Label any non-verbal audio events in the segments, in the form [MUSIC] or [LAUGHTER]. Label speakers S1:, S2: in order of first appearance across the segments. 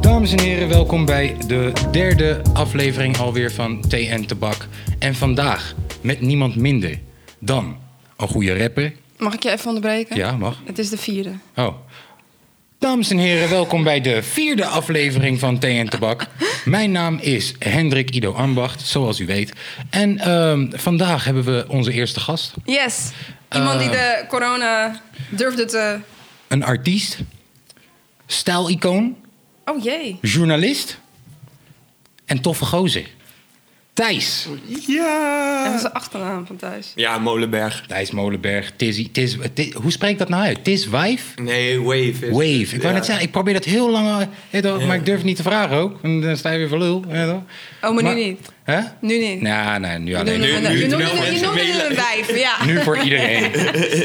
S1: Dames en heren, welkom bij de derde aflevering alweer van TN Tabak. En vandaag met niemand minder dan een goede rapper.
S2: Mag ik je even onderbreken?
S1: Ja, mag.
S2: Het is de vierde.
S1: Oh. Dames en heren, welkom bij de vierde aflevering van TN Tabak. Mijn naam is Hendrik Ido Ambacht, zoals u weet. En ehm, vandaag hebben we onze eerste gast.
S2: Yes. Iemand die
S1: Eh.
S2: de corona durfde te...
S1: Een artiest, stijlicoon,
S2: Oh jee.
S1: journalist en toffe gozer. Thijs.
S2: Dat
S3: Ja!
S2: is de achternaam van thuis.
S3: Ja, Molenberg.
S1: Thijs Molenberg, Tizzy, Tiz, Tiz- hoe spreek ik dat nou uit? Tiz Wife?
S3: Nee, Wave. Is
S1: Wave. Ik wou
S3: Ja.
S1: net zeggen, ik probeer dat heel lang, al, hè, toch, maar ik durf het niet te vragen ook. En dan sta je weer voor lul. hè, toch?
S2: Oh, maar nu niet.
S1: Hè?
S2: Nu niet.
S1: Nou, nee, nu
S2: Je
S1: alleen.
S3: nu-
S2: noemde
S3: nu
S2: het- je
S3: terwijl
S2: noemde het- je
S3: mensen
S2: noemde het
S3: mailen.
S2: een wijf, ja.
S1: Nu voor
S2: [LAUGHS]
S1: iedereen.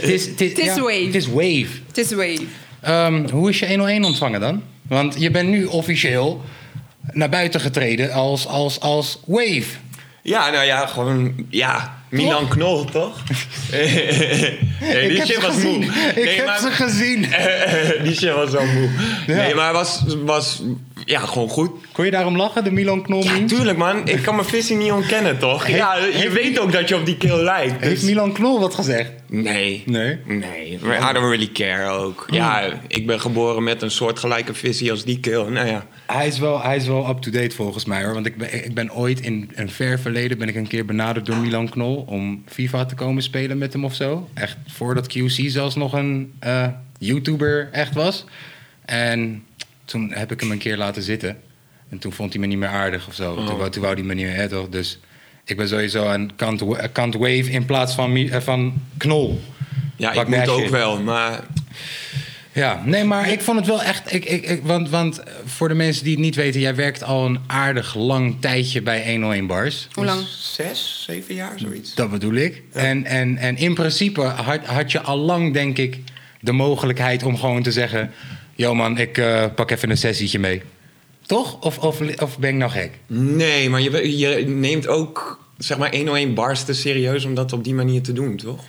S1: Tiz,
S2: Tiz Wave.
S1: Tiz Wave.
S2: Het is wave.
S1: Ehm, hoe is je 101 ontvangen dan? Want je bent nu officieel naar buiten getreden als, als, als Wave.
S3: Ja, nou ja, gewoon... Ja, Milan Knol, toch?
S1: [LAUGHS]
S3: nee,
S1: ik
S3: die
S1: heb
S3: shit
S1: ze
S3: was
S1: gezien.
S3: moe.
S1: Ik
S3: Nee,
S1: heb
S3: maar- Eh.
S1: ze gezien.
S3: [LAUGHS] die shit was wel moe.
S1: Ja.
S3: Nee, maar was, was... Ja, gewoon goed.
S1: Kon je daarom lachen, de Milan Knol
S3: Ja,
S1: meme?
S3: tuurlijk, man. Ik kan mijn visie niet ontkennen, toch? ja, je
S1: Hm? heeft-
S3: weet ook dat je op die kill lijkt. dus-
S1: Heeft Milan Knol wat gezegd?
S3: Nee.
S1: Nee? Oh.
S3: Nee. Maar I don't really care ook. Ja, ik ben geboren met een soortgelijke visie als die kill. Nou ja.
S1: Hij is wel, hij is wel up-to-date volgens mij hoor. Want ik ben, ik ben ooit in een ver verleden ben ik een keer benaderd door Milan Knol om FIFA te komen spelen met hem of zo. Echt voordat QC zelfs nog een eh, YouTuber echt was. En toen heb ik hem een keer laten zitten. En toen vond hij me niet meer aardig of
S3: Oh.
S1: zo. Toen, wou- toen wou hij me niet meer hè, toch? Dus ik ben sowieso aan kant, wa- kant wave in plaats van, Mi- eh, van Knol.
S3: Ja,
S1: Pak
S3: ik
S1: mijn
S3: moet ook
S1: shit.
S3: wel, maar...
S1: Ja, nee, maar ik vond het wel echt. Ik, ik, ik- want, want eh, voor de mensen die het niet weten, jij werkt al een aardig lang tijdje bij 101 Bars.
S2: Hoe lang?
S3: Zes, zeven jaar, zoiets.
S1: Dat bedoel ik. En, en, en in principe had, had je al lang, denk ik, de mogelijkheid om gewoon te zeggen: Yo man, ik eh, pak even een sessietje mee. Toch? Of, of, of ben ik nou gek?
S3: Nee, maar je, we- je neemt ook zeg maar 101 bars te serieus om dat op die manier te doen, toch?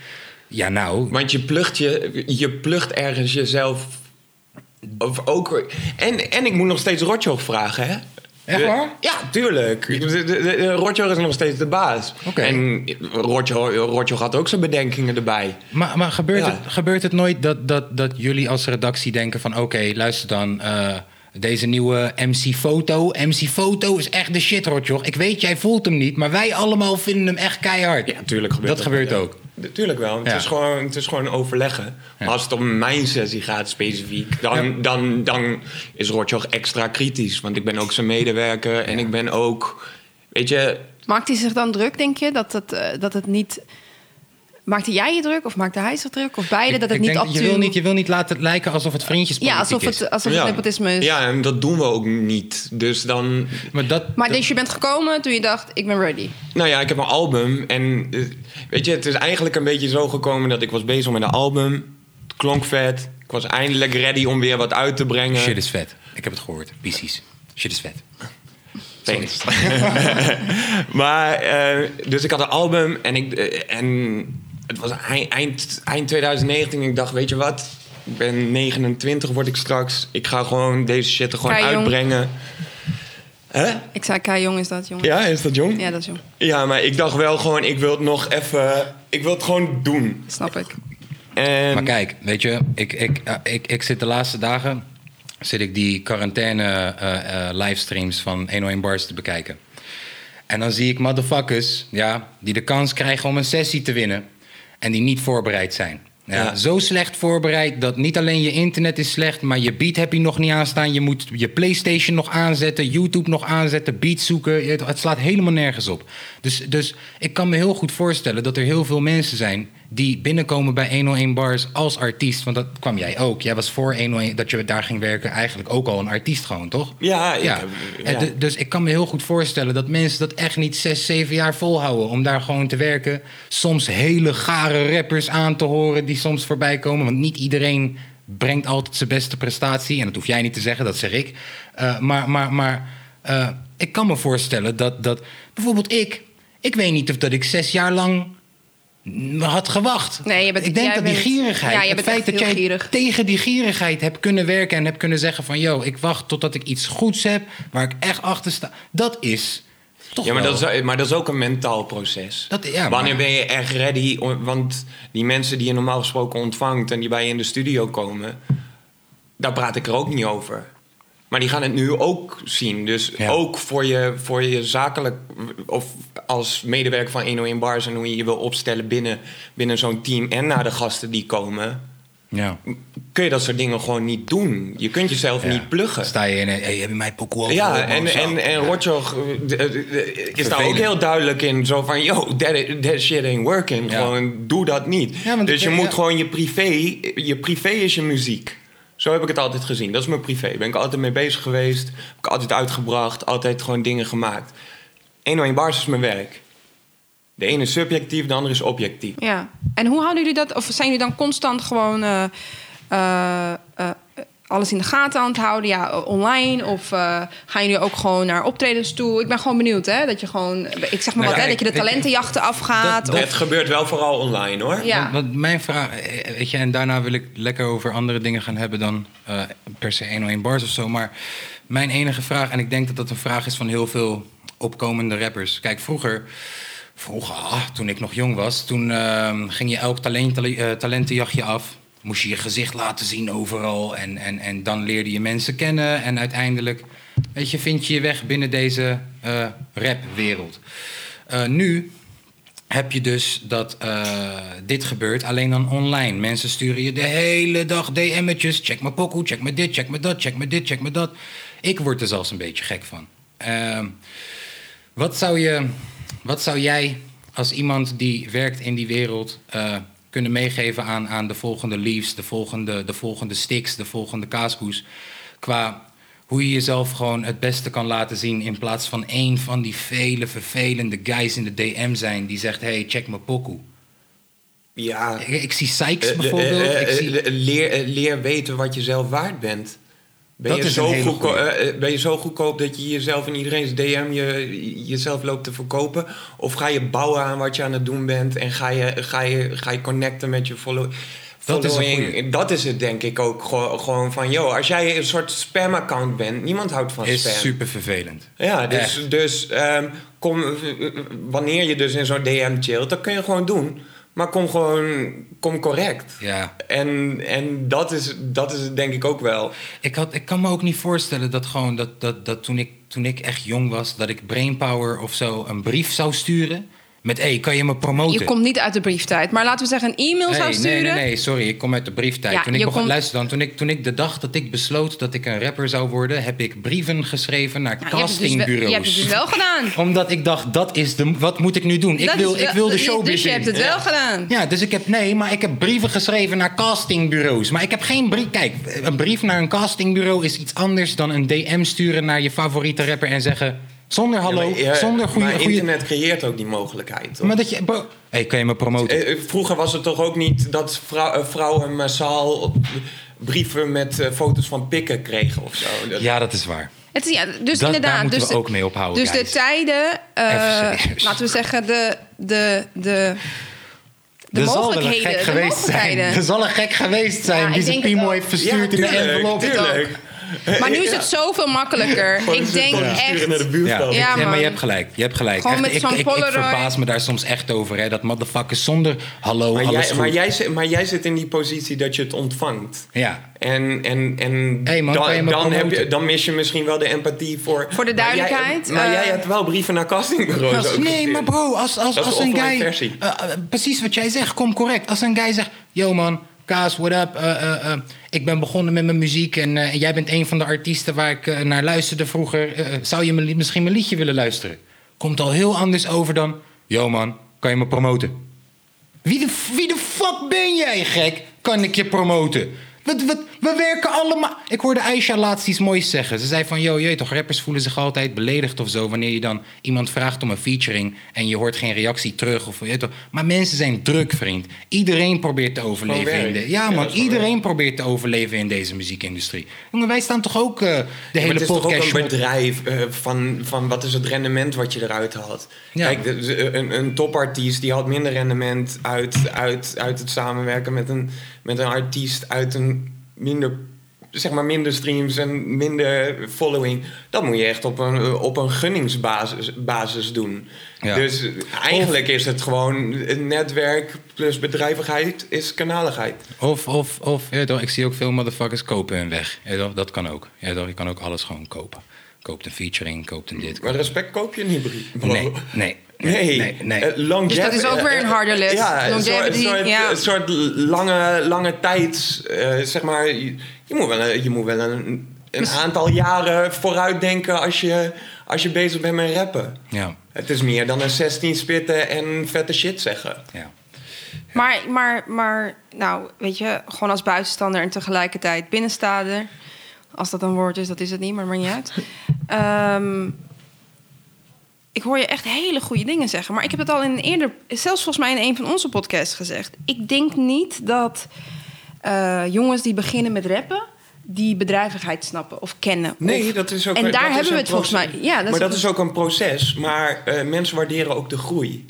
S1: Ja, nou.
S3: Want je plugt, je, je plugt ergens jezelf. Of ook, en, en ik moet nog steeds Rotjoch vragen, hè?
S1: Echt waar?
S3: Ja, tuurlijk. Ik- de- de- de- Rotjoch is nog steeds de baas.
S1: Oké.
S3: En Rotjoch, Rotjoch had ook zijn bedenkingen erbij.
S1: Maar, maar gebeurt,
S3: Ja.
S1: het, gebeurt het nooit dat, dat, dat jullie als redactie denken van... oké, luister dan, eh, deze nieuwe MC Foto. MC Foto is echt de shit, hoor, joh. Ik weet, jij voelt hem niet, maar wij allemaal vinden hem echt keihard.
S3: Ja, tuurlijk gebeurt
S1: dat.
S3: dat.
S1: gebeurt
S3: Ja.
S1: ook.
S3: Natuurlijk wel. want
S1: Ja.
S3: Het, is gewoon, het is gewoon overleggen. Maar Als het om mijn sessie gaat specifiek, dan, dan, dan is Rotjoch extra kritisch. Want ik ben ook zijn medewerker en ik ben ook. Weet je,
S2: Maakt hij zich dan druk, denk je? Dat het, eh, dat het niet... Maakte jij je druk of maakte hij zich druk? Of beide?
S1: Ik-
S2: dat het
S1: ik
S2: niet
S1: denk
S2: op
S1: je, wil niet, je wil niet laten lijken alsof het vriendjespolitiek
S2: Ja, alsof
S1: is.
S2: het, alsof het nepotisme is.
S3: Ja, en dat doen we ook niet. Dus dan.
S1: Maar dat...
S2: Maar dus je bent gekomen toen je dacht, ik ben ready.
S3: Nou ja, ik heb een album. En eh, weet je, het is eigenlijk een beetje zo gekomen dat ik was bezig met een album. Het klonk vet. Ik was eindelijk ready om weer wat uit te brengen.
S1: Shit is vet. Ik heb het gehoord. Precies. Shit is vet.
S3: Thanks. [LAUGHS] maar, eh, dus ik had een album en, ik, eh, en het was ei- eind, eind 2019. En ik dacht, weet je wat? Ik ben 29, word ik straks. Ik ga gewoon deze shit er gewoon
S2: Kei jong.
S3: uitbrengen. Hè?
S2: Ik zei, kei jong is dat, jongen.
S3: Ja, is dat jong?
S2: Ja, dat is jong.
S3: Ja, maar ik dacht wel gewoon, ik wil het nog even... Ik wil het gewoon doen.
S2: Snap ik.
S3: En
S1: Maar kijk, weet je, ik, ik, eh, ik, ik zit de laatste dagen zit ik die quarantaine eh, eh, livestreams van 101 Bars te bekijken. En dan zie ik motherfuckers ja, die de kans krijgen om een sessie te winnen. En die niet voorbereid zijn. Ja,
S3: Ja.
S1: Zo slecht voorbereid dat niet alleen je internet is slecht, maar je beat heb je nog niet aanstaan. Je moet je PlayStation nog aanzetten, YouTube nog aanzetten, beats zoeken. Je weet toch, Het slaat helemaal nergens op. Dus, dus ik kan me heel goed voorstellen dat er heel veel mensen zijn die binnenkomen bij 101 Bars als artiest. Want dat kwam jij ook. Jij was voor 101 dat je daar ging werken eigenlijk ook al een artiest gewoon, toch?
S3: Ja, ik
S1: ja.
S3: heb-
S1: En
S3: ja.
S1: de- dus ik kan me heel goed voorstellen dat mensen dat echt niet zes, zeven jaar volhouden. Om daar gewoon te werken. Soms hele gare rappers aan te horen die soms voorbij komen. Want niet iedereen brengt altijd zijn beste prestatie. En dat hoef jij niet te zeggen, dat zeg ik. Eh, maar maar, maar eh, ik kan me voorstellen dat, dat bijvoorbeeld ik... Ik weet niet of dat ik zes jaar lang had gewacht.
S2: Nee, je bent-
S1: ik denk
S2: jij
S1: dat die
S2: bent-
S1: gierigheid,
S2: ja, je
S1: het
S2: bent
S1: feit
S2: echt
S1: dat
S2: heel
S1: jij
S2: gierig.
S1: tegen die gierigheid hebt kunnen werken en hebt kunnen zeggen van... yo, ik wacht totdat ik iets goeds heb waar ik echt achter sta. Dat is toch
S3: Ja, maar
S1: wel-
S3: dat, is, maar dat is ook een mentaal proces.
S1: Dat- ja, maar-
S3: Wanneer ben je echt ready? om- Want die mensen die je normaal gesproken ontvangt en die bij je in de studio komen, daar praat ik er ook niet over. Maar die gaan het nu ook zien. Dus
S1: Ja.
S3: ook voor je, voor je zakelijk, of als medewerker van 101 Bars en hoe je je wil opstellen binnen, binnen zo'n team en naar de gasten die komen,
S1: Ja.
S3: kun je dat soort dingen gewoon niet doen. Je kunt jezelf
S1: Ja.
S3: niet pluggen.
S1: Sta je in een... Hey, heb je mijn pokoe
S3: Ja,
S1: overgehoord,
S3: en,
S1: man? Zo.
S3: en, en Rotjoch eh, d- eh, d- is daar
S1: Vervelend.
S3: ook heel duidelijk in. Zo van, yo, that, that shit ain't working.
S1: Ja.
S3: Gewoon, doe dat niet.
S1: Ja, want ik-
S3: dus je
S1: ja.
S3: moet gewoon je privé... Je privé is je muziek. Zo heb ik het altijd gezien. Dat is mijn privé. Daar ben ik altijd mee bezig geweest. Heb ik altijd uitgebracht. Altijd gewoon dingen gemaakt. 101 Bars is mijn werk. De ene is subjectief, de andere is objectief.
S2: Ja. En hoe houden jullie dat? Of zijn jullie dan constant gewoon eh, eh, eh, alles in de gaten aan het houden? Ja, eh, online? Of eh, gaan jullie ook gewoon naar optredens toe? Ik ben gewoon benieuwd, hè? Dat je gewoon, ik zeg maar wat,
S3: Nou,
S2: hè?
S3: kijk,
S2: Dat je de
S1: ik-
S2: talentenjachten afgaat.
S1: Dat-
S3: Het gebeurt wel vooral online, hoor.
S2: of, ja.
S1: Want, want mijn vraag, eh, weet je, en daarna wil ik lekker over andere dingen gaan hebben dan eh, per se 101 bars of zo. Maar mijn enige vraag, en ik denk dat dat een vraag is van heel veel opkomende rappers. Kijk, vroeger, vroeger ah, toen ik nog jong was, toen ehm, ging je elk talent, tale- eh, talentenjachtje af. Moest je je gezicht laten zien overal. En, en, en dan leerde je mensen kennen. En uiteindelijk, weet je, vind je je weg binnen deze eh, rapwereld. Eh, nu heb je dus dat eh, dit gebeurt alleen dan online. Mensen sturen je de hele dag DM'tjes. Check mijn pokoe, check me dit, check me dat, check me dit, check me dat. Ik word er zelfs een beetje gek van. Ehm, wat, zou je, wat zou jij als iemand die werkt in die wereld... eh, kunnen meegeven aan, aan de volgende Leaves, de volgende, de volgende Sticks, de volgende Kaaskoes... qua hoe je jezelf gewoon het beste kan laten zien... in plaats van één van die vele vervelende guys in de DM zijn... die zegt, hey, check mijn pokoe.
S3: Ja.
S1: Ik, ik zie Sykes
S3: Eh,
S1: bijvoorbeeld.
S3: eh, eh,
S1: ik zie,
S3: eh, leer, eh, leer weten wat je zelf waard bent. Ben,
S1: Dat
S3: je,
S1: is
S3: zo
S1: een hele
S3: goedko-
S1: goeie.
S3: eh, eh, ben je zo goedkoop dat je jezelf in iedereen's DM je, jezelf loopt te verkopen? Of ga je bouwen aan wat je aan het doen bent en ga je, ga je, ga je connecten met je follow,
S1: Dat is een
S3: following?
S1: goeie.
S3: dat is het denk ik ook. Gewoon, gewoon van, joh, als jij een soort spam-account bent, niemand houdt van spam.
S1: is super vervelend.
S3: Ja, dus,
S1: Echt.
S3: dus ehm, kom, eh, eh, wanneer je dus in zo'n DM chillt, dat kun je gewoon doen. Maar kom gewoon kom correct.
S1: Ja.
S3: En, en dat, is, dat is het denk ik ook wel.
S1: Ik, had, ik kan me ook niet voorstellen dat gewoon dat, dat, dat toen, ik, toen ik echt jong was, dat ik Brainpower of zo een brief zou sturen. Met hey, kan je me promoten?
S2: Je komt niet uit de brieftijd. Maar laten we zeggen, een e-mail
S1: Nee,
S2: zou
S1: nee,
S2: sturen.
S1: nee, nee, sorry, ik kom uit de brieftijd.
S2: Ja,
S1: toen ik
S2: je
S1: begon,
S2: komt-
S1: Luister dan, toen ik, toen ik de dag dat ik besloot dat ik een rapper zou worden, heb ik brieven geschreven naar
S2: Nou, je hebt het dus wel-
S1: castingbureaus.
S2: Je hebt het dus wel gedaan.
S1: Omdat ik dacht, dat is de, wat moet ik nu doen? Ik,
S2: Dat
S1: wil,
S2: is
S1: ik
S2: wel-
S1: wil de showbiz
S2: Dus je
S1: in.
S2: hebt het wel gedaan.
S1: Ja, dus ik heb nee, maar ik heb brieven geschreven naar castingbureaus. Maar ik heb geen brief. Kijk, een brief naar een castingbureau is iets anders dan een DM sturen naar je favoriete rapper en zeggen zonder hallo,
S3: Ja, maar, eh,
S1: zonder goede.
S3: Maar
S1: goede-
S3: internet creëert ook die mogelijkheid. hoor.
S1: Maar dat je, bro, hey, kan je me promoten?
S3: Eh, eh, Vroeger was het toch ook niet dat vrou- eh, vrouwen massaal op- brieven met eh, foto's van pikken kregen of zo. Dat-
S1: ja, dat is waar.
S2: Het is, ja, dus
S1: daar
S2: inderdaad.
S1: moeten
S2: dus
S1: we ook mee ophouden,
S2: Dus
S1: guys.
S2: de tijden, eh,
S1: Even serieus.
S2: laten we zeggen, de, de, de, de
S1: er zal wel een
S2: mogelijkheden.
S1: gek
S2: de
S1: geweest zijn.
S2: mogelijkheden.
S1: Er [LAUGHS] zal een gek geweest zijn
S2: Ja, ik
S1: die zijn
S2: denk het
S1: Pimo
S2: ook.
S1: heeft
S3: Ja,
S1: verstuurd in
S3: tuurlijk,
S1: een envelop.
S3: tuurlijk.
S2: Maar nu is
S3: Ja.
S2: het zoveel makkelijker.
S3: Gewoon
S2: Ik
S3: eens
S2: denk
S3: een foto
S2: echt.
S3: sturen naar de buurvrouw.
S1: Ja,
S2: Ja,
S1: ik- nee, maar
S2: man.
S1: je hebt gelijk. Je hebt gelijk.
S2: Gewoon
S1: Echt,
S2: met
S1: ik,
S2: zo'n
S1: ik, ik
S2: Polaroid.
S1: verbaas me daar soms echt over. Hè, dat motherfuckers zonder hallo,
S3: Maar
S1: alles
S3: jij,
S1: goed.
S3: maar, jij, zit- maar jij zit in die positie dat je het ontvangt.
S1: Ja.
S3: En, en, en
S1: Hey man, kan je
S3: dan,
S1: me
S3: dan, heb
S1: promoten?
S3: je, dan mis je misschien wel de empathie voor...
S2: Voor de
S3: Maar jij-
S2: duidelijkheid,
S3: Maar jij,
S2: eh,
S3: hebt wel brieven naar castingbureaus ook
S1: Nee,
S3: gestuurd.
S1: maar bro, als, als,
S3: Dat is
S1: als
S3: de
S1: een
S3: offline
S1: guy...
S3: versie.
S1: Eh, eh, precies wat jij zegt, kom correct. Als een guy zegt, yo man, Kaas, what up? eh, eh, eh, ik ben begonnen met mijn muziek en eh, jij bent een van de artiesten waar ik eh, naar luisterde vroeger. Eh, eh, zou je me li- misschien mijn liedje willen luisteren? Komt al heel anders over dan, yo man, kan je me promoten? Wie de, wie de fuck ben jij, gek? Kan ik je promoten? We, we, we werken allemaal. Ik hoorde Aisha laatst iets moois zeggen. Ze zei van, joh, je weet toch, rappers voelen zich altijd beledigd of zo... wanneer je dan iemand vraagt om een featuring... en je hoort geen reactie terug. Of, je weet toch. Maar mensen zijn druk, vriend. Iedereen probeert te overleven.
S3: werk.
S1: In de,
S3: Ja,
S1: ja, man,
S3: dat is wel
S1: iedereen probeert te overleven in deze muziekindustrie. Jongen, wij staan toch ook eh, de
S3: Maar
S1: hele
S3: het is toch ook
S1: podcast...
S3: een bedrijf eh, van, van wat is het rendement wat je eruit haalt.
S1: Ja.
S3: Kijk, de- de- een, een topartiest die haalt minder rendement uit, uit, uit het samenwerken met een, met een artiest uit een minder, zeg maar minder streams en minder following. Dat moet je echt op een, op een gunningsbasis basis doen.
S1: Ja.
S3: Dus eigenlijk is het gewoon een netwerk plus bedrijvigheid is kanaligheid.
S1: Of, of, of je weet toch, ik zie ook veel motherfuckers kopen hun weg. Je weet toch, dat kan ook. Je, weet toch, je kan ook alles gewoon kopen. Koopt een featuring, koopt een dit.
S3: Maar respect koop je niet, [LAUGHS] bro.
S1: Nee, nee.
S3: Nee,
S1: nee, nee.
S3: Eh, long
S2: Dus dat
S3: jab-
S2: is ook weer een harde les.
S3: Ja, een soort,
S2: Longevity,
S3: een soort,
S2: ja.
S3: een soort lange, lange tijd, eh, zeg maar. Je, je moet wel, een- je moet wel een,
S2: Dus-
S3: een aantal jaren vooruitdenken als je, als je bezig bent met rappen.
S1: Ja,
S3: Het is meer dan een 16 spitten en vette shit zeggen.
S1: ja.
S2: Maar, maar, maar, nou, weet je, gewoon als buitenstander en tegelijkertijd binnenstaander. Als dat een woord is, dat is het niet, maar maakt niet
S3: [LAUGHS]
S2: uit. Ehm, ik hoor je echt hele goede dingen zeggen. Maar ik heb het al in een eerder, zelfs volgens mij in een van onze podcasts gezegd. Ik denk niet dat eh, jongens die beginnen met rappen, die bedrijvigheid snappen of kennen.
S3: Nee,
S2: Of-
S3: dat is ook
S2: En
S3: dat
S2: daar
S3: is
S2: hebben we
S3: een
S2: het volgens
S3: proces.
S2: mij- ja, dat is
S3: maar dat
S2: een-
S3: is ook een proces. Maar eh, mensen waarderen ook de groei.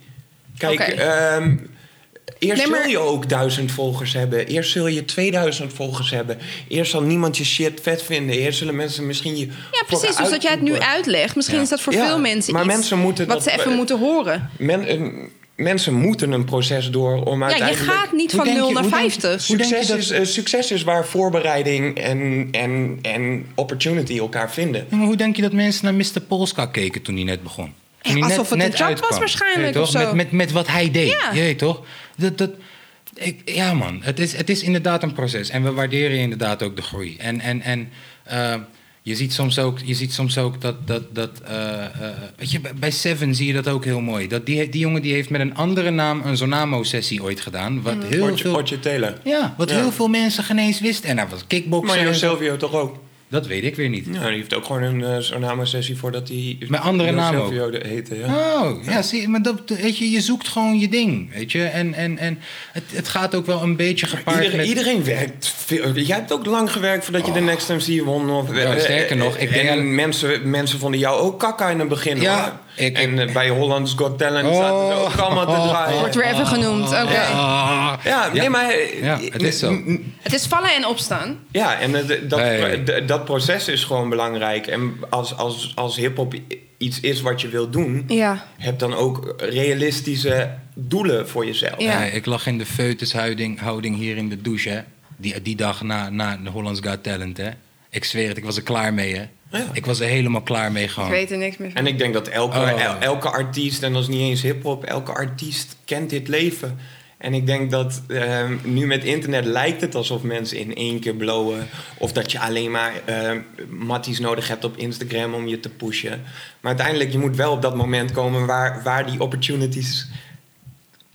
S3: Kijk,
S2: Oké.
S3: ehm, eerst
S2: Nee, maar-
S3: zul je ook duizend volgers hebben. Eerst zul je 2000 volgers hebben. Eerst zal niemand je shit vet vinden. Eerst zullen mensen misschien je.
S2: Ja, precies. Dus dat jij het nu uitlegt, misschien
S1: Ja.
S2: is dat voor
S3: Ja,
S2: veel mensen
S3: maar
S2: iets
S3: mensen moeten
S2: wat
S3: dat-
S2: ze even moeten horen.
S3: Men, eh, mensen moeten een proces door om
S2: Ja, je
S3: uiteindelijk.
S2: gaat niet
S1: Hoe
S2: van
S1: denk
S2: 0
S1: je-
S2: naar
S1: hoe denk-
S2: 50.
S1: Hoe denk je
S3: Succes,
S1: dat-
S3: is, eh, succes is waar voorbereiding en, en, en opportunity elkaar vinden.
S1: Ja, maar hoe denk je dat mensen naar Mr. Polska keken toen hij net begon? Toen hij
S2: Eh, alsof het een job was
S1: uitkwam.
S2: waarschijnlijk
S1: Je weet
S2: of
S1: toch?
S2: zo.
S1: Met, met, met wat hij deed.
S2: Ja.
S1: Je weet toch? Dat, dat, ik, ja man, het is, het is inderdaad een proces. En we waarderen inderdaad ook de groei. En, en, en eh, je, ziet soms ook, je ziet soms ook dat... dat, dat eh, eh, weet je, bij- bij Seven zie je dat ook heel mooi. Dat die, die jongen die heeft met een andere naam een Zonamo-sessie ooit gedaan. Wat
S2: Mhm.
S1: heel
S3: Otje,
S1: veel...
S3: Otje Taylor.
S1: Ja, wat
S3: Ja.
S1: heel veel mensen geen eens wisten. En hij was kickbokser.
S3: Mario
S1: en zo.
S3: Silvio toch ook?
S1: Dat weet ik weer niet.
S3: Ja, die heeft ook gewoon een uh, sessie voordat hij...
S1: Met andere
S3: Joost
S1: naam
S3: Silvio de- heette, ja.
S1: Oh, ja, zie, maar dat, weet je, je zoekt gewoon je ding, weet je. En, en, en het, het gaat ook wel een beetje gepaard
S3: Iedereen,
S1: met... Oh.
S3: iedereen werkt veel. Jij hebt ook lang gewerkt voordat je de Next MC won. Of,
S1: Ja, sterker nog, ik denk
S3: en
S1: dat-
S3: mensen, mensen vonden jou ook kakka in het begin.
S1: Ja,
S3: hoor.
S1: ik- Oh.
S3: en eh, bij Holland's Got Talent zaten ze ook allemaal
S1: [LAUGHS]
S3: te draaien.
S2: Wordt weer even genoemd. Oké.
S1: Ah.
S3: Ja, nee, maar... eh,
S1: Ja, het is zo.
S2: Het is vallen en opstaan.
S3: Ja, en het- dat,
S1: Hey.
S3: d- dat proces is gewoon belangrijk. En als, als, als hip-hop iets is wat je wilt doen,
S2: Ja.
S3: heb dan ook realistische doelen voor jezelf.
S2: Ja.
S1: Nee, ik lag in de feutushouding houding hier in de douche, hè. Die, die dag na, na de Holland's Got Talent, hè. Ik zweer het, ik was er klaar mee, hè.
S3: Ja.
S1: Ik was er helemaal klaar mee gewoon.
S2: Ik weet er niks meer van.
S3: En ik denk dat elke,
S1: Oh.
S3: el- elke artiest, en dat is niet eens hip-hop, elke artiest kent dit leven. En ik denk dat ehm, nu met internet lijkt het alsof mensen in één keer blowen. Of dat je alleen maar ehm matties nodig hebt op Instagram om je te pushen. Maar uiteindelijk, je moet wel op dat moment komen waar, waar die opportunities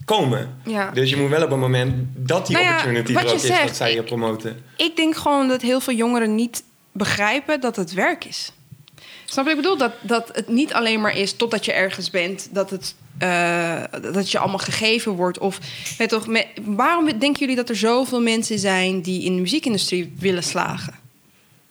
S3: komen.
S2: Ja.
S3: Dus je moet wel op een moment dat die
S2: Nou ja,
S3: opportunity
S2: wat
S3: er
S2: je
S3: ook is,
S2: zegt,
S3: dat zij je
S2: ik-
S3: promoten.
S2: Ik denk gewoon dat heel veel jongeren niet begrijpen dat het werk is. Snap je wat ik bedoel? Dat, dat het niet alleen maar is totdat je ergens bent, dat het, eh, dat het je allemaal gegeven wordt. Of weet toch, me- waarom denken jullie dat er zoveel mensen zijn die in de muziekindustrie willen slagen?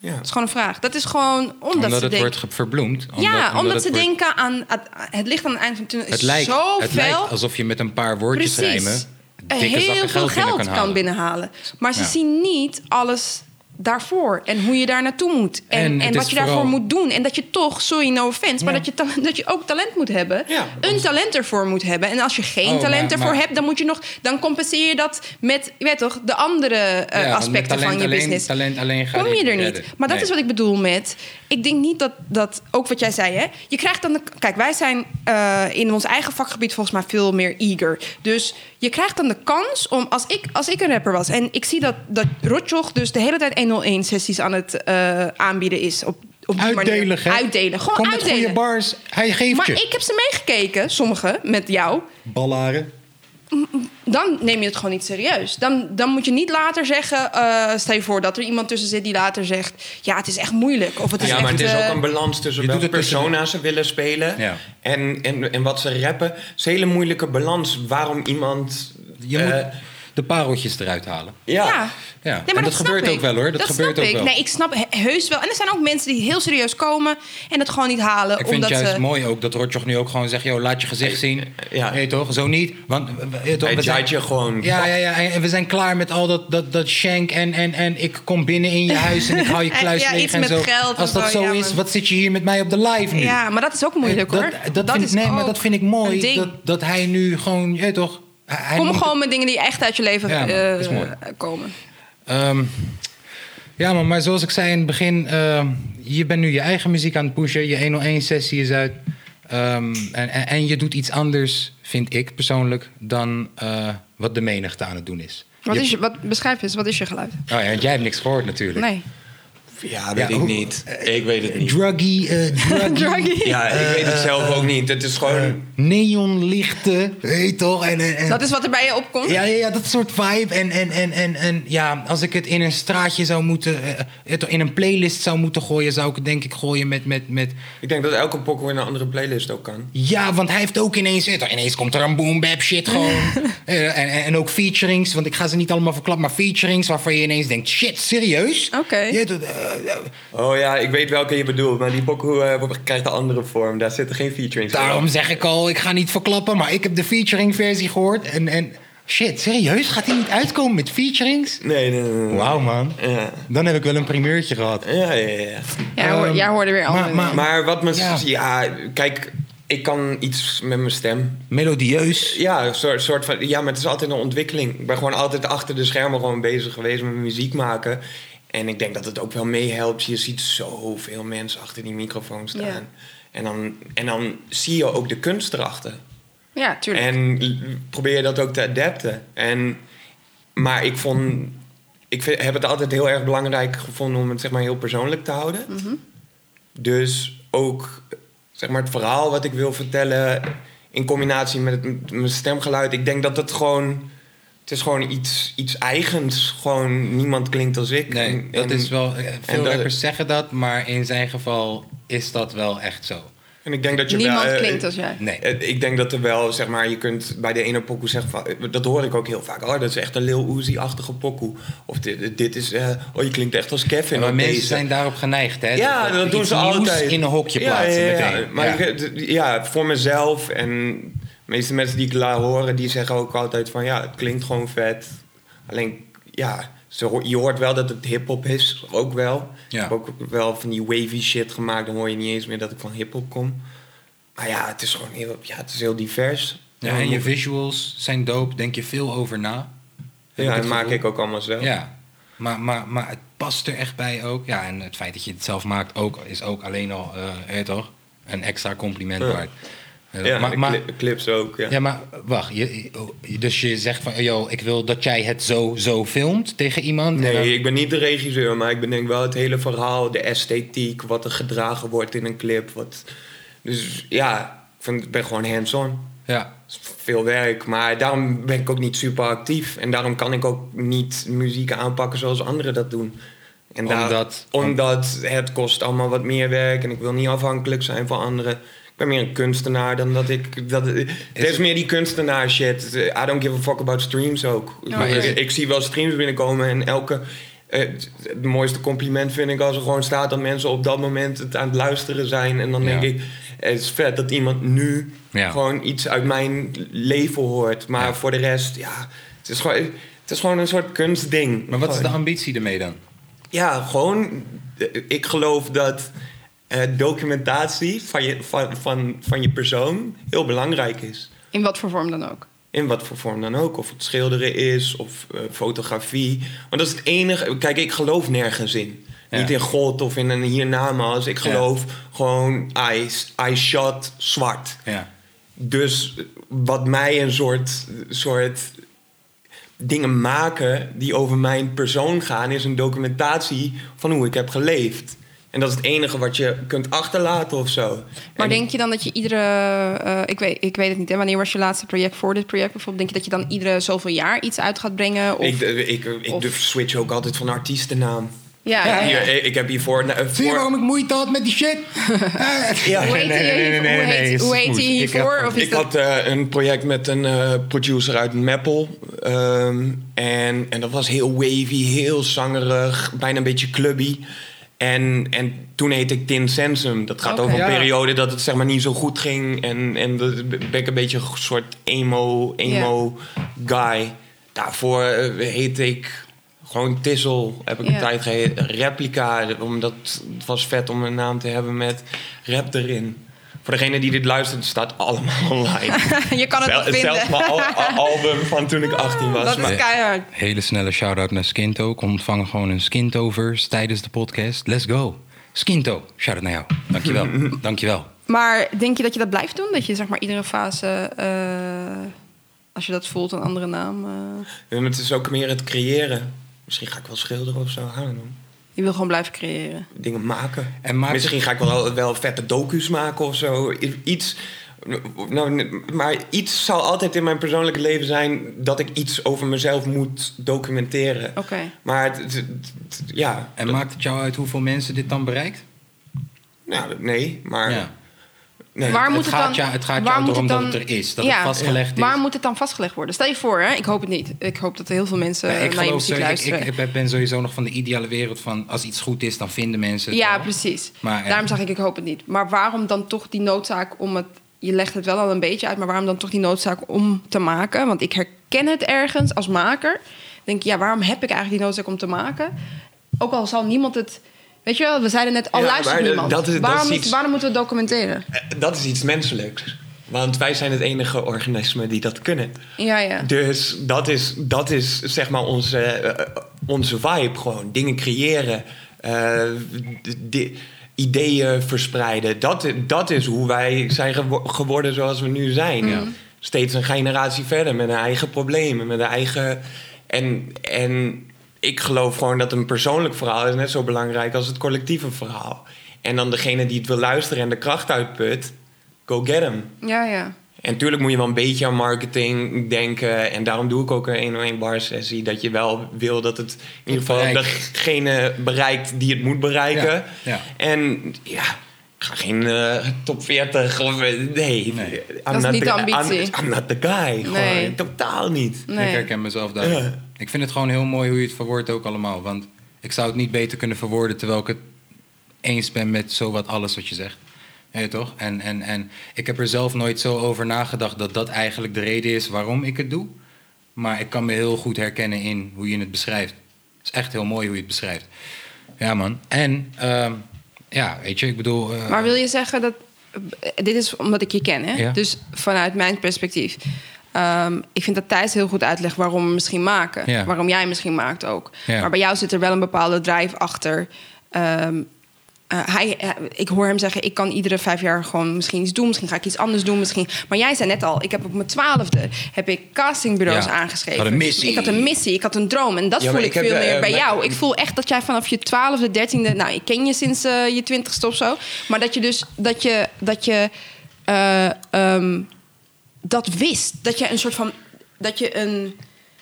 S3: Ja.
S2: Dat is gewoon een vraag. Dat is gewoon omdat,
S1: omdat
S2: ze
S1: het
S2: denken-
S1: wordt ge- verbloemd. Omdat,
S2: ja, omdat,
S1: het
S2: ze
S1: wordt-
S2: denken aan het, het licht aan het eind van de tunnel is
S1: Het lijkt,
S2: zo
S1: het
S2: fel.
S1: lijkt alsof je met een paar woordjes rijmen... dikke
S2: heel
S1: zakken
S2: veel
S1: geld, binnen
S2: geld
S1: kan
S2: kan,
S1: halen.
S2: binnenhalen. Maar ze
S1: Ja.
S2: zien niet alles daarvoor en hoe je daar naartoe moet. En,
S1: En
S2: en,
S1: het is
S2: wat je daarvoor
S1: vooral-
S2: moet doen. En dat je toch, sorry, no offense, maar
S1: Ja.
S2: dat je, talent- [LAUGHS] dat je ook talent moet hebben.
S3: Ja.
S2: Een talent ervoor moet hebben. En als je geen
S1: Oh, maar-
S2: talent ervoor
S1: maar-
S2: hebt, dan moet je nog, dan compenseer je dat met, je weet toch, de andere eh,
S1: Ja, want met
S2: aspecten van
S1: talent
S2: je
S1: alleen-
S2: business.
S1: talent alleen gaat
S2: Kom je
S1: niet
S2: er niet.
S1: redden.
S2: Maar dat
S1: Nee.
S2: is wat ik bedoel met. Ik denk niet dat dat ook wat jij zei, hè? Je krijgt dan. De, kijk, wij zijn eh, in ons eigen vakgebied volgens mij veel meer eager. Dus je krijgt dan de kans om. Als ik, als ik een rapper was en ik zie dat, dat Rotjoch dus de hele tijd 101-sessies aan het eh, aanbieden is. Op, op die manier.
S1: Uitdelen, hè?
S2: Uitdelen. Gewoon
S1: Kom met
S2: uitdelen.
S1: goede bars. Hij geeft
S2: maar
S1: je.
S2: ik heb ze meegekeken, sommige met jou.
S1: Ballaren.
S2: dan neem je het gewoon niet serieus. Dan, dan moet je niet later zeggen... eh, stel je voor dat er iemand tussen zit die later zegt... ja, het is echt moeilijk. Of het is
S3: ja, maar
S2: echt,
S3: het is
S2: eh,
S3: ook een balans tussen
S1: Je doet
S3: welke
S1: het tussen-
S3: persona ze willen spelen
S1: Ja.
S3: en, en, en wat ze rappen. Het is een hele moeilijke balans waarom iemand...
S1: Je
S3: eh,
S1: moet de pareltjes eruit halen.
S3: ja.
S1: Ja,
S2: Nee,
S1: en dat
S2: snap
S1: gebeurt
S2: ik.
S1: ook wel, hoor. Dat gebeurt
S2: snap
S1: ook
S2: ik.
S1: wel.
S2: Nee, ik snap he- heus wel. En er zijn ook mensen die heel serieus komen en dat gewoon niet halen.
S1: Ik vind
S2: omdat
S1: het juist
S2: ze...
S1: mooi ook dat Rotjoch nu ook gewoon zegt... joh, laat je gezicht zien.
S3: ja.
S1: Nee, toch? Zo niet. Want eh, eh, toch,
S3: Hij
S1: we zijn-
S3: judge je gewoon.
S1: Ja, ja, ja. En en we zijn klaar met al dat, dat, dat shank en, en, en ik kom binnen
S2: [LAUGHS]
S1: in je huis en ik hou je
S2: En-
S1: kluis
S2: ja,
S1: leeg
S2: iets
S1: en
S2: met
S1: zo.
S2: geld en
S1: Als dat zo
S2: zo, ja,
S1: is,
S2: man.
S1: wat zit je hier met mij op de live nu?
S2: Ja, maar dat is ook moeilijk
S1: dat,
S2: hoor.
S1: dat vind ik-
S2: is
S1: nee, maar
S2: ook
S1: dat vind ik
S2: een
S1: mooi.
S2: ding.
S1: Dat, dat hij nu gewoon, je weet toch? Hij
S2: Kom
S1: moet-
S2: gewoon met dingen die echt uit je leven
S1: Ja, man,
S2: eh,
S1: dat is mooi.
S2: komen.
S1: Ehm, ja, maar, maar zoals ik zei in het begin, ehm, je bent nu je eigen muziek aan het pushen. Je 101-sessie is uit. Ehm, en, en, en je doet iets anders, vind ik persoonlijk, dan eh, wat de menigte aan het doen is.
S2: Wat
S1: Je-
S2: is je, wat, beschrijf eens, wat is je geluid?
S1: Oh ja, want jij hebt niks gehoord natuurlijk. [LAUGHS]
S2: Nee.
S3: Ja,
S1: Ja,
S3: weet ik
S1: hoe- eh,
S3: niet. Ik weet het
S1: [LAUGHS]
S3: niet.
S1: Druggy,
S2: [LAUGHS]
S1: eh, druggy,
S2: Druggy.
S3: Ja, ik weet het zelf ook niet. Het is gewoon...
S1: neonlichten, weet toch? En, en, en-
S2: Dat is wat er bij je opkomt.
S1: Ja, ja, ja, dat soort vibe. En, en, en, en, en ja, als ik het in een straatje zou moeten... eh, het in een playlist zou moeten gooien, zou ik het denk ik gooien met... met, met
S3: Ik denk dat elke pokoe in een andere playlist ook kan.
S1: ja, want hij heeft ook ineens... eh, toch, Ineens komt er een boom bap shit gewoon. Eh, en, en, en ook featurings, want ik ga ze niet allemaal verklappen... maar featurings waarvan je ineens denkt... shit, serieus?
S2: Oké.
S1: Je weet het, eh, eh,
S3: Oh ja, ik weet welke je bedoelt. Maar die pokoe eh, wordt- krijgt een andere vorm. Daar zitten geen featurings in.
S1: daarom zeg ik al, ik ga niet verklappen... maar ik heb de featuring versie gehoord en... en shit, serieus? Gaat hij niet uitkomen met featurings?
S3: Nee, nee, nee. nee.
S1: Wauw, man.
S3: Ja.
S1: Dan heb ik wel een primeurtje gehad.
S3: Ja, ja, ja.
S2: Jij, hoor-
S1: Ehm,
S2: jij hoorde weer
S1: maar-
S2: andere
S1: maar-
S2: dingen.
S3: Maar wat me...
S1: Ja.
S3: Ja. kijk... Ik kan iets met mijn stem.
S1: Melodieus.
S3: Ja, een soort, soort van... Ja, maar het is altijd een ontwikkeling. Ik ben gewoon altijd achter de schermen gewoon bezig geweest met muziek maken. En ik denk dat het ook wel meehelpt. Je ziet zoveel mensen achter die microfoon staan.
S2: Ja.
S3: En, dan, en dan zie je ook de kunst erachter.
S2: ja, tuurlijk.
S3: En l- probeer je dat ook te adapten. En, maar ik vond. Ik vind- heb het altijd heel erg belangrijk gevonden om het zeg maar, heel persoonlijk te houden.
S2: Mhm.
S3: Dus ook zeg maar, het verhaal wat ik wil vertellen in combinatie met, het, met mijn stemgeluid. Ik denk dat dat gewoon. Het is gewoon iets, iets eigens. Gewoon niemand klinkt als ik.
S1: Nee,
S3: En-
S1: dat
S3: en-
S1: is wel. eh, Veel
S3: en dat-
S1: rappers zeggen dat, maar in zijn geval is dat wel echt zo.
S3: En ik denk dat je wel,
S2: Niemand
S3: eh,
S2: klinkt als jij.
S1: Nee.
S3: Eh, Ik denk dat er wel, zeg maar, je kunt bij de ene pokoe zeggen van... eh, Dat hoor ik ook heel vaak. Oh, dat is echt een Lil Uzi-achtige pokoe. Of dit, dit is... eh, oh, je klinkt echt als Kevin.
S1: maar
S3: op
S1: mensen
S3: deze.
S1: zijn daarop geneigd, hè?
S3: Ja, dat,
S1: iets
S3: doen ze
S1: nieuws
S3: altijd.
S1: in een hokje plaatsen
S3: ja, ja, ja.
S1: meteen.
S3: Maar
S1: Ja.
S3: ik- d- ja, voor mezelf en de meeste mensen die ik laat horen... die zeggen ook altijd van... Ja, het klinkt gewoon vet. Alleen, ja... ze ho- je hoort wel dat het hip-hop is, ook wel.
S1: Ja.
S3: Ik heb ook wel van die wavy shit gemaakt. Dan hoor je niet eens meer dat ik van hip-hop kom. Maar ja, het is gewoon heel, ja, het is heel divers.
S1: Ja, en je visuals zijn dope, denk je veel over na. Heb
S3: Ja,
S1: het
S3: dat maak
S1: gevoel.
S3: ik ook allemaal zelf.
S1: Ja, maar, maar, maar het past er echt bij ook. Ja, en het feit dat je het zelf maakt ook, is ook alleen al, eh, hè, toch? Een extra compliment
S3: Ja.
S1: waard. Eh,
S3: Ja,
S1: maar,
S3: de
S1: maar,
S3: cli- clips ook. Ja.
S1: Ja, maar wacht. Je, je- dus je zegt van, yo, ik wil dat jij het zo, zo filmt tegen iemand. En dan-
S3: Nee, ik ben niet de regisseur, maar ik bedenk wel het hele verhaal, de esthetiek, wat er gedragen wordt in een clip. Wat... Dus ja, ik vind- ik ben gewoon hands-on.
S1: Ja,
S3: Het is Veel werk, maar daarom ben ik ook niet super actief. En daarom kan ik ook niet muziek aanpakken zoals anderen dat doen. En daar-
S1: Omdat-
S3: omdat het kost allemaal wat meer werk en ik wil niet afhankelijk zijn van anderen. Ik ben meer een kunstenaar dan dat ik... Dat, het is meer die kunstenaar shit. I don't give a fuck about streams ook.
S1: Maar is-
S3: ik, ik zie wel streams binnenkomen en elke... eh, het mooiste compliment vind ik als er gewoon staat dat mensen op dat moment het aan het luisteren zijn. En dan denk
S1: Ja.
S3: ik, het is vet dat iemand nu
S1: Ja.
S3: gewoon iets uit mijn leven hoort. Maar
S1: Ja.
S3: voor de rest, ja, het is gewoon, het is gewoon een soort kunstding.
S1: maar wat is de
S3: Gewoon-
S1: ambitie ermee dan?
S3: ja, gewoon. eh, Ik geloof dat eh, documentatie van je, van, van, van je persoon heel belangrijk is.
S2: In wat voor vorm dan ook.
S3: In wat voor vorm dan ook. Of het schilderen is, of eh, fotografie. Want dat is het enige. Kijk, ik geloof nergens in.
S1: Ja.
S3: Niet in God of in een hiernamaals. Ik
S1: Ja.
S3: geloof gewoon, I, I shot zwart.
S1: Ja.
S3: Dus wat mij een soort, soort dingen maken die over mijn persoon gaan, is een documentatie van hoe ik heb geleefd. En dat is het enige wat je kunt achterlaten of zo.
S2: Maar
S3: En-
S2: denk je dan dat je iedere... eh, ik, weet, ik weet het niet, hè. Wanneer was je laatste project voor dit project? Bijvoorbeeld, denk je dat je dan iedere zoveel jaar iets uit gaat brengen? Of,
S3: ik, ik, ik
S2: of-
S3: switch ook altijd van artiestennaam.
S2: ja,
S1: Ja,
S2: ja,
S3: Hier,
S2: ja.
S3: ik, ik heb hiervoor... na-
S1: Zie je
S3: voor-
S1: waarom ik moeite had met die [LAUGHS] shit? Eh.
S3: Ja.
S2: Hoe heet
S1: Nee,
S2: hij
S1: nee, nee,
S2: hier-
S1: nee,
S2: hoe
S1: nee,
S2: heet-
S1: is
S2: hoe heet
S1: goed.
S2: hij
S1: Ik
S2: hiervoor?
S1: heb-
S2: Of is
S3: Ik
S2: dat...
S3: had eh, een project met een eh, producer uit Meppel. Ehm, en, en dat was heel wavy, heel zangerig, bijna een beetje clubby. En, en toen heette ik Tin Sensum. Dat gaat
S2: Oké.
S3: over een
S1: Ja.
S3: periode dat het zeg maar niet zo goed ging. En, en dat ben ik een beetje een soort emo, emo guy. Daarvoor eh, heette ik gewoon Tissel. Heb ik
S2: Ja.
S3: een tijd geheten. Replica, omdat het was vet om een naam te hebben met rap erin. Voor degene die dit luistert, het staat allemaal [LAUGHS] online.
S2: [LAUGHS] je kan het
S3: Zel-
S2: nog vinden. Ah,
S3: Zelfs mijn al- al- album van toen ik 18 was.
S2: Dat
S3: maar-
S2: is keihard.
S1: Hele snelle shout-out naar Skinto. Ik ontvang gewoon een Skinto-verse tijdens de podcast. Let's go. Skinto, shout-out naar jou. [LAUGHS] Dankjewel. Dankjewel.
S2: Maar denk je dat je dat blijft doen? Dat je zeg maar iedere fase, eh, als je dat voelt, een andere naam. eh,
S3: Ja, maar het is ook meer het creëren. Misschien ga ik wel schilderen of zo. I don't know.
S2: je wil gewoon blijven creëren.
S3: Dingen maken.
S1: En maak-
S3: Misschien ga ik wel, wel vette docu's maken of zo. I- Iets. Nou, maar iets zal altijd in mijn persoonlijke leven zijn dat ik iets over mezelf moet documenteren.
S2: Oké.
S3: Maar het, het- het- ja.
S1: En maakt het jou uit hoeveel mensen dit dan bereikt?
S3: Nou, nee, maar.
S1: Ja.
S3: Nee.
S2: Waar
S1: het,
S2: moet het
S1: gaat
S2: dan-
S1: ja, het gaat
S2: waar
S1: jou
S2: moet
S1: erom
S2: het
S1: dat
S2: dan-
S1: het er is. Dat
S2: Ja.
S1: het vastgelegd is.
S2: Waar moet het dan vastgelegd worden? Stel je voor, hè? ik hoop het niet. Ik hoop dat heel veel mensen
S1: Nee, ik,
S2: naar je
S1: geloof,
S2: muziek
S1: zo- ik,
S2: luisteren.
S1: ik, ik ben sowieso nog van de ideale wereld van... als iets goed is, dan vinden mensen het
S2: ja,
S1: wel.
S2: precies.
S1: Maar, eh, ja.
S2: Daarom zeg ik, ik hoop het niet. Maar waarom dan toch die noodzaak om het... Je legt het wel al een beetje uit, maar waarom dan toch die noodzaak om te maken? Want ik herken het ergens als maker. Ik Denk, ja, waarom heb ik eigenlijk die noodzaak om te maken? Ook al zal niemand het... Weet je wel, we zeiden net, al
S3: Ja,
S2: luistert
S3: maar dat-
S2: niemand.
S3: dat is- dat
S2: waarom,
S3: is
S2: is-
S3: iets-
S2: waarom moeten we het documenteren?
S3: Eh, Dat is iets menselijks. Want wij zijn het enige organisme die dat kunnen.
S2: Ja, ja.
S3: Dus dat is, dat is zeg maar onze, eh, onze vibe gewoon. Dingen creëren, eh, d- di- ideeën verspreiden. Dat, i- dat is hoe wij zijn gewo- geworden zoals we nu zijn. Steeds een generatie verder met een eigen problemen, met een eigen... En, en ik geloof gewoon dat een persoonlijk verhaal is net zo belangrijk als het collectieve verhaal. En dan degene die het wil luisteren en de kracht uitput, go get hem.
S2: Ja, ja.
S3: En tuurlijk moet je wel een beetje aan marketing denken. En daarom doe ik ook een 101 bar sessie. Dat je wel wil dat het in ieder geval
S1: bereikt.
S3: degene bereikt die het moet bereiken.
S1: Ja, ja.
S3: En ja, ik ga geen eh, top 40 of... eh, Nee,
S1: Nee.
S3: I'm
S2: Dat is
S3: not
S2: niet
S3: the-
S2: de ambitie.
S3: I'm, I'm not the guy. Gewoon,
S2: Nee.
S3: totaal niet.
S1: Ik
S2: Nee.
S1: herken mezelf daar.
S3: Ja.
S1: Ik vind het gewoon heel mooi hoe je het verwoordt ook allemaal. Want ik zou het niet beter kunnen verwoorden terwijl ik het eens ben met zowat alles wat je zegt. Ja, toch? En, en, en ik heb er zelf nooit zo over nagedacht dat dat eigenlijk de reden is waarom ik het doe. Maar ik kan me heel goed herkennen in hoe je het beschrijft. Het is echt heel mooi hoe je het beschrijft. Ja, man. En, ehm, ja, weet je, ik bedoel... eh,
S2: Maar wil je zeggen dat. eh, Dit is omdat ik je ken, hè?
S1: Ja.
S2: Dus vanuit mijn perspectief. Ehm, ik vind dat Thijs heel goed uitlegt waarom we misschien maken.
S1: Ja.
S2: Waarom jij misschien maakt ook.
S1: Ja.
S2: Maar bij jou zit er wel een bepaalde drijf achter. Ehm, eh, hij, eh, ik hoor hem zeggen, ik kan iedere vijf jaar gewoon misschien iets doen. Misschien ga ik iets anders doen. Misschien. Maar jij zei net al, ik heb op mijn twaalfde heb ik castingbureaus
S1: Ja.
S2: aangeschreven.
S1: Had een missie.
S2: Ik had een missie, ik had een droom. En dat
S3: Ja,
S2: voel
S3: maar
S2: ik,
S3: ik heb,
S2: veel
S3: eh,
S2: meer bij
S3: mijn-
S2: jou. Ik voel echt dat jij vanaf je twaalfde, dertiende... Nou, ik ken je sinds eh, je twintigste of zo. Maar dat je dus... Dat je, dat je eh, ehm, dat wist. Dat je een soort van... Dat je een...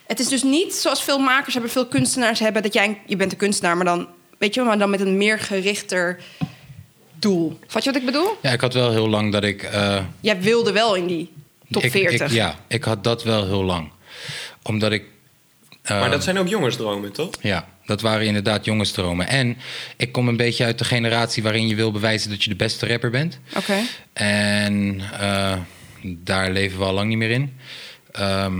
S2: Het is dus niet zoals veel makers hebben, veel kunstenaars hebben... dat jij... een- Je bent een kunstenaar, maar dan... Weet je wel, maar dan met een meer gerichter doel. Vat je wat ik bedoel?
S1: Ja, ik had wel heel lang dat ik... eh,
S2: Jij wilde wel in die top
S1: ik-
S2: 40.
S1: Ik, ja, ik had dat wel heel lang. Omdat ik... eh,
S3: Maar dat zijn ook jongensdromen, toch?
S1: Ja, dat waren inderdaad jongensdromen. En ik kom een beetje uit de generatie waarin je wil bewijzen dat je de beste rapper bent.
S2: Oké.
S1: En eh, daar leven we al lang niet meer in. Ehm,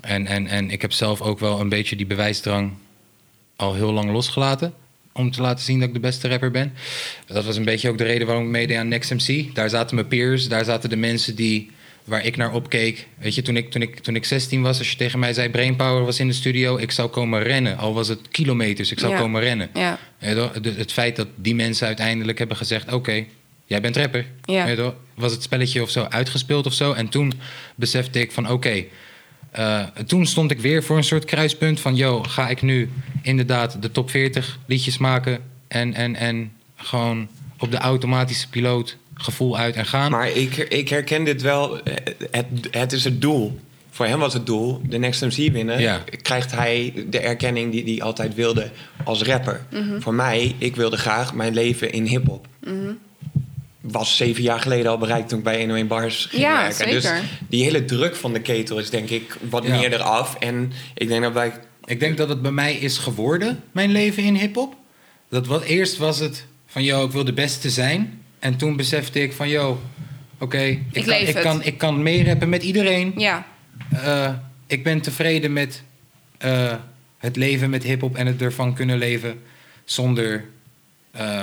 S1: en, en, en ik heb zelf ook wel een beetje die bewijsdrang al heel lang losgelaten. Om te laten zien dat ik de beste rapper ben. Dat was een beetje ook de reden waarom ik meedeed aan Next MC. Daar zaten mijn peers, daar zaten de mensen die, waar ik naar opkeek. Weet je, toen ik, toen, ik, toen ik 16 was, als je tegen mij zei: Brainpower was in de studio, ik zou komen rennen. Al was het kilometers, ik zou
S2: Ja.
S1: komen rennen.
S2: Ja.
S1: Weet je wel? Dus het feit dat die mensen uiteindelijk hebben gezegd: oké, jij bent rapper.
S2: Ja.
S1: Weet je wel? Was het spelletje of zo uitgespeeld of zo? En toen besefte ik van: oké. eh, toen stond ik weer voor een soort kruispunt van: yo, ga ik nu inderdaad de top 40 liedjes maken en, en, en gewoon op de automatische piloot gevoel uit en gaan.
S3: Maar ik, ik herken dit wel. Eh, Het, het is het doel. Voor hem was het doel de Next MC winnen.
S1: Ja.
S3: Krijgt hij de erkenning die hij altijd wilde als rapper.
S2: Mhm.
S3: Voor mij, ik wilde graag mijn leven in hip-hop. Was zeven jaar geleden al bereikt toen ik bij 101 Bars ging
S2: Ja,
S3: werken. Dus
S2: zeker.
S3: die hele druk van de ketel is denk ik wat
S1: Ja.
S3: meer eraf. En ik denk dat wij
S1: Ik denk dat het bij mij is geworden, mijn leven in hip-hop. Dat wat eerst was het van, yo, ik wil de beste zijn. En toen besefte ik van, yo, oké, ik,
S2: Ik
S1: kan,
S2: leef
S1: ik,
S2: het.
S1: kan, ik kan meerappen met iedereen.
S2: Ja,
S1: Eh, ik ben tevreden met eh, het leven met hip-hop en het ervan kunnen leven zonder eh,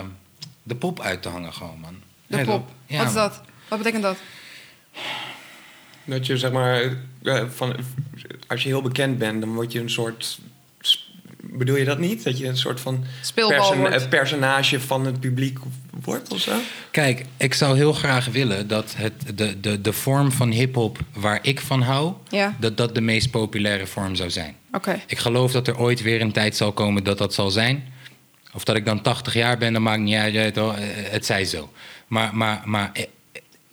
S1: de pop uit te hangen, gewoon, man.
S2: de
S1: Nee,
S2: pop.
S1: ja,
S2: Wat is
S1: man.
S2: dat? Wat betekent dat?
S3: Dat je zeg maar, eh, van, als je heel bekend bent, dan word je een soort. Bedoel je dat niet? Dat je een soort van
S2: Speelbal wordt.
S3: eh, personage van het publiek wordt of zo?
S1: Kijk, ik zou heel graag willen dat het, de, de, de vorm van hip-hop waar ik van hou,
S2: Ja.
S1: dat dat de meest populaire vorm zou zijn.
S2: Oké.
S1: Ik geloof dat er ooit weer een tijd zal komen dat dat zal zijn. Of dat ik dan 80 jaar ben, dat maakt niet uit. weet je wel, eh, Het zij zo. Maar, maar, maar eh,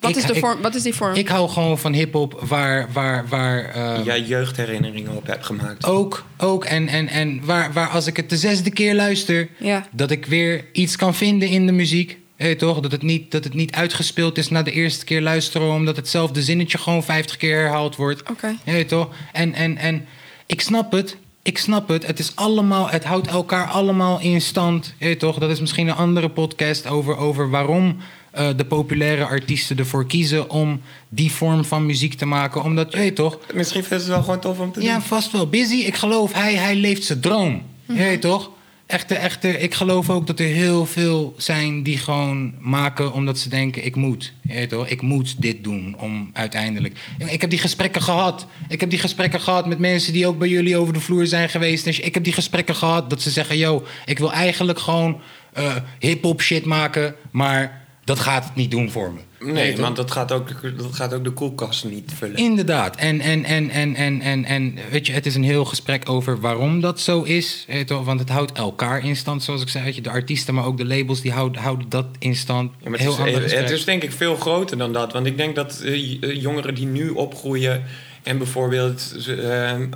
S2: Wat,
S1: ik-
S2: is de
S1: ik-
S2: vorm? wat is die vorm?
S1: Ik hou gewoon van hip-hop waar. waar, waar eh,
S3: Jij jeugdherinneringen op hebt gemaakt.
S1: Ook, ook. En, en, en waar, waar als ik het de zesde keer luister,
S2: Ja.
S1: dat ik weer iets kan vinden in de muziek. Hé, toch? Dat het, niet, dat het niet uitgespeeld is na de eerste keer luisteren, omdat hetzelfde zinnetje gewoon 50 keer herhaald wordt.
S2: Oké.
S1: Hé, toch? En, en, en ik snap het. Ik snap het. Het is allemaal, het houdt elkaar allemaal in stand. Hé, toch? Dat is misschien een andere podcast over, over waarom eh, de populaire artiesten ervoor kiezen om die vorm van muziek te maken. Omdat, hé, toch?
S3: Misschien vinden ze het wel gewoon tof om te
S1: Ja,
S3: doen.
S1: vast wel. Busy, ik geloof, hij, hij leeft zijn droom.
S3: Mhm.
S1: Je weet toch? Echte, echte, ik geloof ook dat er heel veel zijn die gewoon maken omdat ze denken: ik moet. Je weet toch? Ik moet dit doen om uiteindelijk. En Ik heb die gesprekken gehad. Ik heb die gesprekken gehad met mensen die ook bij jullie over de vloer zijn geweest. Dus ik heb die gesprekken gehad dat ze zeggen: yo, ik wil eigenlijk gewoon eh hip-hop shit maken, maar dat gaat het niet doen voor me. Je weet
S3: Nee,
S1: toch?
S3: want dat gaat, ook, dat gaat ook de koelkast niet vullen.
S1: Inderdaad. En, en, en, en, en, en, en weet je, het is een heel gesprek over waarom dat zo is. weet je wel, Want het houdt elkaar in stand, zoals ik zei. Weet je, de artiesten, maar ook de labels, die houden, houden dat in stand.
S3: Ja, maar het,
S1: heel
S3: is,
S1: ander
S3: het- het
S1: gesprek.
S3: is denk ik veel groter dan dat. Want ik denk dat eh, j- eh, jongeren die nu opgroeien en bijvoorbeeld ze, ehm,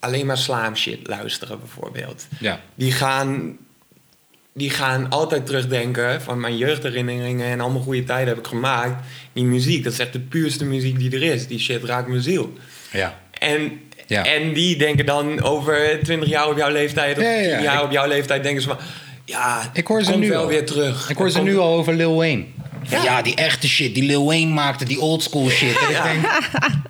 S3: alleen maar slaamshit luisteren, bijvoorbeeld.
S1: Ja.
S3: Die gaan, die gaan altijd terugdenken van mijn jeugdherinneringen en allemaal goede tijden heb ik gemaakt. Die muziek, dat is echt de puurste muziek die er is. Die shit raakt mijn ziel.
S1: ja.
S3: En,
S1: Ja.
S3: en die denken dan over 20 jaar op jouw leeftijd of
S1: Ja, ja,
S3: 10
S1: ja.
S3: jaar
S1: Ik-
S3: op jouw leeftijd denken ze van... Ja,
S1: Ik hoor ze
S3: komt
S1: nu
S3: wel
S1: al.
S3: weer terug.
S1: Ik hoor ze
S3: Komt-
S1: nu al over Lil Wayne. Van,
S3: Ja.
S1: Ja. die echte shit die Lil Wayne maakte, die old school shit. En ik denk,
S2: [LAUGHS]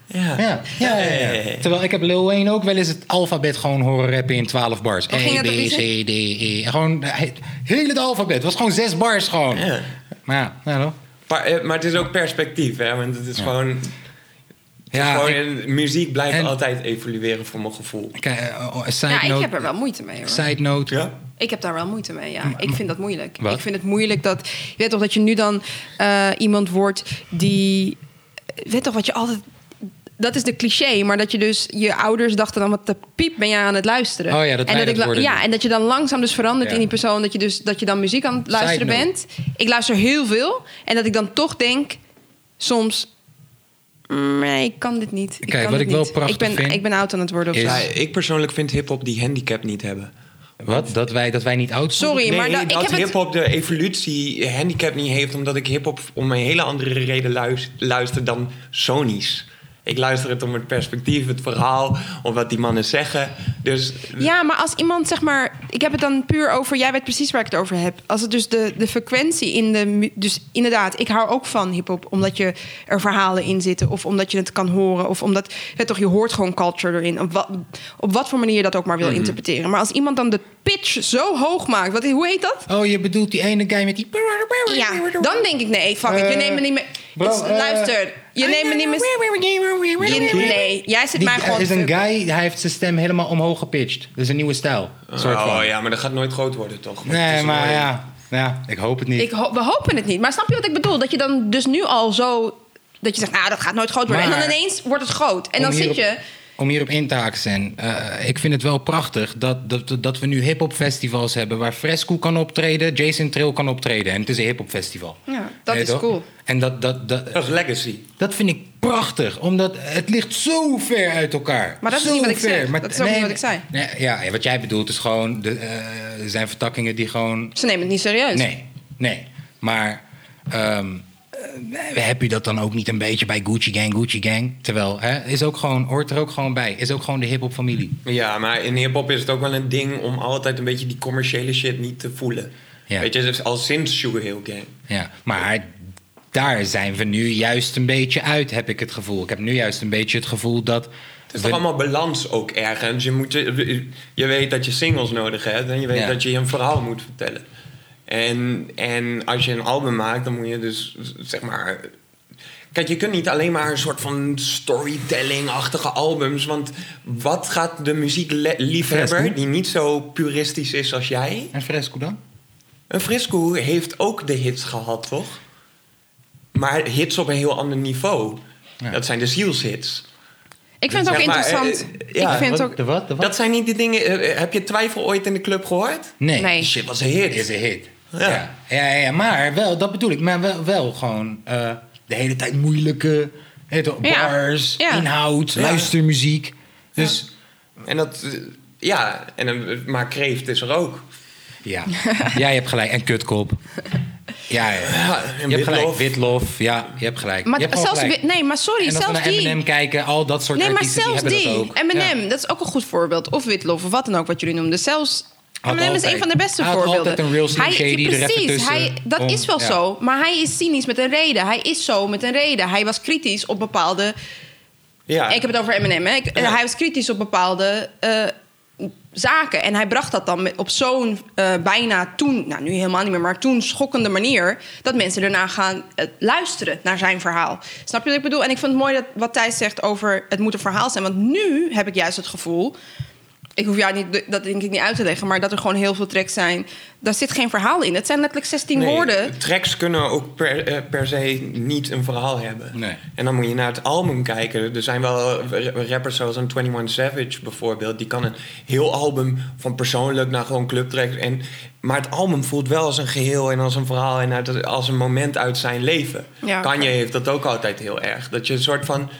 S3: Ja.
S1: ja, ja, ja, ja. Terwijl ik heb Lil Wayne ook wel eens het alfabet gewoon horen rappen in 12 bars.
S2: Hoe ging
S1: E, B,
S2: dat ook
S1: C, D, E. Gewoon eh, het hele alfabet. Het was gewoon zes bars gewoon.
S3: Ja.
S1: Maar ja, nou, dan.
S3: Maar, eh, maar het is ook perspectief, hè? Want het is gewoon.
S1: ja,
S3: gewoon
S1: ik-
S3: muziek blijft
S1: en-
S3: altijd evolueren voor mijn gevoel.
S1: Kijk, eh, oh, side
S2: Ja, ik
S1: note-
S2: heb er wel moeite mee hoor.
S1: Side note.
S3: Ja?
S2: Ik heb daar wel moeite mee, ja. Ik vind dat moeilijk.
S1: Wat?
S2: Ik vind het moeilijk dat... Je weet toch dat je nu dan eh, iemand wordt die... je Weet toch wat je altijd... Dat is de cliché, maar dat je dus... Je ouders dachten dan, wat de piep ben jij aan het luisteren?
S1: Oh ja, dat
S2: en
S1: wij dat
S2: ik la-
S1: worden
S2: Ja,
S1: doen.
S2: en dat je dan langzaam dus verandert
S1: Ja.
S2: in die persoon. Dat je, dus, dat je dan muziek aan het luisteren
S1: note.
S2: bent. Ik luister heel veel. En dat ik dan toch denk, soms... "Mm, Nee, ik kan dit niet. Ik
S1: Kijk,
S2: kan
S1: wat
S2: dit
S1: ik wel
S2: niet.
S1: prachtig
S2: ik ben,
S1: vind,
S2: Ik ben oud aan het worden. of
S1: is-
S2: zo.
S3: Ja, ik persoonlijk vind hip-hop die handicap niet hebben.
S1: Wat? Dat wij, dat wij niet oud zijn?
S2: Sorry, maar dat- ik
S3: dat
S2: heb het...
S3: hip-hop de evolutie handicap niet heeft, omdat ik hip-hop om een hele andere reden luis- luister dan Sony's. Ik luister het om het perspectief, het verhaal, om wat die mannen zeggen. Dus
S2: Ja, maar als iemand zeg maar, ik heb het dan puur over, jij weet precies waar ik het over heb. Als het dus de, de frequentie in de, mu- dus inderdaad, ik hou ook van hip-hop, omdat je er verhalen in zitten, of omdat je het kan horen, of omdat het toch je hoort gewoon culture erin, op wat, op wat voor manier je dat ook maar
S1: Mhm.
S2: wil interpreteren. Maar als iemand dan de pitch zo hoog maakt, wat, hoe heet dat?
S1: Oh, je bedoelt die ene guy met die...
S2: Ja, dan denk ik nee, fuck it, je
S1: Eh,
S2: neemt me niet meer.
S1: bro,
S2: Het is-
S1: eh,
S2: luister, je neemt me niet meer. je neemt- nee, jij zit
S1: Die
S2: mij gewoon.
S1: is
S2: te
S1: een
S2: fucken.
S1: guy, hij heeft zijn stem helemaal omhoog gepitcht. Dat is een nieuwe stijl. Soort
S3: oh
S1: van.
S3: ja, maar dat gaat nooit groot worden, toch? Want het
S1: Nee,
S3: is
S1: maar
S3: mooi.
S1: ja. ja. Ik hoop het niet.
S2: Ik ho- we hopen het niet. Maar snap je wat ik bedoel? Dat je dan dus nu al zo... Dat je zegt, nou, dat gaat nooit groot worden. en
S1: Maar-
S2: dan ineens wordt het groot. En
S1: Om
S2: dan
S1: hierop-
S2: zit je
S1: om hierop in te haken, Sen. Eh, ik vind het wel prachtig dat, dat, dat we nu hip-hop festivals hebben waar Fresco kan optreden, Jason Trill kan optreden. En het is een hip-hop festival.
S2: Ja, dat
S1: Nee,
S2: is
S1: toch?
S2: cool.
S1: En dat, dat, dat,
S3: Dat is legacy.
S1: dat vind ik prachtig, omdat het ligt zo ver uit elkaar.
S2: Maar dat is
S1: Zo
S2: niet wat ik
S1: ver.
S2: zeg.
S1: Maar-
S2: Dat is ook niet wat ik zei.
S1: Nee, ja, ja, wat jij bedoelt is gewoon, de, eh, er zijn vertakkingen die gewoon...
S2: Ze nemen het niet serieus.
S1: Nee, nee. Maar ehm, eh, heb je dat dan ook niet een beetje bij Gucci Gang, Gucci Gang? Terwijl, hè, is ook gewoon, hoort er ook gewoon bij. Is ook gewoon de hip-hop familie.
S3: Ja, maar in hip-hop is het ook wel een ding om altijd een beetje die commerciële shit niet te voelen.
S1: Ja.
S3: Weet je, dus al sinds Sugar Hill Gang.
S1: Ja, maar daar zijn we nu juist een beetje uit, heb ik het gevoel. Ik heb nu juist een beetje het gevoel dat...
S3: Het is toch allemaal balans ook ergens. Je, moet, je, je weet dat je singles nodig hebt en je weet
S1: Ja.
S3: dat je een verhaal moet vertellen. En, en als je een album maakt, dan moet je dus zeg maar. Kijk, je kunt niet alleen maar een soort van storytelling-achtige albums. Want wat gaat de muziekliefhebber,
S1: Fresco?
S3: die niet zo puristisch is als jij.
S1: En Fresco dan?
S3: Een Frisco heeft ook de hits gehad, toch? Maar hits op een heel ander niveau.
S1: Ja.
S3: Dat zijn de zielshits.
S2: Ik vind het ook
S3: Zeg maar,
S2: interessant.
S3: eh, ja,
S2: ik vind het
S3: wat-
S2: ook...
S1: De wat? De wat?
S3: Dat zijn niet de dingen. eh, heb je twijfel ooit in de club gehoord?
S1: Nee.
S2: Nee.
S3: Shit, was een hit.
S1: is een hit.
S3: Ja.
S1: Ja. Ja, ja, maar wel, dat bedoel ik. Maar wel, wel gewoon eh, de hele tijd moeilijke weet je wel,
S2: Ja.
S1: bars,
S2: Ja.
S1: inhoud,
S3: Ja.
S1: luistermuziek. Dus
S3: Dus, en dat. eh, ja, en, dan- eh, maar kreeft is er ook.
S1: ja, jij hebt gelijk. En kutkop. Ja, ja.
S3: en
S1: je hebt gelijk.
S3: Witlof.
S1: Witlof, ja, je hebt gelijk.
S2: Maar
S1: je hebt gewoon
S2: zelfs...
S1: gelijk.
S2: wi- Nee, maar sorry,
S1: en als we
S2: zelfs
S1: naar
S2: die...
S1: Eminem kijken, al dat soort
S2: Nee, maar
S1: artiesten
S2: zelfs
S1: die
S2: die. M&M.
S1: hebben dat ook.
S2: Eminem,
S1: Ja.
S2: dat is ook een goed voorbeeld. Of Witlof, of wat dan ook wat jullie noemden. Zelfs
S1: Had
S2: Eminem is
S1: altijd-
S2: een van de beste
S1: hij had
S2: voorbeelden.
S1: altijd een real Slim Shady er even
S2: precies,
S1: tussen
S2: hij, dat
S1: om-
S2: is wel
S1: ja.
S2: zo. Maar hij is cynisch met een reden. Hij is zo met een reden. Hij was kritisch op bepaalde...
S3: Ja.
S2: Ik heb het over Eminem, hè. Ik-
S3: Ja.
S2: Hij was kritisch op bepaalde eh, zaken. En hij bracht dat dan met- op zo'n eh, bijna toen... Nou, nu helemaal niet meer, maar toen schokkende manier... dat mensen daarna gaan eh, luisteren naar zijn verhaal. Snap je wat ik bedoel? En ik vind het mooi dat wat Thijs zegt over... het moet een verhaal zijn. Want nu heb ik juist het gevoel... Ik hoef jou niet, dat denk ik niet uit te leggen, maar dat er gewoon heel veel tracks zijn. Daar zit geen verhaal in. Het zijn letterlijk 16
S3: Nee,
S2: woorden.
S3: Tracks kunnen ook per, eh, per se niet een verhaal hebben.
S1: Nee.
S3: En dan moet je naar het album kijken. Er zijn wel ra- rappers zoals een 21 Savage bijvoorbeeld. Die kan een heel album van persoonlijk naar gewoon clubtracks. En, maar het album voelt wel als een geheel en als een verhaal en uit, als een moment uit zijn leven.
S2: Ja.
S3: Kanye heeft dat ook altijd heel erg. Dat je een soort van...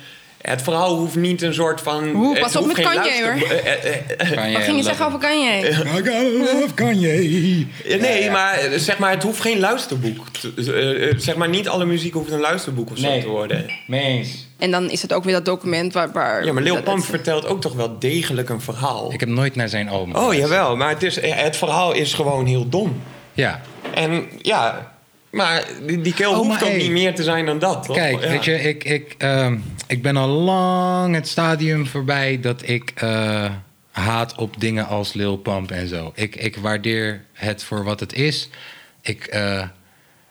S3: Het verhaal hoeft niet een soort van...
S2: Oeh,
S3: het
S2: pas op
S3: hoeft
S2: met
S3: geen
S2: Kanye,
S3: luister-
S2: hoor.
S3: eh, eh, eh,
S1: Kan
S2: Wat ging je zeggen over Kanye?
S3: [LAUGHS]
S1: I gotta love Kanye.
S3: Ja, nee,
S1: Ja, ja.
S3: maar eh, zeg maar, het hoeft geen luisterboek. te- eh, eh, Zeg maar, niet alle muziek hoeft een luisterboek of zo
S1: Nee.
S3: te worden.
S1: Mee eens.
S2: En dan is het ook weer dat document waar... waar
S3: Ja, maar Lil
S2: dat- dat-
S3: Pump vertelt ook toch wel degelijk een verhaal.
S1: Ik heb nooit naar zijn album
S3: Oh,
S1: geluisterd.
S3: jawel, maar het, is, eh, het verhaal is gewoon heel dom.
S1: Ja,
S3: En ja, maar die, die kill
S1: Oh,
S3: hoeft ook
S1: maar hey.
S3: niet meer te zijn dan dat. toch?
S1: Kijk,
S3: Ja.
S1: weet je, ik, ik, ehm, ik ben al lang het stadium voorbij dat ik eh, haat op dingen als Lil Pump en zo. Ik, ik waardeer het voor wat het is. Ik, eh, eh,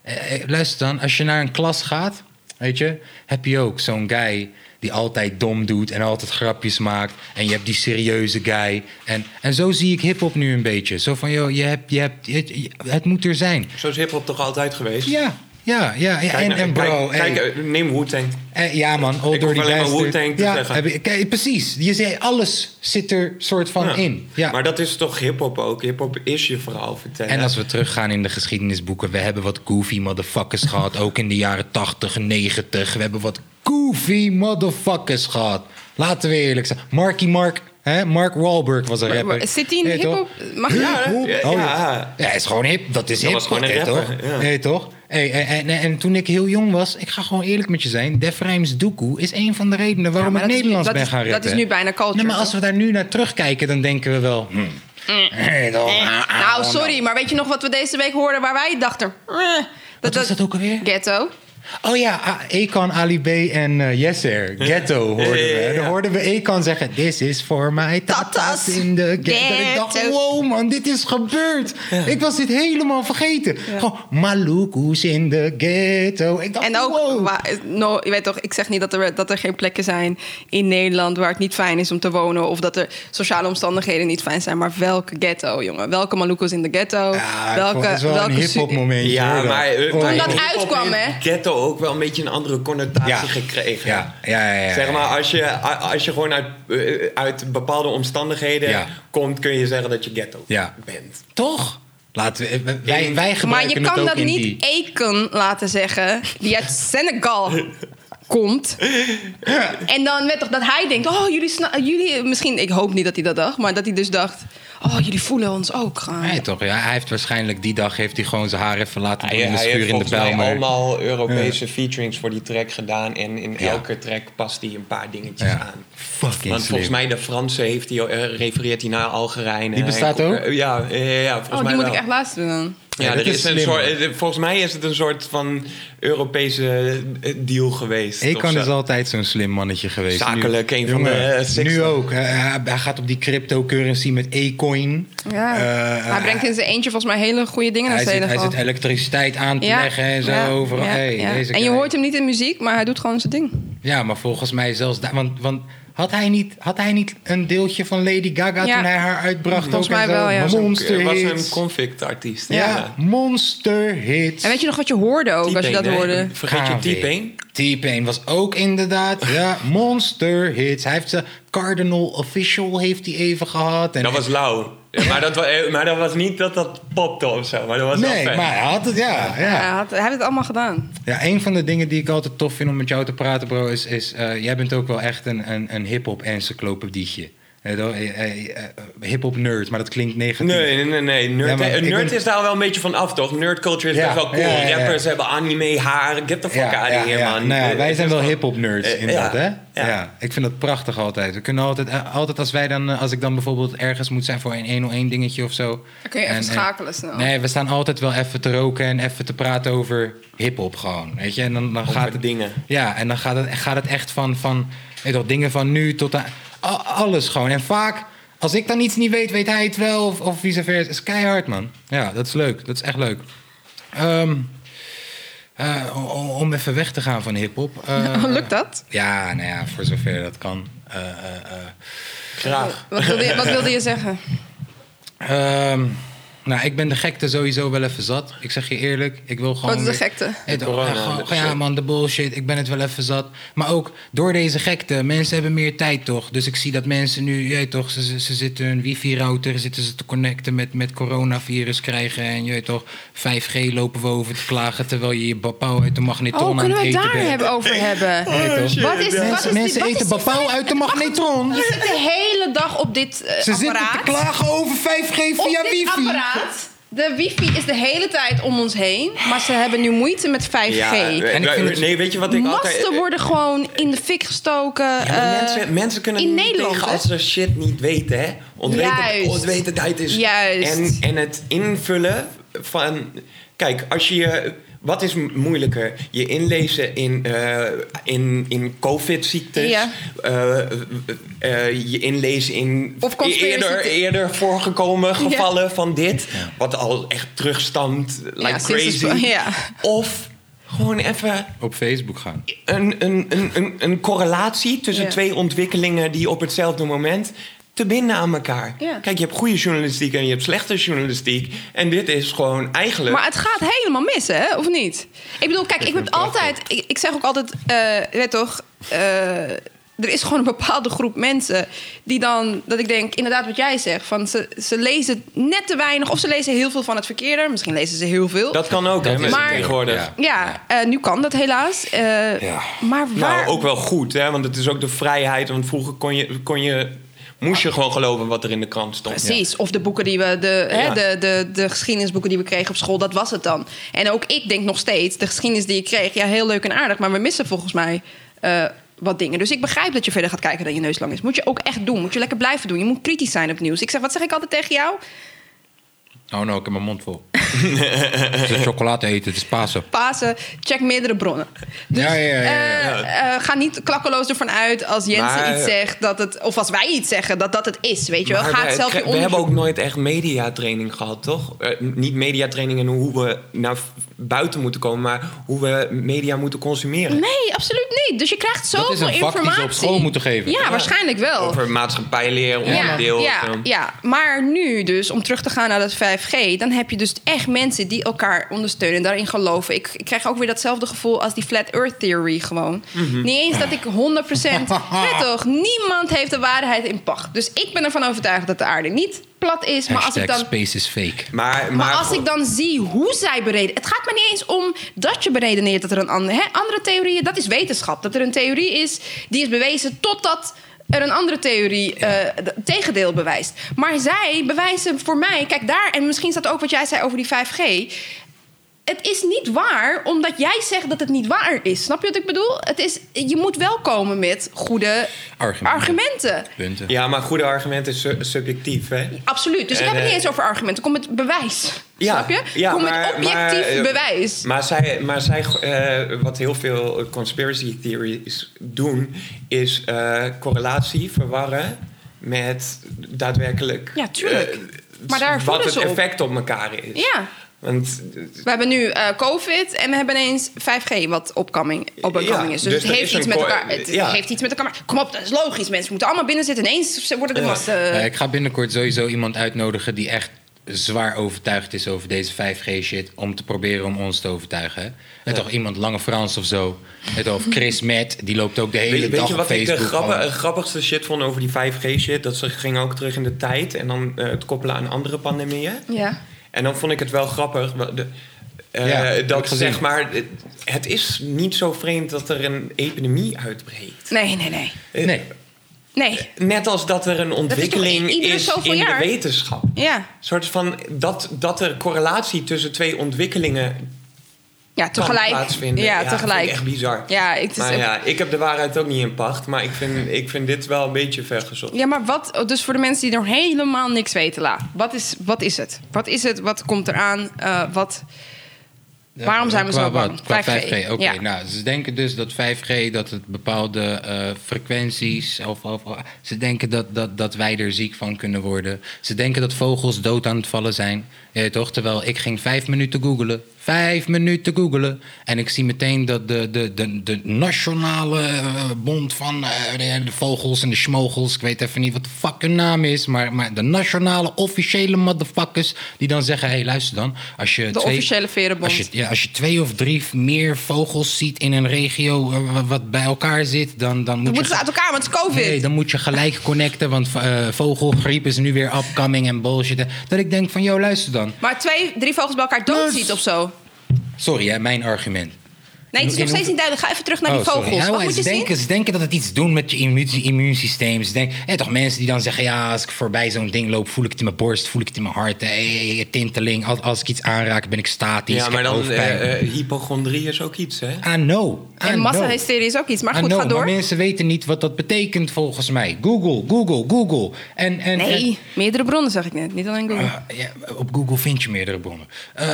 S1: eh, luister dan, als je naar een klas gaat, weet je, heb je ook zo'n guy die altijd dom doet en altijd grapjes maakt. En je hebt die serieuze guy. En, en zo zie ik hip-hop nu een beetje. Zo van, joh, je hebt, je hebt, het, het moet er zijn.
S3: Zo is hip-hop toch altijd geweest?
S1: Ja, ja, ja. ja.
S3: Kijk
S1: en,
S3: naar-
S1: en bro,
S3: kijk,
S1: hey.
S3: kijk, eh, neem Wu-Tang.
S1: Eh, ja, man. All
S3: Ik hoef
S1: Dirty
S3: alleen maar
S1: Bastard.
S3: Wu-Tang te
S1: ja,
S3: zeggen.
S1: heb je- kijk, precies. Je zei, alles zit er soort van
S3: Ja.
S1: in. Ja.
S3: Maar dat is toch hip-hop ook? Hip-hop is je verhaal vertellen.
S1: en als we teruggaan in de geschiedenisboeken, we hebben wat goofy motherfuckers gehad. Ook in de jaren 80, 90. We hebben wat goofy motherfuckers gehad. Laten we eerlijk zijn. Marky Mark, hè? Mark Wahlberg was een
S2: Maar-
S1: rapper.
S2: maar zit hij in
S1: Weet je
S2: hip-hop?
S1: toch?
S2: Mag- Ja,
S3: hè?
S1: Hip-hop?
S3: Ja,
S1: Oh,
S3: ja.
S1: ja. ja, is gewoon hip. Dat is
S3: Dat
S1: hip.
S3: was gewoon een
S1: weet je
S3: rapper,
S1: toch?
S3: ja.
S1: Weet je toch? Hey, en, en, en toen ik heel jong was, ik ga gewoon eerlijk met je zijn. Def Rijms Doekoe is een van de redenen waarom
S2: maar
S1: ik
S2: dat is-
S1: Nederlands
S2: dat
S1: ben
S2: is-
S1: gaan
S2: dat
S1: rappen.
S2: is nu bijna culture, Mm.
S1: Nee, maar als we daar nu naar terugkijken, dan denken we wel... hmm, hey, dan- ah, ah,
S2: Nou,
S1: oh,
S2: sorry, maar weet je nog wat we deze week hoorden waar wij dachten... eh,
S1: Wat was dat ook alweer?
S2: Ghetto.
S1: Oh ja, A- Ekan, Ali B en eh, Yeser. Ghetto hoorden
S3: [LAUGHS] Ja, ja,
S1: we.
S3: ja, ja.
S1: Dan hoorden we Ekan zeggen... This is for my tatas
S2: Tatas.
S1: in the ghetto. Ik dacht,
S2: Ghetto.
S1: wow man, dit is gebeurd. Ik was dit helemaal vergeten. Gewoon Malukus in the ghetto. Ik dacht,
S2: En ook,
S1: Oh, wow.
S2: wa- no, je weet toch, ik zeg niet dat er, dat er geen plekken zijn in Nederland waar het niet fijn is om te wonen. Of dat er sociale omstandigheden niet fijn zijn. Maar welke ghetto, jongen? Welke Maluko's in de ghetto?
S1: Ja, ik vond
S2: welke,
S1: het is wel een
S2: welke
S1: hip-hop
S2: su-
S1: momentje.
S3: Ja,
S1: hoor,
S3: maar... eh,
S1: Oh,
S3: maar
S2: dat
S3: hip-hop
S2: uitkwam,
S3: in
S2: hè?
S3: Ghetto ghetto ook wel een beetje een andere connotatie
S1: Ja.
S3: gekregen.
S1: Ja, ja, ja. ja, ja.
S3: Zeg maar, als je, a- als je gewoon uit, eh, uit bepaalde omstandigheden
S1: Ja.
S3: komt, kun je zeggen dat je ghetto
S1: Ja.
S3: bent.
S1: Toch? Laten we, wij- wij, wij gebruiken
S2: Maar je
S1: het
S2: kan
S1: ook
S2: dat
S1: in
S2: niet
S1: die-
S2: Eken laten zeggen, die
S1: [LAUGHS]
S2: uit Senegal komt. En dan werd toch dat hij denkt, oh jullie, sna- jullie, misschien, ik hoop niet dat hij dat dacht, maar dat hij dus dacht, oh jullie voelen ons ook gaan.
S1: Nee, toch? Ja, hij heeft waarschijnlijk die dag heeft hij gewoon zijn haar even laten doen
S3: Hij,
S1: in de
S3: hij heeft
S1: schuur in de
S3: volgens mij
S1: Bijlmer.
S3: allemaal Europese featurings voor die track gedaan. En in
S1: Ja.
S3: elke track past hij een paar dingetjes
S1: Ja.
S3: aan.
S1: Fucking
S3: Want
S1: slim.
S3: volgens mij de Franse heeft hij, eh, refereert hij naar Algerijnen.
S1: Die bestaat
S3: En-
S1: ook?
S3: eh, Ja, eh, ja, volgens
S2: oh,
S3: mij
S2: die moet
S3: wel.
S2: ik echt luisteren dan.
S3: Ja,
S1: Ja,
S3: er
S1: dit
S3: is
S1: is
S3: een
S1: slim.
S3: soort, eh, volgens mij is het een soort van Europese eh, deal geweest.
S1: Ik
S3: of
S1: kan
S3: zo.
S1: is altijd zo'n slim mannetje geweest.
S3: Zakelijk, een van de, eh, six-
S1: Nu ook. Hij- hij- hij gaat op die cryptocurrency met E-coin.
S2: Ja.
S1: Eh,
S2: hij brengt in zijn eentje volgens mij hele goede dingen naar
S1: hij, zit,
S2: Senegal.
S1: hij zit elektriciteit aan te leggen en zo.
S2: ja,
S1: overal.
S2: ja,
S1: Hey,
S2: ja.
S1: deze
S2: en je
S1: guy.
S2: hoort hem niet in muziek, maar hij doet gewoon zijn ding.
S1: Ja, maar volgens mij zelfs daar. Want, want had, hij niet, had hij niet een deeltje van Lady Gaga
S2: Ja.
S1: toen hij haar uitbracht?
S2: Volgens
S1: ook en
S2: mij
S1: zo?
S2: wel, ja.
S1: Maar Monster
S3: was
S1: hits.
S3: een convict artiest.
S1: ja. monster hits.
S2: En weet je nog wat je hoorde ook, als je dat
S3: T-Pain, hè?
S2: hoorde?
S3: Vergeet je
S1: KW.
S3: T-Pain?
S1: T-Pain was ook
S3: [LAUGHS]
S1: inderdaad, ja, monster hits. Hij heeft ze Cardinal Official heeft hij even gehad. En
S3: Dat was lauw. Ja, maar, dat, wa- eh, maar dat was niet dat dat popte of zo. Maar dat was wel
S1: Nee,
S3: vet.
S1: maar hij had het, ja.
S2: Hij,
S1: ja.
S2: had, hij heeft het allemaal gedaan.
S1: Ja, een van de dingen die ik altijd tof vind om met jou te praten, bro, is... is eh, jij bent ook wel echt een, een, een hip-hop encyclopedietje. Eh, dan- eh, eh, eh, hip-hop nerd, maar dat klinkt negatief.
S3: Nee, nee, nee. nee. Nerd,
S1: Ja, maar
S3: eh,
S1: ik
S3: nerd
S1: ben-
S3: is daar wel een beetje van af, toch? Nerd culture is
S1: Ja,
S3: best wel cool.
S1: ja, ja, ja.
S3: Rappers hebben anime, haar. Get the fuck out of here, man.
S1: Nou ja,
S3: Eh,
S1: wij zijn
S3: het is
S1: wel
S3: gewoon-
S1: hip-hop nerds,
S3: Eh,
S1: inderdaad.
S3: ja,
S1: hè?
S3: ja.
S1: Ja. ik vind dat prachtig altijd. We kunnen altijd, eh, altijd als wij dan, eh, als ik dan bijvoorbeeld ergens moet zijn voor een 101 dingetje of zo.
S2: Dan kun je even
S1: En, eh,
S2: schakelen snel.
S1: Nee, we staan altijd wel even te roken en even te praten over hip-hop gewoon. Weet je, en dan, dan
S3: Over
S1: gaat het
S3: dingen.
S1: Ja, en dan gaat het, gaat het echt van, van weet je wel, dingen van nu tot aan a- alles gewoon. En vaak. Als ik dan iets niet weet, weet hij het wel. Of, of vice versa. Het is keihard, man. Ja, dat is leuk. Dat is echt leuk. Ehm, eh, o- o- om even weg te gaan van hip-hop. eh,
S2: [LAUGHS] Lukt dat?
S1: ja, nou ja, voor zover dat kan. Eh, eh, eh.
S3: Graag.
S2: Wat wilde je, wat wilde je zeggen?
S1: Ehm, nou, ik ben de gekte sowieso wel even zat. Ik zeg je eerlijk, ik wil gewoon.
S2: Wat is de
S1: weer-
S2: gekte?
S1: Het-
S3: De corona,
S1: ja, gewoon-
S3: de
S1: ja,
S3: shit.
S1: man, de bullshit. Ik ben het wel even zat. Maar ook door deze gekte, mensen hebben meer tijd toch? Dus ik zie dat mensen nu, je weet toch, ze, ze, ze zitten hun wifi-router, zitten ze te connecten met, met coronavirus krijgen. En je weet toch, 5G lopen we over te klagen terwijl je je bapau uit de magnetron
S2: Oh,
S1: aan
S2: kunnen
S1: het
S2: we het
S1: eten
S2: daar
S1: bent.
S2: hebben over
S3: [LAUGHS]
S2: hebben?
S3: Oh,
S2: Wat is, wat is
S1: Mensen,
S2: die-
S1: mensen
S2: wat is
S1: eten
S2: die-
S1: bapau uit de magnetron.
S2: Je zit de hele dag op dit eh,
S1: Ze zitten te
S2: apparaat.
S1: klagen over 5G
S2: op
S1: via
S2: dit
S1: wifi.
S2: apparaat. De wifi is de hele tijd om ons heen. Maar ze hebben nu moeite met 5G.
S3: Ja, eh,
S1: En ik vind het-
S3: nee, weet je wat ik altijd...
S2: Masten worden gewoon in de fik gestoken.
S3: Ja, maar
S2: eh,
S3: mensen, mensen kunnen
S2: in
S3: niet
S2: Nederland,
S3: tegen
S2: hè?
S3: als ze shit niet weten, hè? Ontweten,
S2: Juist.
S3: ontwetendheid is.
S2: Juist.
S3: En, en het invullen van. Kijk, als je je. Wat is m- moeilijker? Je inlezen in, eh, in, in COVID-ziektes.
S2: Ja.
S3: eh, eh, eh, je inlezen in e-
S2: Of conspiracy
S3: eerder,
S2: the-
S3: eerder voorgekomen gevallen van dit. Wat al echt terugstamt, like
S2: Ja, sinds het-
S3: crazy.
S2: [LAUGHS] ja.
S3: Of gewoon even
S1: Op Facebook gaan.
S3: een, een, een, een, een correlatie tussen
S2: Ja.
S3: twee ontwikkelingen die op hetzelfde moment te binden aan elkaar.
S2: Ja.
S3: Kijk, je hebt goede journalistiek en je hebt slechte journalistiek. En dit is gewoon eigenlijk.
S2: Maar het gaat helemaal mis, hè? Of niet? Ik bedoel, kijk, ik, heb altijd... Ik, ik zeg ook altijd, eh, je weet toch... eh, er is gewoon een bepaalde groep mensen die dan... Dat ik denk, inderdaad wat jij zegt. Van ze, ze lezen net te weinig. Of ze lezen heel veel van het verkeerde. Misschien lezen ze heel veel.
S3: dat kan ook, hè,
S1: is
S3: mensen
S2: het.
S3: tegenwoordig.
S1: Ja.
S2: ja, eh, nu kan dat helaas. Eh,
S1: Ja.
S2: Maar waar...
S3: Nou, ook wel goed, hè? Want het is ook de vrijheid. Want vroeger kon je, kon je, moest je gewoon geloven wat er in de krant stond.
S2: Precies. Of de boeken die we, de,
S3: Ja.
S2: hè, de, de, de geschiedenisboeken die we kregen op school, dat was het dan. En ook ik denk nog steeds, de geschiedenis die ik kreeg, ja, heel leuk en aardig, maar we missen volgens mij eh, wat dingen. Dus ik begrijp dat je verder gaat kijken dan je neus lang is. Moet je ook echt doen. Moet je lekker blijven doen. Je moet kritisch zijn op nieuws. Ik zeg, wat zeg ik altijd tegen jou?
S1: Oh no, ik heb mijn mond
S3: [LAUGHS]
S1: vol. Het is chocolade eten, het is Pasen.
S2: Pasen, check meerdere bronnen. Dus
S1: Ja, ja, ja, ja,
S2: eh, eh, ga niet klakkeloos ervan uit als Jensen
S3: Maar-
S2: iets zegt, dat het, of als wij iets zeggen, dat dat het is. Weet je wel,
S3: Maar
S2: ga het
S3: we-
S2: zelf je
S3: we, hebben
S2: onderzoek
S3: ook nooit echt mediatraining gehad, toch? Eh, niet mediatraining en hoe we naar buiten moeten komen, maar hoe we media moeten consumeren.
S2: Nee, absoluut niet. Dus je krijgt
S1: is
S2: zoveel
S1: een vak die ze op
S2: informatie.
S1: school moeten geven.
S2: Ja,
S1: Ja.
S2: waarschijnlijk wel.
S3: Over maatschappijleer,
S2: Oh. Ja,
S3: onderdeel.
S2: ja,
S3: of zo.
S2: ja, maar nu dus, om terug te gaan naar dat 5G... dan heb je dus echt echt mensen die elkaar ondersteunen en daarin geloven. Ik, ik krijg ook weer datzelfde gevoel als die Flat Earth Theory gewoon. Niet eens dat ik 100%. Nee toch, niemand heeft de waarheid in pacht. Dus ik ben ervan overtuigd dat de aarde niet plat is.
S3: eh,
S2: Maar als ik
S1: Hashtag
S2: dan
S1: space is fake.
S3: Maar, maar,
S2: maar, als ik dan zie hoe zij bereden. Het gaat me niet eens om dat je beredeneert dat er een andere. Hè, andere theorieën, dat is wetenschap. Dat er een theorie is die is bewezen totdat er een andere theorie eh, d- het tegendeel bewijst. Maar zij bewijzen voor mij. Kijk daar, en misschien staat ook wat jij zei over die 5G. Het is niet waar omdat jij zegt dat het niet waar is. Snap je wat ik bedoel? Het is, je moet wel komen met goede
S1: Argumenten.
S2: argumenten.
S1: Punten.
S3: Ja, maar goede argumenten is su- subjectief, hè?
S2: Absoluut. Dus ik heb
S3: En,
S2: het niet
S3: eh,
S2: eens over argumenten. Kom met bewijs. Snap je? Kom met objectief
S3: eh,
S2: bewijs.
S3: Maar zij, maar zij eh, wat heel veel conspiracy theories doen, is eh, correlatie verwarren met daadwerkelijk.
S2: Ja, tuurlijk.
S3: eh,
S2: Maar daar
S3: wat
S2: voeden
S3: het
S2: ze op.
S3: effect op elkaar is.
S2: Ja.
S3: Want
S2: We hebben nu eh, COVID en we hebben ineens 5G wat opkoming, opkoming
S3: Ja,
S2: is. Dus,
S3: dus
S2: het,
S3: er
S2: heeft
S3: is
S2: iets
S3: een
S2: met
S3: ko-
S2: elkaar, het
S3: ja.
S2: heeft iets met elkaar. Kom op, dat is logisch. Mensen moeten allemaal binnen zitten. Ineens worden de
S3: Ja.
S2: massen...
S1: Ja, Eh, ik ga binnenkort sowieso iemand uitnodigen die echt zwaar overtuigd is over deze 5G-shit. Om te proberen om ons te overtuigen. En toch iemand Lange Frans of zo. Het of
S3: [LAUGHS]
S1: Chris Matt, die loopt ook de hele
S3: Weet, weet
S1: dag
S3: je
S1: op
S3: wat ik
S1: Facebook.
S3: de grappe-
S1: gewoon.
S3: grappigste shit vond over die 5G-shit? Dat ze ging ook terug in de tijd en dan eh, het koppelen aan andere pandemieën.
S2: ja.
S3: En dan vond ik het wel grappig. wa- De, eh,
S1: Ja, heb ik
S3: dat
S1: gezien.
S3: zeg maar, het- het is niet zo vreemd dat er een epidemie uitbreekt.
S2: Nee, nee, nee.
S3: Eh,
S1: Nee,
S2: Nee,
S3: Net als dat er een
S2: toch
S3: ontwikkeling
S2: i- iedere
S3: is,
S2: zoveel
S3: in
S2: jaar?
S3: de wetenschap.
S2: ja.
S3: Een soort van dat, dat er correlatie tussen twee ontwikkelingen
S2: Ja,
S3: kan
S2: tegelijk.
S3: plaatsvinden.
S2: Ja,
S3: dat vind ik
S2: tegelijk.
S3: echt bizar.
S2: Ja, ik- het is
S3: maar
S2: ook-
S3: ja, ik heb de waarheid ook niet in pacht, maar ik vind, ik vind dit wel een beetje vergezocht.
S2: Ja, maar wat, dus voor de mensen die nog helemaal niks weten, La, wat is, wat is het? Wat is het? Wat komt eraan? Eh, wat, Waarom zijn we
S1: Qua
S2: zo bang?
S1: wat? Qua 5G,
S2: 5G,
S1: oké.
S2: ja.
S1: Nou, ze denken dus dat 5G, dat het bepaalde eh, frequenties... Of, of, of- ze denken dat, dat, dat wij er ziek van kunnen worden. Ze denken dat vogels dood aan het vallen zijn. Eh, toch? Terwijl ik ging vijf minuten googelen. Vijf minuten googelen. En ik zie meteen dat de, de, de, de nationale eh, bond van eh, de, de vogels en de schmogels... Ik weet even niet wat de fuck hun naam is. Maar, maar de nationale officiële motherfuckers... die dan zeggen, hé hey, luister dan. Als je
S2: De officiële verenbond.
S1: Als je ja, als je twee of drie meer vogels ziet in een regio eh, wa- wat bij elkaar zit, dan, dan moet
S2: dan
S1: je.
S2: moeten ze uit elkaar, want het is COVID.
S1: Nee, dan moet je gelijk connecten, want eh, vogelgriep is nu weer upcoming en bullshit. Dat ik denk van, yo, luister dan.
S2: Maar twee, drie vogels bij elkaar doodziet of zo.
S1: Sorry, hè, mijn argument.
S2: Nee, het is
S1: In
S2: nog steeds
S1: hoeveel- Oh,
S2: niet duidelijk. Ga even terug naar die
S1: sorry. Nou,
S2: vogels.
S1: Ja,
S2: Wat
S1: maar
S2: moet je
S1: ze, denken,
S2: zien?
S1: ze denken dat het iets doet met je immuun- immuunsysteem. Ze denken, en toch mensen die dan zeggen: ja, als ik voorbij zo'n ding loop, voel ik het in mijn borst, voel ik het in mijn hart, eh, eh, tinteling. Als, als ik iets aanraak, ben ik statisch.
S3: Ja,
S1: ik
S3: maar
S1: heb
S3: dan
S1: hoofdpijn.
S3: eh, eh, hypochondrie is ook iets, hè?
S1: I know. I
S2: En
S1: know.
S2: massahysterie is ook iets. Maar
S1: I
S2: goed,
S1: know,
S2: ga door.
S1: Maar mensen weten niet wat dat betekent volgens mij. Google, Google, Google. En, en,
S2: Nee, meerdere bronnen zag ik net. Niet alleen Google.
S1: en- Ah, ja, op Google vind je meerdere bronnen. Eh,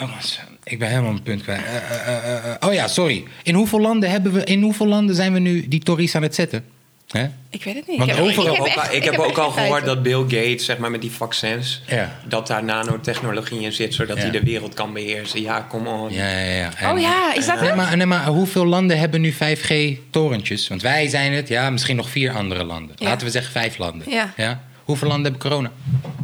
S1: jongens, ik ben helemaal mijn punt kwijt. Eh, eh, eh, eh, oh ja, sorry. In hoeveel, landen hebben we, in hoeveel landen zijn we nu die Tories aan het zetten? Hè?
S2: ik weet het niet.
S1: Want
S2: ik heb,
S1: overal-
S2: ik
S3: Ik
S2: heb,
S3: heb,
S2: echt-
S3: ook, ik heb
S2: echt
S3: ook al
S2: geen
S3: gehoord
S2: feiten.
S3: dat Bill Gates, zeg maar, met die vaccins,
S1: Ja.
S3: dat daar nanotechnologie in zit, zodat
S1: Ja.
S3: hij de wereld kan beheersen. Ja, kom on.
S1: Ja, ja, ja. En-
S2: Oh ja, is dat
S1: Nee,
S2: het?
S1: maar, nee, maar hoeveel landen hebben nu 5G-torentjes? Want wij zijn het, ja, misschien nog vier andere landen.
S2: Ja.
S1: Laten we zeggen vijf landen.
S2: Ja.
S1: Hoeveel landen hebben corona?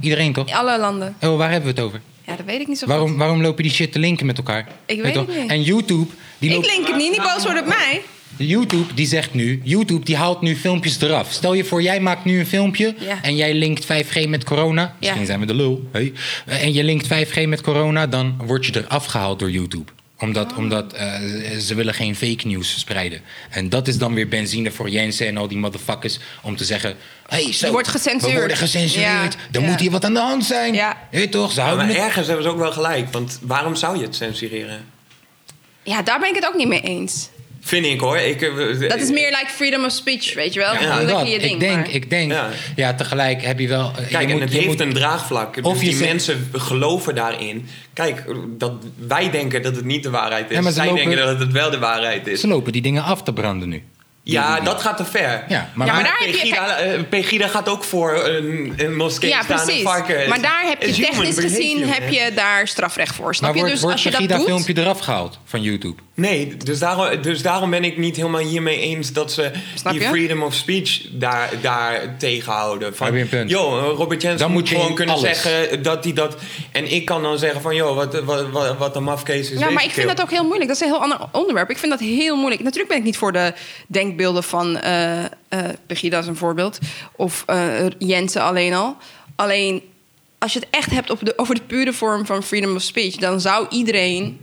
S1: Iedereen toch?
S2: Alle landen.
S1: Oh, waar hebben we het over?
S2: Ja, dat weet ik niet zo
S1: [LAUGHS]
S2: goed.
S1: Waarom, waarom lopen die shit te linken met elkaar?
S2: weet
S1: je
S2: het niet.
S1: En YouTube die,
S2: Ik
S1: loopt,
S2: link het niet. Niet boos worden op mij.
S1: YouTube, die zegt nu... YouTube die haalt nu filmpjes eraf. Stel je voor, jij maakt nu een filmpje...
S2: Ja.
S1: en jij linkt 5G met corona. Misschien zijn we de lul. Hey. Eh, En je linkt 5G met corona... dan word je eraf gehaald door YouTube.
S2: Oh.
S1: Omdat, omdat eh, ze willen geen fake news verspreiden. En dat is dan weer benzine voor Jensen en al die motherfuckers... om te zeggen... hey, zo,
S2: Je wordt
S1: we
S2: gecensuurd.
S1: worden gecensureerd.
S2: Ja,
S1: Dan
S2: ja.
S1: moet hier wat aan de hand zijn.
S2: Ja.
S1: Hey, toch? Ze
S3: Ja,
S1: houden
S3: maar
S1: het
S3: ergens hebben ze ook wel gelijk, want waarom zou je het censureren?
S2: Ja, daar ben ik het ook niet mee eens.
S3: Vind ik hoor. Ik, eh,
S2: Dat is meer like freedom of speech, weet je wel?
S3: Ja,
S2: Dan
S1: dat.
S2: je je ding,
S1: ik denk,
S2: maar-
S1: ik denk. Ja.
S3: Ja.
S1: tegelijk heb je wel. eh,
S3: Kijk,
S1: je
S3: en
S1: moet-
S3: het
S1: je
S3: heeft
S1: moet-
S3: een draagvlak.
S1: Of
S3: dus
S1: je
S3: die
S1: zegt-
S3: mensen geloven daarin. Kijk, dat wij denken dat het niet de waarheid is.
S1: Ja, maar ze
S3: Zij
S1: lopen-
S3: denken dat het wel de waarheid is.
S1: Ze lopen die dingen af te branden nu.
S3: Ja, dat gaat te ver.
S1: Ja,
S2: maar Ja, maar daar- heb je-
S3: Pegida, eh, Pegida gaat ook voor een, een moskee
S2: Ja,
S3: staan en
S2: precies.
S3: varken.
S2: Maar daar heb je
S3: It's human
S2: technisch
S3: behavior,
S2: gezien
S3: hè?
S2: heb je daar strafrecht voor. Snap
S1: maar
S2: je?
S1: wordt,
S2: Dus
S1: wordt
S2: als je dat
S1: Pegida
S2: doet.
S1: filmpje eraf gehaald van YouTube?
S3: Nee, dus daarom, dus daarom ben ik niet helemaal hiermee eens dat ze
S2: Snap
S3: die
S2: je?
S3: freedom of speech daar, daar tegenhouden. Van,
S1: Heb je een punt.
S3: Yo, Robert Jensen
S1: Dan
S3: moet
S1: moet je
S3: gewoon
S1: in
S3: kunnen
S1: alles.
S3: zeggen dat hij dat... En ik kan dan zeggen van, joh, wat, wat, wat, wat een mafkees is
S2: Ja,
S3: deze
S2: maar ik vind
S3: keel.
S2: dat ook heel moeilijk. Dat is een heel ander onderwerp. Ik vind dat heel moeilijk. Natuurlijk ben ik niet voor de denkbeelden van eh eh, Pegida is een voorbeeld. Of eh, Jensen alleen al. Alleen, als je het echt hebt op de, over de pure vorm van freedom of speech... dan zou iedereen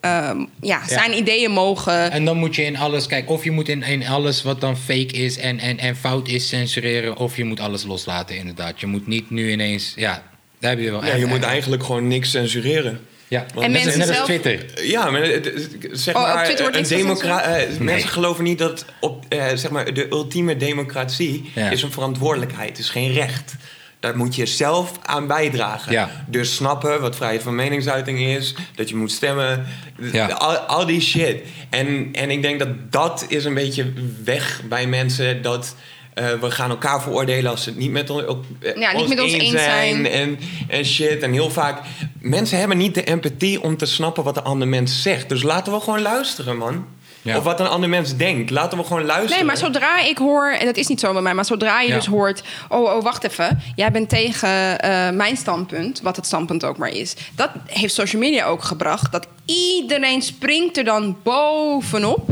S2: ehm, ja, zijn ideeën mogen...
S1: En dan moet je in alles, kijk, of je moet in, in alles wat dan fake is en, en, en fout is censureren, of je moet alles loslaten, inderdaad. Je moet niet nu ineens, ja, daar heb je wel.
S3: Ja,
S1: en-
S3: je
S1: en-
S3: moet eigenlijk gewoon niks censureren.
S1: Ja,
S3: En
S1: net,
S2: mensen
S1: als- net als
S2: zelf-
S1: Twitter.
S3: Ja, maar het- het- zeg
S2: Oh, op
S3: maar,
S2: Twitter wordt
S3: een
S2: niks
S3: democra- eh,
S1: Nee.
S3: mensen geloven niet dat op, eh, zeg maar, de ultieme democratie
S1: Ja.
S3: is een verantwoordelijkheid, is geen recht. Daar moet je zelf aan bijdragen.
S1: Ja.
S3: Dus snappen wat vrijheid van meningsuiting is, dat je moet stemmen,
S1: Ja.
S3: al, al die shit. En, en ik denk dat dat is een beetje weg bij mensen, dat eh, we gaan elkaar veroordelen als ze het niet met, on- op- eh,
S2: Ja, niet met ons eens zijn.
S3: en, en shit. En heel vaak, mensen hebben niet de empathie om te snappen wat een ander mens zegt. Dus laten we gewoon luisteren, man.
S1: Ja.
S3: Of wat een ander mens denkt. Laten we gewoon luisteren.
S2: Nee, maar zodra ik hoor, en dat is niet zo bij mij, maar zodra je
S1: Ja.
S2: dus hoort: oh, oh, wacht even, jij bent tegen eh, mijn standpunt, wat het standpunt ook maar is. Dat heeft social media ook gebracht, dat iedereen springt er dan bovenop.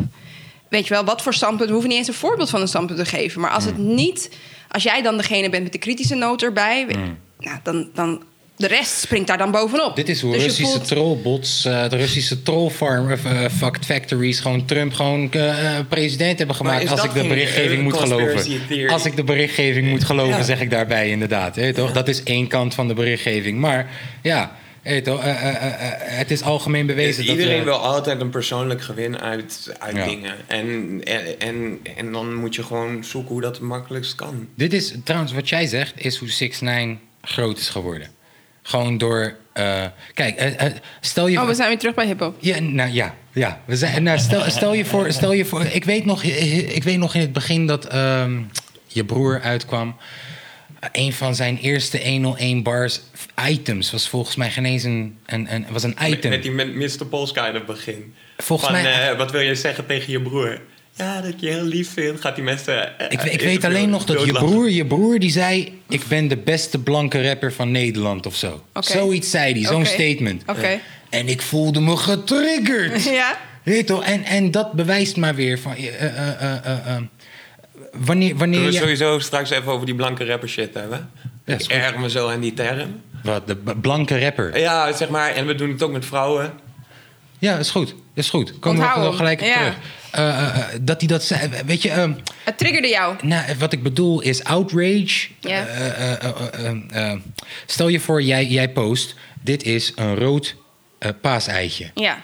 S2: Weet je wel, wat voor standpunt, we hoeven niet eens een voorbeeld van een standpunt te geven. Maar als het
S1: Mm.
S2: niet, als jij dan degene bent met de kritische noot erbij, we- nou, dan, dan de rest springt daar dan bovenop.
S1: Mm. Dit is hoe
S2: Dus je
S1: Russische
S2: voelt-
S1: trollbots, eh, de Russische trollfarm of eh, fact factories gewoon Trump gewoon eh, eh, president hebben
S3: is
S1: gemaakt. Als
S3: dat
S1: ik de
S3: geen eh,
S1: berichtgeving moet
S3: conspiracy
S1: geloven.
S3: theory?
S1: Als ik de berichtgeving moet geloven,
S3: Ja.
S1: zeg ik daarbij inderdaad. hè, toch? Dat is één kant van de berichtgeving. Maar ja, hè, toch, eh, eh, eh, eh, het is algemeen bewezen dat
S3: Dus
S1: eh,
S3: Iedereen
S1: we-
S3: wil altijd een persoonlijk gewin uit, uit
S1: Ja.
S3: dingen. En, en, en, en dan moet je gewoon zoeken hoe dat het makkelijkst kan.
S1: Dit is trouwens wat jij zegt, is hoe 6 9 groot is geworden. Gewoon door. eh, kijk, eh, eh, stel je.
S2: Oh, we zijn weer terug
S1: [LAUGHS]
S2: bij hip-hop.
S1: Ja, nou ja. ja. We zijn, nou, stel, stel, je voor, stel je voor. Ik weet nog, ik weet nog in het begin dat ehm, je broer uitkwam. Een van zijn eerste 101 bars items was volgens mij geen eens een, een, een, was een item.
S3: Met die met Mr. Polska in het begin.
S1: Volgens
S3: Van,
S1: mij-
S3: eh, wat wil je zeggen tegen je broer? Ja, dat ik je heel lief vind. Gaat die mensen... eh,
S1: Ik, ik
S3: eh,
S1: weet alleen nog dat je
S3: doodlachen.
S1: broer, je broer die zei... ik ben de beste blanke rapper van Nederland of zo.
S2: Oké.
S1: Zoiets zei hij, zo'n
S2: Oké.
S1: statement.
S2: Oké.
S1: En ik voelde me getriggerd.
S2: Ja.
S1: Weet je toch? En, en dat bewijst maar weer van... eh, eh, eh, eh, eh, wanneer, wanneer
S3: Kunnen we
S1: je-
S3: sowieso straks even over die blanke rapper shit hebben?
S1: Ja,
S3: ik
S1: is goed.
S3: erg me zo aan die term.
S1: Wat, de b- blanke rapper.
S3: Ja, zeg maar, en we doen het ook met vrouwen.
S1: Ja, is goed. Is goed. Komen
S2: Onthoud
S1: we
S2: hem.
S1: nog gelijk op
S2: Ja.
S1: terug. Eh, eh, eh, dat hij dat zei. Weet je, eh,
S2: Het triggerde jou.
S1: nou, wat ik bedoel is outrage.
S2: Ja.
S1: Eh, eh, eh, eh, eh, eh, stel je voor, jij, jij post... dit is een rood eh, paaseitje.
S2: Ja.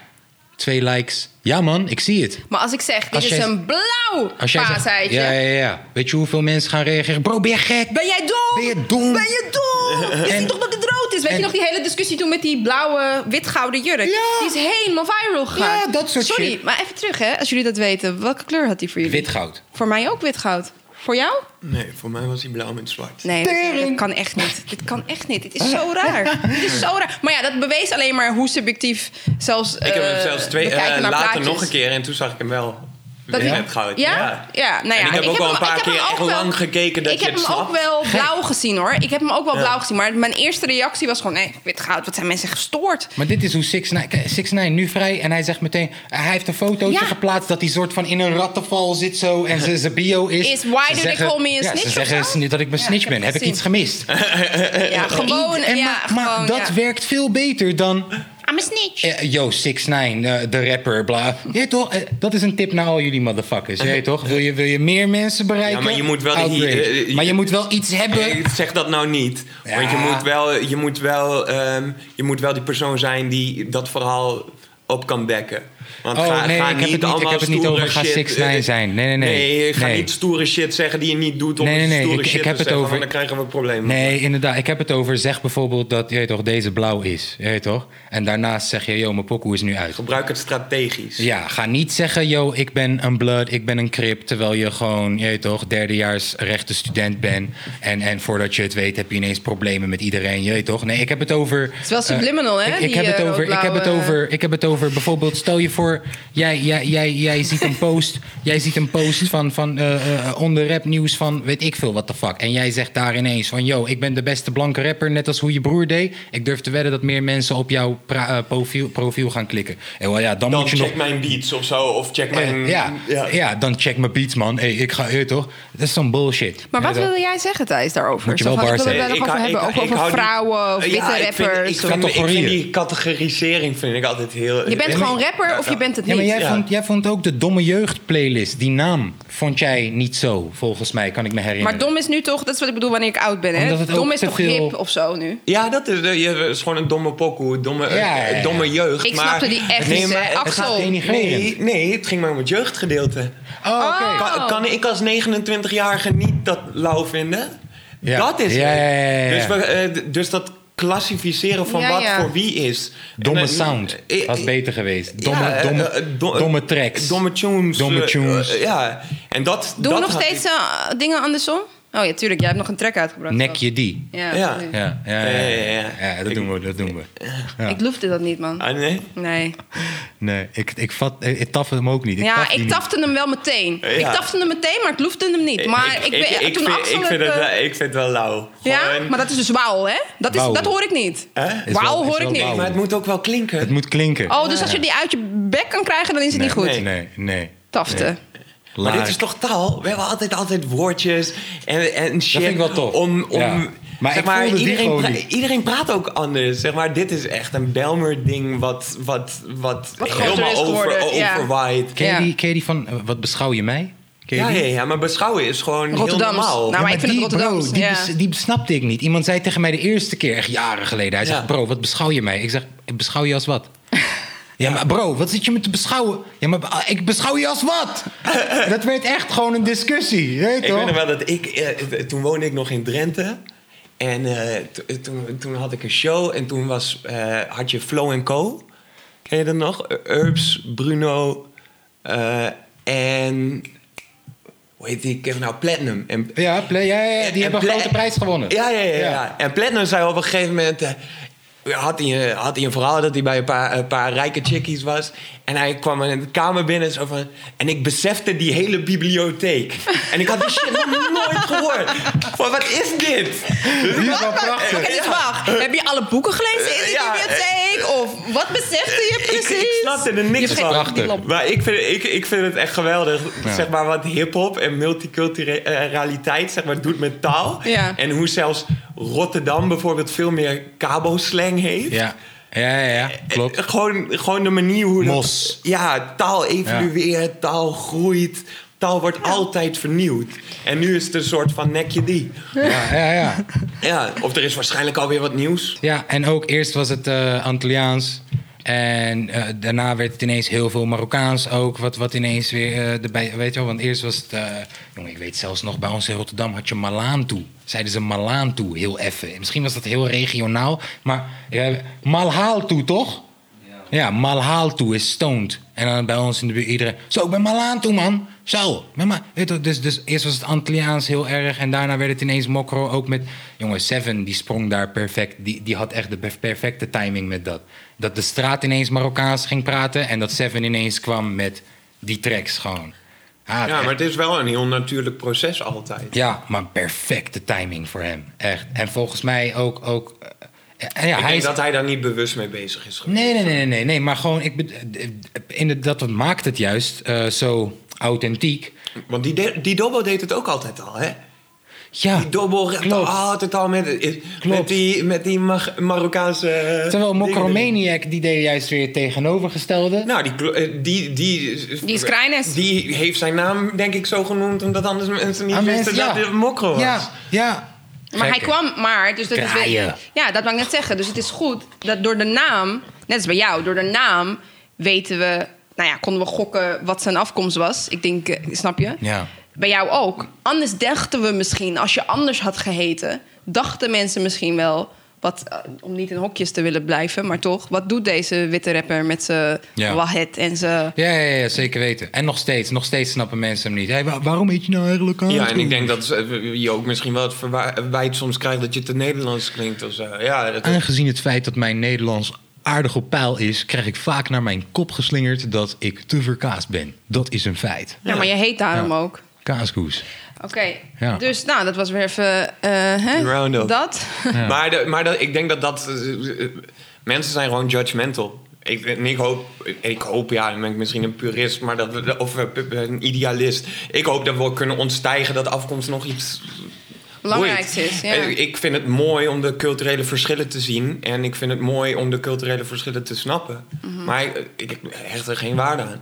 S1: Twee likes. Ja man, ik zie het.
S2: Maar als ik zeg, dit
S1: Als
S2: is
S1: jij-
S2: een blauw
S1: Als jij zegt,
S2: paaseitje.
S1: ja, ja, ja. Weet je hoeveel mensen gaan reageren? Bro, ben je gek?
S2: Ben jij dom?
S1: Ben je dom?
S2: Ben je
S1: [LAUGHS]
S2: dom? Je
S1: En-
S2: ziet toch dat het rood is? Weet
S1: en-
S2: je nog die hele discussie toen met die blauwe, witgouden jurk?
S1: Ja.
S2: Die is helemaal viral gegaan.
S1: Ja, dat soort
S2: Sorry,
S1: shit.
S2: maar even terug hè. Als jullie dat weten. Welke kleur had die voor jullie?
S1: Wit goud.
S2: Voor mij ook witgoud. Voor jou?
S3: Nee, voor mij was die blauw met zwart.
S2: Nee, dat, dat kan echt niet. Dit kan echt niet. Dit is zo
S1: [LAUGHS]
S2: raar. Dit is zo raar. Maar ja, dat bewees alleen maar hoe subjectief zelfs
S3: ik heb hem
S2: eh,
S3: zelfs twee,
S2: we kijken
S3: eh,
S2: naar
S3: later
S2: plaatjes.
S3: nog een keer en toen zag ik hem wel.
S2: Dat
S3: Weer
S2: hij-
S3: met goud.
S2: Ja? Ja, nou ja,
S3: en ik heb
S2: ik heb
S3: ook wel
S2: hem-
S3: een paar
S2: ik heb hem
S3: keer
S2: ook
S3: echt
S2: wel-
S3: lang gekeken dat
S2: ik
S3: je
S2: heb
S3: het
S2: hem ook
S3: snapt.
S2: wel blauw gezien hoor. Ik heb hem ook wel
S3: Ja.
S2: blauw gezien. Maar mijn eerste reactie was gewoon: nee, wit goud, wat zijn mensen gestoord?
S1: Maar dit is hoe 6 9 nu vrij. En hij zegt meteen, hij heeft een fotootje
S2: Ja.
S1: geplaatst dat hij soort van in een rattenval zit zo. En ze- zijn bio is.
S2: Is, why do
S1: Ze
S2: they
S1: zeggen-
S2: call me a
S1: ja,
S2: snitch
S1: Ze
S2: of
S1: zeggen
S2: zo?
S1: sni- dat ik een
S2: Ja,
S1: snitch
S2: ik heb
S1: ben. Heb ik
S2: gezien.
S1: iets gemist?
S3: Eh,
S2: Ja, gewoon.
S1: En
S2: ja,
S1: maar, maar
S2: gewoon,
S1: dat
S2: ja.
S1: werkt veel beter dan.
S2: I'm a snitch.
S1: eh, yo, 6 9 de rapper, bla. Je weet toch? eh, dat is een tip naar al jullie motherfuckers. Je weet toch? Wil je, wil je meer mensen bereiken?
S3: Ja, maar je moet wel die-
S1: Outrage.
S3: eh, eh,
S1: maar je moet wel iets hebben.
S3: Ik zeg dat nou niet. Want je
S1: Ja.
S3: moet wel, je moet wel, ehm, je moet wel die persoon zijn die dat verhaal op kan bekken. Want
S1: Oh,
S3: ga,
S1: nee,
S3: ga
S1: ik heb het niet- ik
S3: allemaal
S1: heb het niet
S3: stoere
S1: over ga
S3: shit,
S1: 6ix9ine
S3: eh,
S1: zijn. Nee, nee, nee.
S3: ga
S1: Nee.
S3: niet stoere shit zeggen die je niet doet om
S1: Nee, nee, nee,
S3: stoere
S1: ik-
S3: shit
S1: ik heb
S3: te
S1: het
S3: zeggen,
S1: over-
S3: want dan krijgen we problemen.
S1: Nee, inderdaad. Ik heb het over, zeg bijvoorbeeld dat, je weet toch, deze blauw is. Je weet toch? En daarnaast zeg je, yo, mijn pokoe is nu uit.
S3: Gebruik het strategisch.
S1: Ja, ga niet zeggen, yo, ik ben een blood, ik ben een crip. Terwijl je gewoon, je weet toch, derdejaars rechten student bent. En, en voordat je het weet heb je ineens problemen met iedereen, je weet toch? Nee, ik heb het over... Het
S2: is wel subliminal, hè,
S1: Eh, Ik, ik
S2: die,
S1: heb het
S2: eh,
S1: over, ik heb het
S2: roodblauwe-
S1: over, ik heb het over bijvoorbeeld, stel je voor, jij, jij, jij, jij ziet een post, jij ziet een post van, van eh eh, on the rap nieuws van weet ik veel wat de fuck. En jij zegt daar ineens van, yo, ik ben de beste blanke rapper, net als hoe je broer deed. Ik durf te wedden dat meer mensen op jouw pra- eh, profiel, profiel gaan klikken. En wel ja, dan,
S3: Dan
S1: moet je
S3: check
S1: nog...
S3: mijn beats of zo, of check mijn...
S1: Eh, ja, ja. dan check mijn beats, man. Hey, ik ga, je toch? Dat is zo'n bullshit.
S2: Maar wat
S1: Weet je
S2: wilde jij zeggen, Thijs, daarover?
S1: Moet je wel
S2: Zo van,
S1: bars
S2: ik wil het
S1: hebben.
S2: daar nog over hebben. Ook over
S3: hou die-
S2: vrouwen of
S3: Ja,
S2: witte
S3: ik vind-
S2: rappers.
S3: Ik vind, ik vind
S1: Categorieën.
S3: die categorisering vind ik altijd heel...
S2: je bent
S1: maar-
S2: gewoon rapper of je bent het
S1: Ja,
S2: niet.
S1: maar jij,
S3: Ja.
S1: Vond, jij vond ook de Domme Jeugd playlist, die naam, vond jij niet zo, volgens mij, kan ik me herinneren.
S2: Maar dom is nu toch, dat is wat ik bedoel wanneer ik oud ben.
S1: Omdat
S2: Hè?
S1: het ook
S2: Dom is
S1: te
S2: toch
S1: veel-
S2: hip of zo nu?
S3: Ja, dat is, eh, je- het is gewoon een domme pokoe, domme, eh,
S1: Ja, ja, ja.
S3: domme jeugd.
S2: Ik
S3: maar,
S2: snapte die echt niet, hè.
S3: het
S2: Axel.
S1: gaat
S3: gaat- nee,
S1: denigrerend.
S3: nee, het ging maar om het jeugdgedeelte.
S1: Oh, oké.
S2: Oh.
S3: Kan, kan ik als 29-jarige niet dat lauw vinden?
S1: Ja.
S3: Dat is
S1: Ja,
S3: het.
S1: ja, ja, ja, ja.
S3: Dus, we, eh, d- dus dat klassificeren van
S2: Ja,
S3: wat
S2: ja.
S3: voor wie is.
S1: Domme
S3: En, eh,
S1: sound
S3: eh,
S1: was
S3: eh,
S1: beter geweest. Domme,
S3: ja, eh,
S1: domme,
S3: eh, do-
S1: domme tracks.
S3: Domme tunes.
S1: Domme
S3: eh,
S1: tunes.
S3: eh, ja, en dat...
S2: Doen we
S3: dat
S2: nog
S3: had
S2: steeds
S3: ik-
S2: eh, dingen andersom? Oh ja, tuurlijk. Jij hebt nog een track uitgebracht.
S1: Nek je die.
S2: Ja.
S3: Ja.
S2: tuurlijk.
S1: Ja, ja, ja, ja,
S3: Ja, ja, ja.
S1: Ja, dat doen we, dat doen we. Ja.
S2: Ik loefde dat niet, man.
S3: Ah, nee?
S2: Nee.
S1: Nee, ik, ik, vat, ik, ik taf hem ook niet. Ik
S2: Ja,
S1: taf die
S2: ik
S1: niet.
S2: tafte hem wel meteen.
S3: Ja.
S2: Ik tafte hem meteen, maar ik loefde hem niet. Maar ik, ben- toen
S3: vind,
S2: Axel
S3: ik, vind
S2: het,
S3: het,
S2: eh,
S3: wel- ik vind het wel lauw.
S2: Ja,
S3: Gewoon-
S2: maar dat is dus wauw, hè? Dat, is,
S1: Wauw.
S2: dat hoor ik niet.
S3: Hè?
S1: Is
S2: Wauw
S1: wel- is
S2: hoor ik
S1: wel
S2: niet.
S1: wauw.
S3: Maar het moet ook wel klinken.
S1: Het moet klinken.
S2: Oh, dus als je die uit je bek kan krijgen, dan is het
S1: Nee,
S2: niet goed.
S1: Nee, nee. nee.
S2: Tafte.
S3: Maar
S1: Laag.
S3: dit is toch taal? We hebben altijd, altijd woordjes en, en shit.
S1: vind ik wel tof.
S3: Om, om,
S1: Ja. Maar
S3: zeg
S1: ik voelde die
S3: iedereen,
S1: gewoon
S3: pra-
S1: niet.
S3: iedereen praat ook anders. Zeg maar, dit is echt een Belmer-ding wat, wat, wat,
S2: Wat groter
S3: helemaal
S2: is
S3: over,
S2: geworden, ja.
S3: overwaait.
S1: Ken,
S2: Ja.
S1: je die, ken je die van, eh, wat beschouw je mij? Ken je
S3: Ja,
S1: die?
S3: ja, ja, maar beschouwen is gewoon
S2: Rotterdams.
S3: heel normaal.
S2: Nou, maar ik vind
S1: die,
S2: het Rotterdams,
S1: Bro, die,
S2: ja.
S1: bes- die snapte ik niet. Iemand zei tegen mij de eerste keer, echt jaren geleden. Hij
S3: Ja.
S1: zegt, bro, wat beschouw je mij? Ik zeg, "Ik beschouw je als
S2: [LAUGHS]
S1: wat? Ja, maar bro, wat zit je me te beschouwen? Ja, maar ah, ik beschouw je als
S3: [LAUGHS]
S1: wat? Dat werd echt gewoon een discussie, je weet
S3: Ik weet
S1: toch?
S3: nog wel dat ik... eh, t- toen woonde ik nog in Drenthe. En eh, t- toen, toen had ik een show. En toen was, eh, had je Flow Co. Ken je dat nog? Herbs, Bruno eh, en... Hoe heet die? Ik heb nou Platinum. En,
S1: Ja, play, ja, ja, ja, die
S3: en
S1: hebben een
S3: Pla-
S1: grote prijs gewonnen.
S3: Eh, Ja, ja, ja. ja. En Platinum zei op een gegeven moment... eh, had hij, eh, had hij een verhaal dat hij bij een paar, een paar rijke chickies was. En hij kwam in de kamer binnen zo van... En ik besefte die hele bibliotheek. En ik had die shit nog nooit gehoord. Van, wat is dit?
S1: Die is
S2: [LAUGHS]
S1: wel prachtig.
S2: Oké, dus wacht. Heb je alle boeken gelezen in die
S3: Ja, eh,
S2: bibliotheek? Of wat besefte je precies?
S3: Ik, ik snapte er niks
S2: Je
S3: van.
S2: vergeet die lamp.
S3: Maar ik vind, ik, ik vind het echt geweldig. Zeg maar wat hip-hop en multiculturaliteit zeg maar, doet met taal.
S2: Ja.
S3: En hoe zelfs Rotterdam bijvoorbeeld veel meer cabo-slang heeft.
S1: Ja, ja, ja, ja, klopt.
S3: Eh, Gewoon, gewoon de manier hoe... dat-
S1: Mos.
S3: ja, taal evolueert, taal groeit. Taal wordt altijd vernieuwd. En nu is het een soort van nekje die.
S1: Ja, ja, ja.
S3: Ja, of er is waarschijnlijk alweer wat nieuws.
S1: Ja, en ook eerst was het eh Antilliaans. En eh, daarna werd het ineens heel veel Marokkaans ook. Wat, wat ineens weer eh, erbij. Weet je wel, want eerst was het. eh, jongen, ik weet zelfs nog, bij ons in Rotterdam had je Malaan toe. Zeiden ze Malaan toe, heel effen. Misschien was dat heel regionaal, maar. eh, Malhaal toe, toch? Ja, Malhaal toe is stoned. En dan bij ons in de buurt iedereen... Zo, ik ben Malaan toe, man. Zo. ik ben Ma Weet je toch, dus, dus eerst was het Antilliaans heel erg. En daarna werd het ineens mokro. Ook met... Jongen, Seven, die sprong daar perfect. Die, die had echt de per- perfecte timing met dat. Dat de straat ineens Marokkaans ging praten. En dat Seven ineens kwam met die tracks gewoon. Ah,
S3: Ja, maar het is wel een heel natuurlijk proces altijd.
S1: ja, maar perfecte timing voor hem. Echt. En volgens mij ook... ook eh, eh, ja,
S3: Ik
S1: hij
S3: denk
S1: is
S3: dat hij daar niet bewust mee bezig is geweest.
S1: Nee, nee, nee, nee, nee, nee. Maar gewoon, ik bed- in de, dat maakt het juist eh, zo authentiek.
S3: Want die, de- die Dobbo deed het ook altijd al, hè?
S1: Ja,
S3: Die Dobbo rapte
S1: klopt.
S3: altijd al met, met
S1: Klopt.
S3: die, met die Mar- Marokkaanse... eh,
S1: Terwijl
S3: dingen.
S1: Mokromaniac, die deed juist weer het tegenovergestelde.
S3: Nou, die, klo- eh, die, die,
S2: Die is Krijnes.
S3: Die heeft zijn naam, denk ik, zo genoemd... omdat anders mensen niet
S1: Aan
S3: wisten
S1: Ah, mensen-
S3: dat het mokro was.
S1: Ja, ja.
S2: Maar hij
S1: Gekke.
S2: kwam maar, dus dat is weer...
S1: Kraaien.
S2: Ja, dat mag ik net zeggen. Dus het is goed dat door de naam, net als bij jou, door de naam weten we, nou ja, konden we gokken wat zijn afkomst was. Ik denk, eh, snap je?
S1: Ja.
S2: Bij jou ook. Anders dachten we misschien, als je anders had geheten, dachten mensen misschien wel. Wat, eh, om niet in hokjes te willen blijven, maar toch, wat doet deze witte rapper met zijn
S1: Ja.
S2: wahet en zijn.
S1: Ja, ja, ja, zeker weten. En nog steeds, nog steeds snappen mensen hem niet. Hey, wa- waarom eet je nou eigenlijk aan?
S3: Ja, en ik denk dat eh, je ook misschien wel het verwijt soms krijgt dat je te Nederlands klinkt of zo. Ja, dat
S1: Aangezien het feit dat mijn Nederlands aardig op peil is, krijg ik vaak naar mijn kop geslingerd dat ik te verkaasd ben. Dat is een feit.
S2: Ja, maar je heet daarom
S1: Ja.
S2: ook.
S1: Kaaskoes.
S2: Oké,
S1: Ja.
S2: dus nou, dat was weer even. eh hè?
S3: Roundup.
S2: Dat.
S3: [LAUGHS] Maar, de- maar dat, ik denk dat dat... eh, eh, mensen zijn gewoon judgmental. Ik, en ik, hoop, ik hoop, ja, dan ben ik misschien een purist, maar dat we, of eh, een idealist. Ik hoop dat we kunnen ontstijgen dat afkomst nog iets
S2: Belangrijkste
S3: boeit.
S2: is. Ja.
S3: En Ik vind het mooi om de culturele verschillen te zien. En ik vind het mooi om de culturele verschillen te snappen.
S2: Mhm.
S3: Maar ik, ik hecht er geen waarde aan.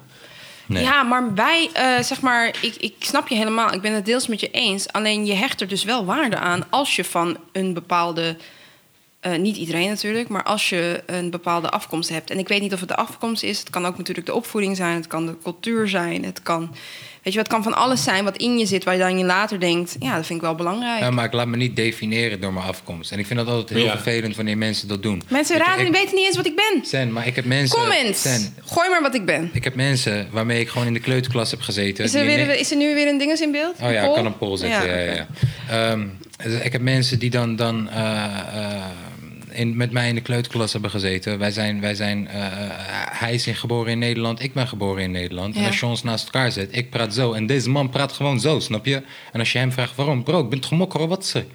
S1: Nee.
S2: Ja, maar wij, eh, zeg maar, ik, ik snap je helemaal. Ik ben het deels met je eens. Alleen je hecht er dus wel waarde aan als je van een bepaalde. eh, niet iedereen natuurlijk, maar als je een bepaalde afkomst hebt. En ik weet niet of het de afkomst is. Het kan ook natuurlijk de opvoeding zijn. Het kan de cultuur zijn. Het kan, weet je, wat kan van alles zijn wat in je zit, waar je dan je later denkt. Ja, dat vind ik wel belangrijk.
S1: Ja, maar ik laat me niet definiëren door mijn afkomst. En ik vind dat altijd heel
S3: Ja.
S1: vervelend wanneer mensen dat doen.
S2: Mensen
S1: Ik-
S2: raden,
S1: ik-
S2: weten niet eens wat ik ben.
S1: Sen, maar ik heb mensen...
S2: Comments.
S1: Sen,
S2: Gooi maar wat ik ben.
S1: ik heb mensen waarmee ik gewoon in de kleuterklas heb gezeten.
S2: Is er,
S1: die in-
S2: weer, is er nu weer een dinges in beeld?
S1: Oh ja,
S2: Een
S1: ik
S2: poll?
S1: kan een poll zetten. Ja, ja,
S2: oké.
S1: ja. Ehm, dus ik heb mensen die dan, dan eh, eh, in, met mij in de kleuterklas hebben gezeten. Wij zijn, wij zijn eh, eh, hij is in, geboren in Nederland, ik ben geboren in Nederland. En
S2: Ja.
S1: als je ons naast elkaar zet, ik praat zo. En deze man praat gewoon zo, snap je? En als je hem vraagt waarom, bro, ik ben gemokkeren, wat ze. Je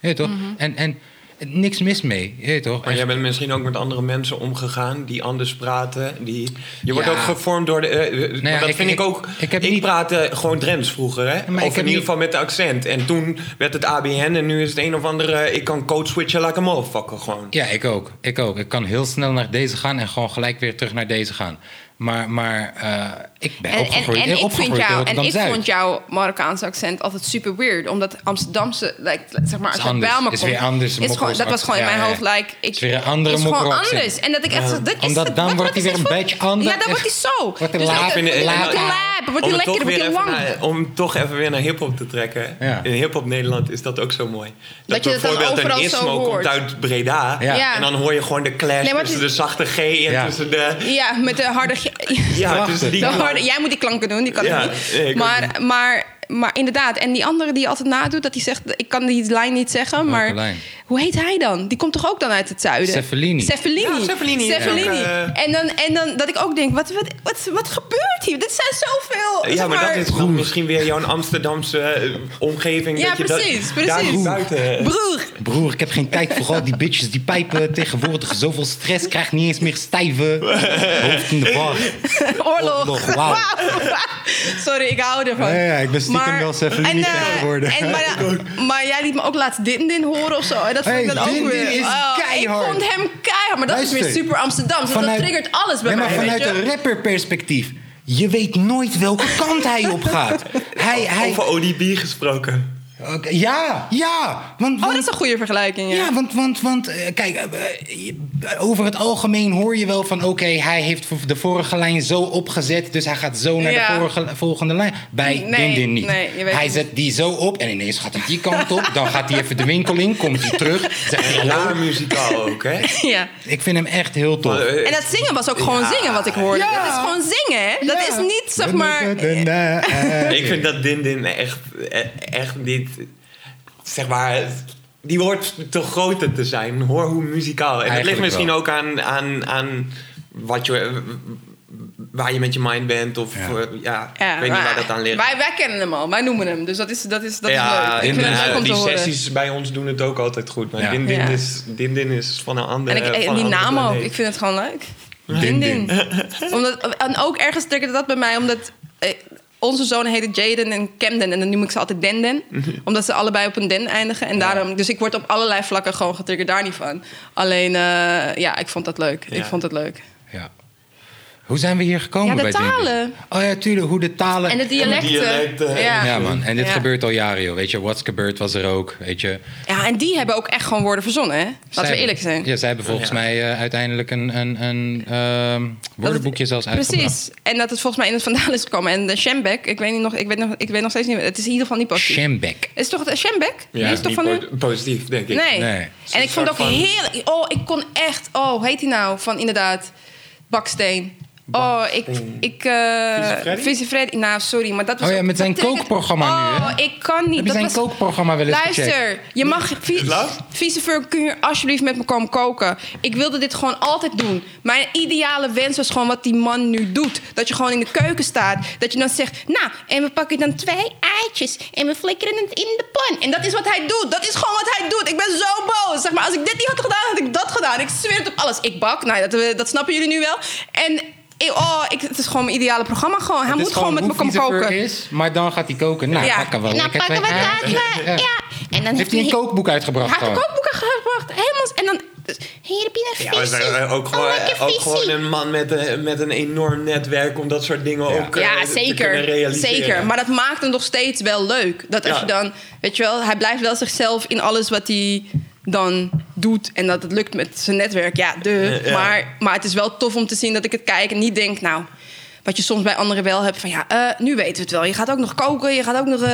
S1: weet toch?
S2: Mhm.
S1: En, en niks mis mee, je weet toch?
S3: Maar
S1: En-
S3: jij bent misschien ook met andere mensen omgegaan die anders praten. Die, je wordt
S1: Ja.
S3: ook gevormd door de. eh, eh, maar
S1: ja,
S3: dat
S1: ik-
S3: vind ik,
S1: ik-
S3: ook.
S1: ik
S3: Ik,
S1: heb niet-
S3: praatte gewoon Drents vroeger, hè?
S1: maar ik
S3: of
S1: heb
S3: in ieder
S1: niet-
S3: geval met de accent. En toen werd het ABN en nu is het een of andere. eh, Ik kan code switchen, laat ik hem fucken gewoon.
S1: Ja, ik ook. Ik ook. Ik kan heel snel naar deze gaan en gewoon gelijk weer terug naar deze gaan. Maar, maar eh, ik ben
S2: En, en,
S1: opgegroeid,
S2: en,
S1: eh,
S2: ik,
S1: opgegroeid
S2: vind jou,
S1: in
S2: en ik
S1: Rotterdam-Zuid.
S2: vond jouw Marokkaanse accent altijd super weird. Omdat Amsterdamse, like, zeg maar, als
S1: Is
S2: je
S1: anders.
S2: bij me
S1: Is
S2: komt...
S1: weer anders,
S2: is gewoon,
S1: Mokro's
S2: dat was gewoon in mijn
S1: accent.
S2: hoofd,
S1: Ja, ja.
S2: like... Ik,
S1: Is weer een andere
S2: is gewoon
S1: Mokro's accent.
S2: anders. En dat ik echt... zo, Dat is,
S1: Omdat
S2: dat-
S1: dan
S2: wat-
S1: wordt
S2: wat
S1: hij
S2: is
S1: weer
S2: dit
S1: een
S2: voor-
S1: beetje anders.
S2: Ja, dan wordt hij zo.
S1: Wordt hij
S2: Dus
S1: laag
S2: dat-
S1: in de- in de-
S2: Wordt hij laag, wordt hij
S3: om het
S2: lekker,
S3: toch
S2: wordt
S3: weer
S2: hij
S3: even
S2: lang.
S3: naar- om toch even weer naar hip-hop te trekken.
S1: Ja.
S3: In hip-hop Nederland is dat ook zo mooi.
S2: Dat je dat dan
S3: bijvoorbeeld
S2: overal
S3: een
S2: zo
S3: Ismo
S2: hoort.
S3: komt uit Breda.
S1: Ja.
S2: Ja.
S3: En dan hoor je gewoon de clash
S2: Nee, maar het
S3: tussen de
S2: is-
S3: zachte G en
S1: Ja.
S3: tussen de.
S2: Ja, met de harde... ge-
S3: Ja,
S1: Prachtig.
S3: tussen die.
S2: Dan
S3: klanken.
S2: hoorde- jij moet die klanken doen, die kan ik
S3: Ja,
S2: niet.
S3: nee, ik ook
S2: maar, maar, maar inderdaad, en die andere die je altijd nadoet, dat hij zegt, ik kan die lijn niet zeggen, maar
S1: lijn?
S2: hoe heet hij dan? Die komt toch ook dan uit het zuiden?
S1: Cefalini.
S2: Cefalini.
S3: Ja, Cefalini is
S2: Cefalini.
S3: ook, eh,
S2: En, dan, en dan dat ik ook denk, wat, wat, wat, wat gebeurt hier? Dit zijn zoveel.
S3: Ja,
S2: zeg
S3: maar dat is dan misschien weer jouw Amsterdamse eh, omgeving.
S2: Ja,
S3: dat je
S2: precies,
S3: dat, daar
S2: precies.
S3: buiten. eh,
S2: Broer,
S1: Broer, ik heb geen tijd voor al die bitches die pijpen tegenwoordig. Zoveel stress, krijg niet eens meer stijven. Hoofd in de war.
S2: oorlog.
S1: Oorlog,
S2: [LAUGHS]
S1: wauw.
S2: Sorry, ik hou ervan.
S1: Ja, ja, ik ben stiekem wel Cefalini
S2: en, eh,
S1: fan geworden. [LAUGHS]
S2: En, maar, maar jij liet me ook laatst Din Din horen of zo. En dat
S1: Hey,
S2: vond ik dan
S1: Din
S2: ook
S1: Din
S2: weer...
S1: is
S2: oh,
S1: keihard.
S2: Ik vond hem keihard, maar dat is weer
S1: Luister.
S2: super Amsterdam. Dus dat triggert alles bij
S1: nee, maar
S2: mij,
S1: vanuit
S2: weet je.
S1: een rapperperspectief. Je weet nooit welke kant hij op gaat. Hij, hij...
S3: Over ODB gesproken.
S1: Oké, ja, ja. Want,
S2: Oh,
S1: want-
S2: dat is een goede vergelijking, ja.
S1: Ja, want, want, want eh, kijk, eh, eh, je- eh, over het algemeen hoor je wel van... oké, hij heeft v- de vorige lijn zo opgezet... dus hij gaat zo naar
S2: Ja.
S1: de vorige, volgende lijn. Bij
S2: Nee,
S1: Din Din niet.
S2: nee, je weet
S1: hij
S2: niet.
S1: zet die zo op en ineens gaat hij die kant op. dan gaat hij even de winkel in, komt hij terug. Zegt hij,
S3: Raar
S1: hallo.
S2: [LAUGHS]
S3: muzikaal ook, hè?
S2: [LAUGHS] Ja.
S1: Ik vind hem echt heel tof.
S3: Eh,
S2: En dat zingen was ook gewoon zingen wat ik hoorde.
S1: Ja.
S2: Dat is gewoon zingen, hè? Dat is niet, zeg maar... eh,
S1: eh.
S3: Ik vind dat Din Din echt, eh, echt niet... Zeg maar... Die hoort te groter te zijn. Hoor hoe muzikaal. En dat ligt
S1: Eigenlijk
S3: misschien
S1: wel.
S3: ook aan, aan, aan wat je, waar je met je mind bent. Of
S1: Ja.
S3: eh, ja,
S2: Ja,
S3: ik weet niet
S2: maar
S3: waar dat aan ligt.
S2: Wij, wij kennen hem al, wij noemen hem. Dus dat is, dat is, dat is leuk. Ik
S3: en,
S2: vind
S3: eh,
S2: het leuk om te
S3: die
S2: horen.
S3: sessies bij ons doen het ook altijd goed. Maar
S1: Ja.
S3: Din, Din,
S2: Ja.
S3: is, Din Din is van een
S2: En
S3: andere
S2: ik, en
S3: Eh, van
S2: die
S3: een andere
S2: naam ook.
S3: planeet.
S2: Ik vind het gewoon leuk.
S1: Din
S2: Din Din. Omdat, en ook ergens triggerde dat bij mij, omdat eh, onze zonen heten Jaden en Camden. En dan noem ik ze altijd Denden. Omdat ze allebei op een den eindigen. En daarom, dus ik word op allerlei vlakken gewoon getriggerd daar niet van. Alleen, eh, ja, ik vond dat leuk.
S3: Ja.
S2: Ik vond het leuk.
S1: Ja. Hoe zijn we hier gekomen?
S2: Ja, de
S1: bij dit?
S2: talen.
S1: Oh ja, tuurlijk. Hoe de talen...
S2: En de dialecten.
S3: dialecten.
S2: Ja.
S1: Ja, man. En dit
S2: Ja.
S1: gebeurt al jaren, joh. Weet je, what's gebeurd was er ook. Weet je.
S2: Ja, en die hebben ook echt gewoon woorden verzonnen, hè? Laten
S1: Zij-
S2: we eerlijk zijn.
S1: Ja, zij hebben volgens
S3: Ja.
S1: mij eh, uiteindelijk een, een, een ehm, woordenboekje zelfs uitgebracht.
S2: Precies. En dat het volgens mij in het vandaan is gekomen. En de Shembek, ik weet, niet nog, ik, weet nog, ik weet nog steeds niet meer. Het is in ieder geval niet positief.
S1: Shambek.
S2: is toch de Shembek?
S3: Ja,
S2: die is toch
S3: niet
S2: van hun?
S3: po- positief, denk ik.
S2: Nee.
S1: Nee.
S2: En ik vond het ook
S3: Een soort
S2: heel... Oh, ik kon echt... Oh, hoe heet die nou? Van inderdaad, Baksteen. Oh, ik... ik eh
S3: Vieze Freddy?
S2: Vieze Freddy? Nou, sorry, maar dat was...
S1: Oh ja,
S2: ook-
S1: met zijn
S2: dat betekent-
S1: kookprogramma nu, hè?
S2: Oh, ik kan
S1: Heb
S2: niet.
S1: je
S2: dat
S1: zijn
S2: was-
S1: kookprogramma wel eens gecheckt?
S2: Luister, je mag... vie-
S3: Laat?
S2: Vieze Freddy, kun je alsjeblieft met me komen koken? Ik wilde dit gewoon altijd doen. Mijn ideale wens was gewoon wat die man nu doet. Dat je gewoon in de keuken staat. Dat je dan zegt, nou, en we pakken dan twee eitjes... en we flikkeren het in de pan. En dat is wat hij doet. Dat is gewoon wat hij doet. Ik ben zo boos. Zeg maar, als ik dit niet had gedaan, had ik dat gedaan. Ik zweer het op alles. Ik bak, nou, dat, eh, dat snappen jullie nu wel. En... ik- Oh, ik, het is gewoon mijn ideale programma. Gewoon. Hij
S1: Het is
S2: moet gewoon met me
S1: hoe
S2: komen
S1: vies het er
S2: koken.
S1: Is, maar dan gaat hij koken. Nou,
S2: Ja.
S1: pakken we
S2: Nou,
S1: lekker
S2: pakken
S1: twee
S2: we
S1: eieren.
S2: kaas, maar- ja. En dan
S1: Heeft hij een kookboek uitgebracht
S2: Hij had de
S1: gewoon?
S2: kookboeken gebracht. Helemaal. En dan. eh, Hier heb je een
S3: Ja, maar
S2: visie. Oh,
S3: ze- eh, ook gewoon,
S2: lekker
S3: ook
S2: visie.
S3: gewoon een man met een, met een enorm netwerk om dat soort dingen ook eh,
S2: Ja,
S3: te kunnen
S2: zeker.
S3: realiseren.
S2: Zeker. Maar dat maakt hem nog steeds wel leuk. Dat als
S3: Ja.
S2: je dan. Weet je wel, hij blijft wel zichzelf in alles wat hij dan doet. En dat het lukt met zijn netwerk. Ja, de.
S3: ja.
S2: Maar, maar het is wel tof om te zien dat ik het kijk en niet denk, nou. Wat je soms bij anderen wel hebt van ja, eh, nu weten we het wel. Je gaat ook nog koken, je gaat ook nog, eh,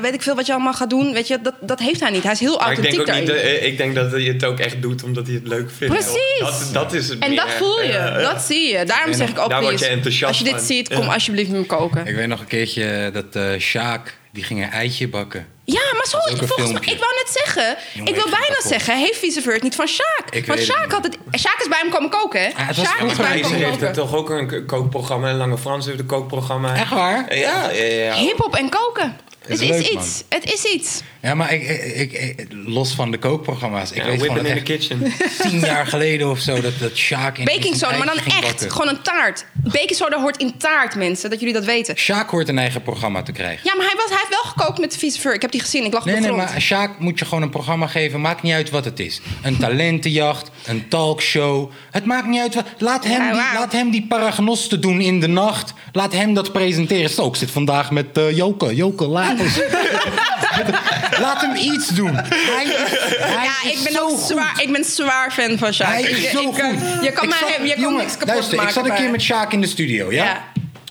S2: weet ik veel wat je allemaal gaat doen. Weet je, dat, dat heeft hij niet. Hij is heel
S3: Maar ik
S2: authentiek
S3: denk, ook niet,
S2: daarin.
S3: eh, ik denk dat hij het ook echt doet omdat hij het leuk vindt.
S2: Precies.
S3: Dat, dat is het
S2: En
S3: meer. eh,
S2: dat voel je,
S3: Ja, ja.
S2: dat zie je. Daarom zeg ik ook,
S3: Daar word je
S2: please,
S3: enthousiast
S2: als je dit
S3: van.
S2: ziet, kom alsjeblieft met me koken.
S1: Ik weet nog een keertje dat eh Sjaak, die ging een eitje bakken.
S2: Ja, maar zo,
S1: Dat is ook een
S2: volgens mij,
S1: filmpje.
S2: ik wou net zeggen,
S1: Jongen,
S2: ik wil
S1: ik ga
S2: bijna
S1: kapot.
S2: zeggen, heeft Viseveurt niet van Sjaak?
S1: Ik
S2: Want
S1: weet het
S2: Sjaak
S1: niet.
S2: had het, Sjaak is bij hem komen koken, hè?
S1: Ah, het was
S2: Sjaak
S1: goed
S2: is
S1: geweest,
S2: bij hem
S3: Prijzen
S2: komen
S3: heeft
S2: koken.
S3: het toch ook een k- kookprogramma. En Lange Frans heeft een kookprogramma.
S1: Echt waar?
S3: Ja, ja, ja.
S2: Hip-hop en koken. Het is
S1: leuk, man.
S2: iets, het is iets.
S1: Ja, maar ik, ik, ik- los van de kookprogramma's. Ik
S3: Ja,
S1: weet
S3: Whipping
S1: gewoon
S3: in
S1: dat
S3: the
S1: echt
S3: kitchen.
S1: tien jaar geleden of zo dat, dat Sjaak... ineens
S2: Baking
S1: een
S2: soda, maar dan
S1: eitje ging
S2: echt,
S1: bakken.
S2: gewoon een taart. Baking soda hoort in taart, mensen, dat jullie dat weten.
S1: Sjaak hoort een eigen programma te krijgen.
S2: Ja, maar hij, was, hij heeft wel gekookt met Viseveurt, ik heb die gezien, ik lag
S1: Nee,
S2: op de
S1: nee,
S2: grond.
S1: maar Sjaak moet je gewoon een programma geven. Maakt niet uit wat het is. Een talentenjacht, een talkshow. Het maakt niet uit wat. Laat hem,
S2: Ja,
S1: die,
S2: wauw.
S1: laat hem die paragnosten doen in de nacht. Laat hem dat presenteren. Zo, ik zit vandaag met eh, Joke. Joke, laat ons.
S2: [LAUGHS]
S1: laat hem iets doen. Hij, hij
S2: Ja,
S1: is
S2: ik ben
S1: zo
S2: ook
S1: goed.
S2: zwaar, ik ben zwaar fan van Sjaak.
S1: Hij
S2: Ik-
S1: is zo
S2: ik,
S1: goed.
S2: eh, Je kan,
S1: Ik
S2: mij,
S1: zat-
S2: je kan
S1: jongen,
S2: niks kapot
S1: luister,
S2: maken.
S1: ik zat een
S2: bij
S1: keer
S2: hem.
S1: met Sjaak in de studio, ja?
S2: Ja.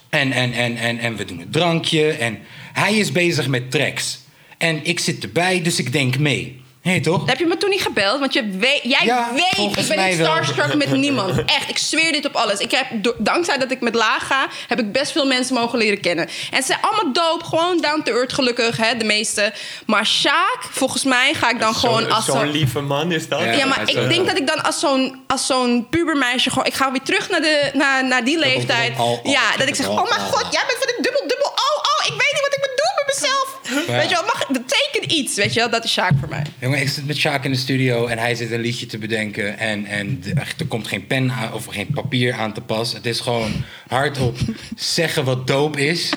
S1: En, en, en, en, en we doen een drankje. En hij is bezig met tracks. En ik zit erbij, dus ik denk mee. Hé, toch?
S2: Heb je me toen niet gebeld? Want je weet, jij
S1: Ja,
S2: weet,
S1: volgens
S2: ik ben niet
S1: mij wel.
S2: starstruck met niemand. Echt, ik zweer dit op alles. Ik heb, do- dankzij dat ik met Laag ga, heb ik best veel mensen mogen leren kennen. En ze zijn allemaal doop, gewoon down to earth gelukkig, hè, de meeste. Maar Sjaak, volgens mij ga ik dan gewoon
S3: Zo'n-
S2: als
S3: Zo'n
S2: zo'n...
S3: lieve man is dat.
S2: Ja, maar
S1: hij
S2: ik denk dat ik dan als zo'n, als zo'n pubermeisje gewoon... Ik ga weer terug naar, de, naar, naar die leeftijd.
S1: dubbel, al, al.
S2: ja, dat ik zeg,
S1: Dubbel,
S2: oh mijn
S1: al, al.
S2: god, jij bent van een dubbel, dubbel. Oh, oh, ik weet niet wat ik moet doen met mezelf.
S1: Ja.
S2: Weet je wel, mag, betekent iets, weet je wel. Dat is Sjaak voor mij.
S1: Jongen, ik zit met Sjaak in de studio en hij zit een liedje te bedenken. En, en de- echt, er komt geen pen aan, of geen papier aan te pas. Het is gewoon
S2: [LAUGHS]
S1: hardop zeggen wat doop is.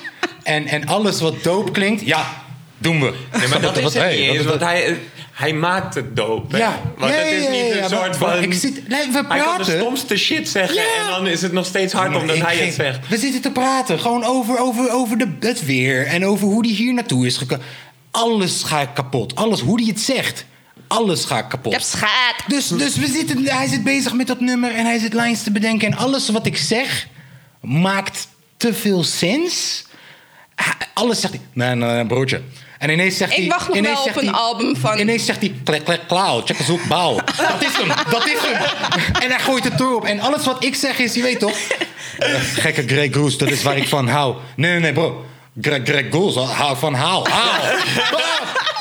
S1: En, en alles wat doop klinkt, ja, doen we.
S3: Nee, maar dat is het
S1: hey,
S3: niet
S1: [LAUGHS]
S3: eens,
S1: dat-
S3: want
S1: dat-
S3: hij, hij maakt het dope. hè?
S1: Ja.
S3: Want
S1: Ja,
S3: het is
S1: ja,
S3: niet
S1: ja,
S3: een
S1: ja,
S3: soort
S1: maar-
S3: van...
S1: maar ik zit- nee, we
S3: Hij kan de
S1: praten.
S3: stomste shit zeggen
S1: Ja.
S3: en dan is het nog steeds hard omdat
S1: Ik
S3: hij
S1: ging-
S3: het zegt.
S1: We zitten te praten, gewoon over, over, over de, het weer en over hoe die hier naartoe is gekomen. Alles ga ik kapot. Alles, hoe die het zegt. Alles ga ik kapot.
S2: Ik heb schaak.
S1: Dus, dus we zitten, hij zit bezig met dat nummer en hij zit lijns te bedenken. En alles wat ik zeg maakt te veel sens. Hij- Alles zegt hij. Nee, nee, nee, broodje. En ineens zegt
S2: Ik
S1: hij.
S2: wacht nog
S1: ineens
S2: wel
S1: zegt
S2: op een
S1: hij-
S2: album van-
S1: Ineens zegt hij. Klek, klek, klauw. Check eens op,
S2: [LAUGHS]
S1: bouw. Dat is hem, dat is hem. En hij gooit het erop. En alles wat ik zeg is, je weet toch. eh, gekke Greg Goose, dat is waar ik van hou. Nee, nee, nee, bro. Greg, Greg Goose, hou van hou. Hou.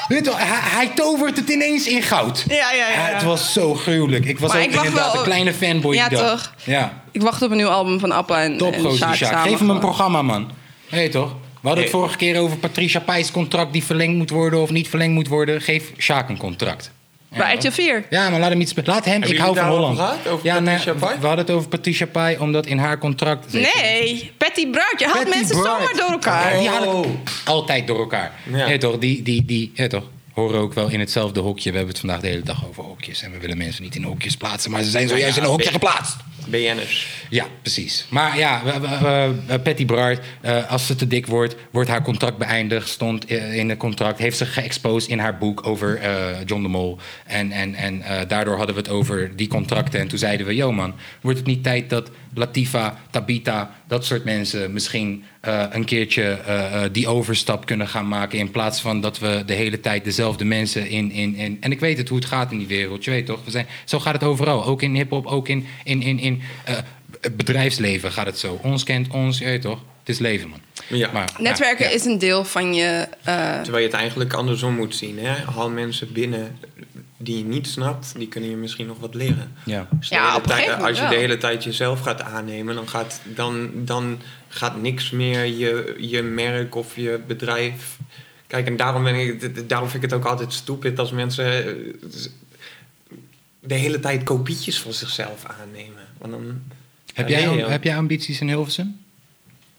S1: Weet je wel, hij, hij tovert het ineens in goud. Eh,
S2: Ja, ja, ja.
S1: het was zo gruwelijk. Ik was
S2: Maar
S1: ook
S2: ik wacht
S1: inderdaad
S2: wel-
S1: een kleine fanboy.
S2: Ja,
S1: die dag.
S2: toch?
S1: Ja,
S2: Ik wacht op een nieuw album van Appa en,
S1: top
S2: en
S1: gozer,
S2: Sjaak
S1: Sjaak.
S2: samen.
S1: Geef hem een programma, man. Hé, toch? We hadden het
S3: Hey.
S1: vorige keer over Patricia Pijs contract die verlengd moet worden of niet verlengd moet worden. Geef Sjaak een contract.
S2: Bij RTL 4.
S1: Ja, maar laat hem iets... be- Laat hem, ik
S3: jullie
S1: hou van
S3: daarover
S1: Holland.
S3: gehad? Over
S1: ja,
S3: Patricia
S1: we-
S3: Pai?
S1: we hadden het over Patricia Pai omdat in haar contract...
S2: Nee, Patty Bruid. Je haalt
S1: Patty
S2: mensen
S1: Bright.
S2: zomaar door elkaar.
S1: Ja, die haal
S3: Oh.
S1: ik altijd door elkaar.
S3: Ja.
S1: Ja. toch, die, die, die ja, toch, horen ook wel in
S3: Nou
S1: hetzelfde hokje. We hebben het vandaag de hele dag over hokjes. En we willen mensen niet in hokjes plaatsen, maar ze zijn zojuist in een hokje geplaatst.
S3: BN'ers.
S1: Ja, precies. Maar ja, we- we- we- eh, Patty Bart, eh, als ze te dik wordt, wordt haar contract beëindigd. Stond eh, in het contract, heeft ze geëxposed in haar boek over eh, John de Mol. En, en, en eh, daardoor hadden we het over die contracten. En toen zeiden we, yo man, wordt het niet tijd dat Latifa, Tabita, dat soort mensen misschien eh, een keertje eh, eh, die overstap kunnen gaan maken. In plaats van dat we de hele tijd dezelfde mensen in. in, in en ik weet het hoe het gaat in die wereld. Je weet toch? We zijn, zo gaat het overal. Ook in hip-hop, ook in, in, in, in eh, het bedrijfsleven gaat het zo. Ons kent ons, je weet toch? Het is leven, man.
S3: Ja.
S2: Netwerken
S1: ja.
S2: is een deel van je. eh,
S3: Terwijl je het eigenlijk andersom moet zien. Hè? Haal mensen binnen die je niet snapt, die kunnen je misschien nog wat leren.
S1: Ja.
S3: Als je
S2: Ja,
S3: de hele
S2: op een
S3: tijd-
S2: gegeven
S3: Als je
S2: moment
S3: de
S2: wel.
S3: hele tijd jezelf gaat aannemen, dan gaat, dan, dan gaat niks meer je, je merk of je bedrijf. Kijk, en daarom, ben ik, d- d- daarom vind ik het ook altijd stupid als mensen eh, z- de hele tijd kopietjes van zichzelf aannemen. Want dan,
S1: Heb,
S3: Ja,
S1: jij,
S3: nee,
S1: am-
S3: joh.
S1: heb jij ambities in Hilversum?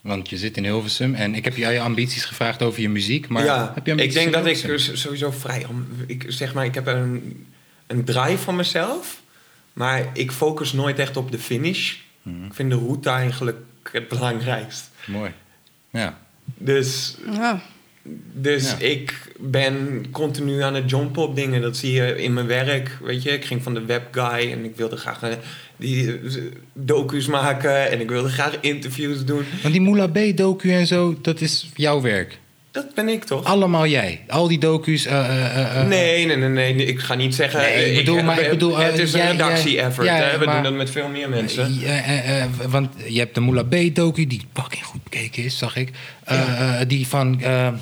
S1: Want je zit in Hilversum en ik heb jou je ambities gevraagd over je muziek. Maar
S3: ja,
S1: heb je
S3: ik
S1: ambities
S3: denk
S1: in
S3: dat ik
S1: Hilversum?
S3: s- sowieso vrij... am- Ik, zeg maar, ik heb een, een drive van mezelf. Maar ik focus nooit echt op de finish.
S1: Mhm.
S3: Ik vind de route eigenlijk het belangrijkst.
S1: Mooi. Ja.
S3: Dus,
S2: ja.
S3: dus
S1: Ja.
S3: ik ben continu aan het jumpen op dingen. Dat zie je in mijn werk. Weet je, ik ging van de webguy en ik wilde graag eh, die eh, docu's maken. En ik wilde graag interviews doen.
S1: Want die Moula B-docu en zo, dat is jouw werk.
S3: Dat ben ik toch?
S1: Allemaal jij. Al die docu's. eh, eh, eh, eh.
S3: Nee, nee, nee, nee, nee, ik ga niet zeggen.
S1: Nee, ik bedoel, maar ik bedoel, eh,
S3: het is een
S1: jij- jij-
S3: redactie-effort.
S1: ja,
S3: hè? We
S1: maar-
S3: doen dat met veel meer mensen.
S1: Eh, eh, eh, want je hebt de Moula B-docu, die fucking goed bekeken is, zag ik. Eh, eh, die van eh,
S3: Maar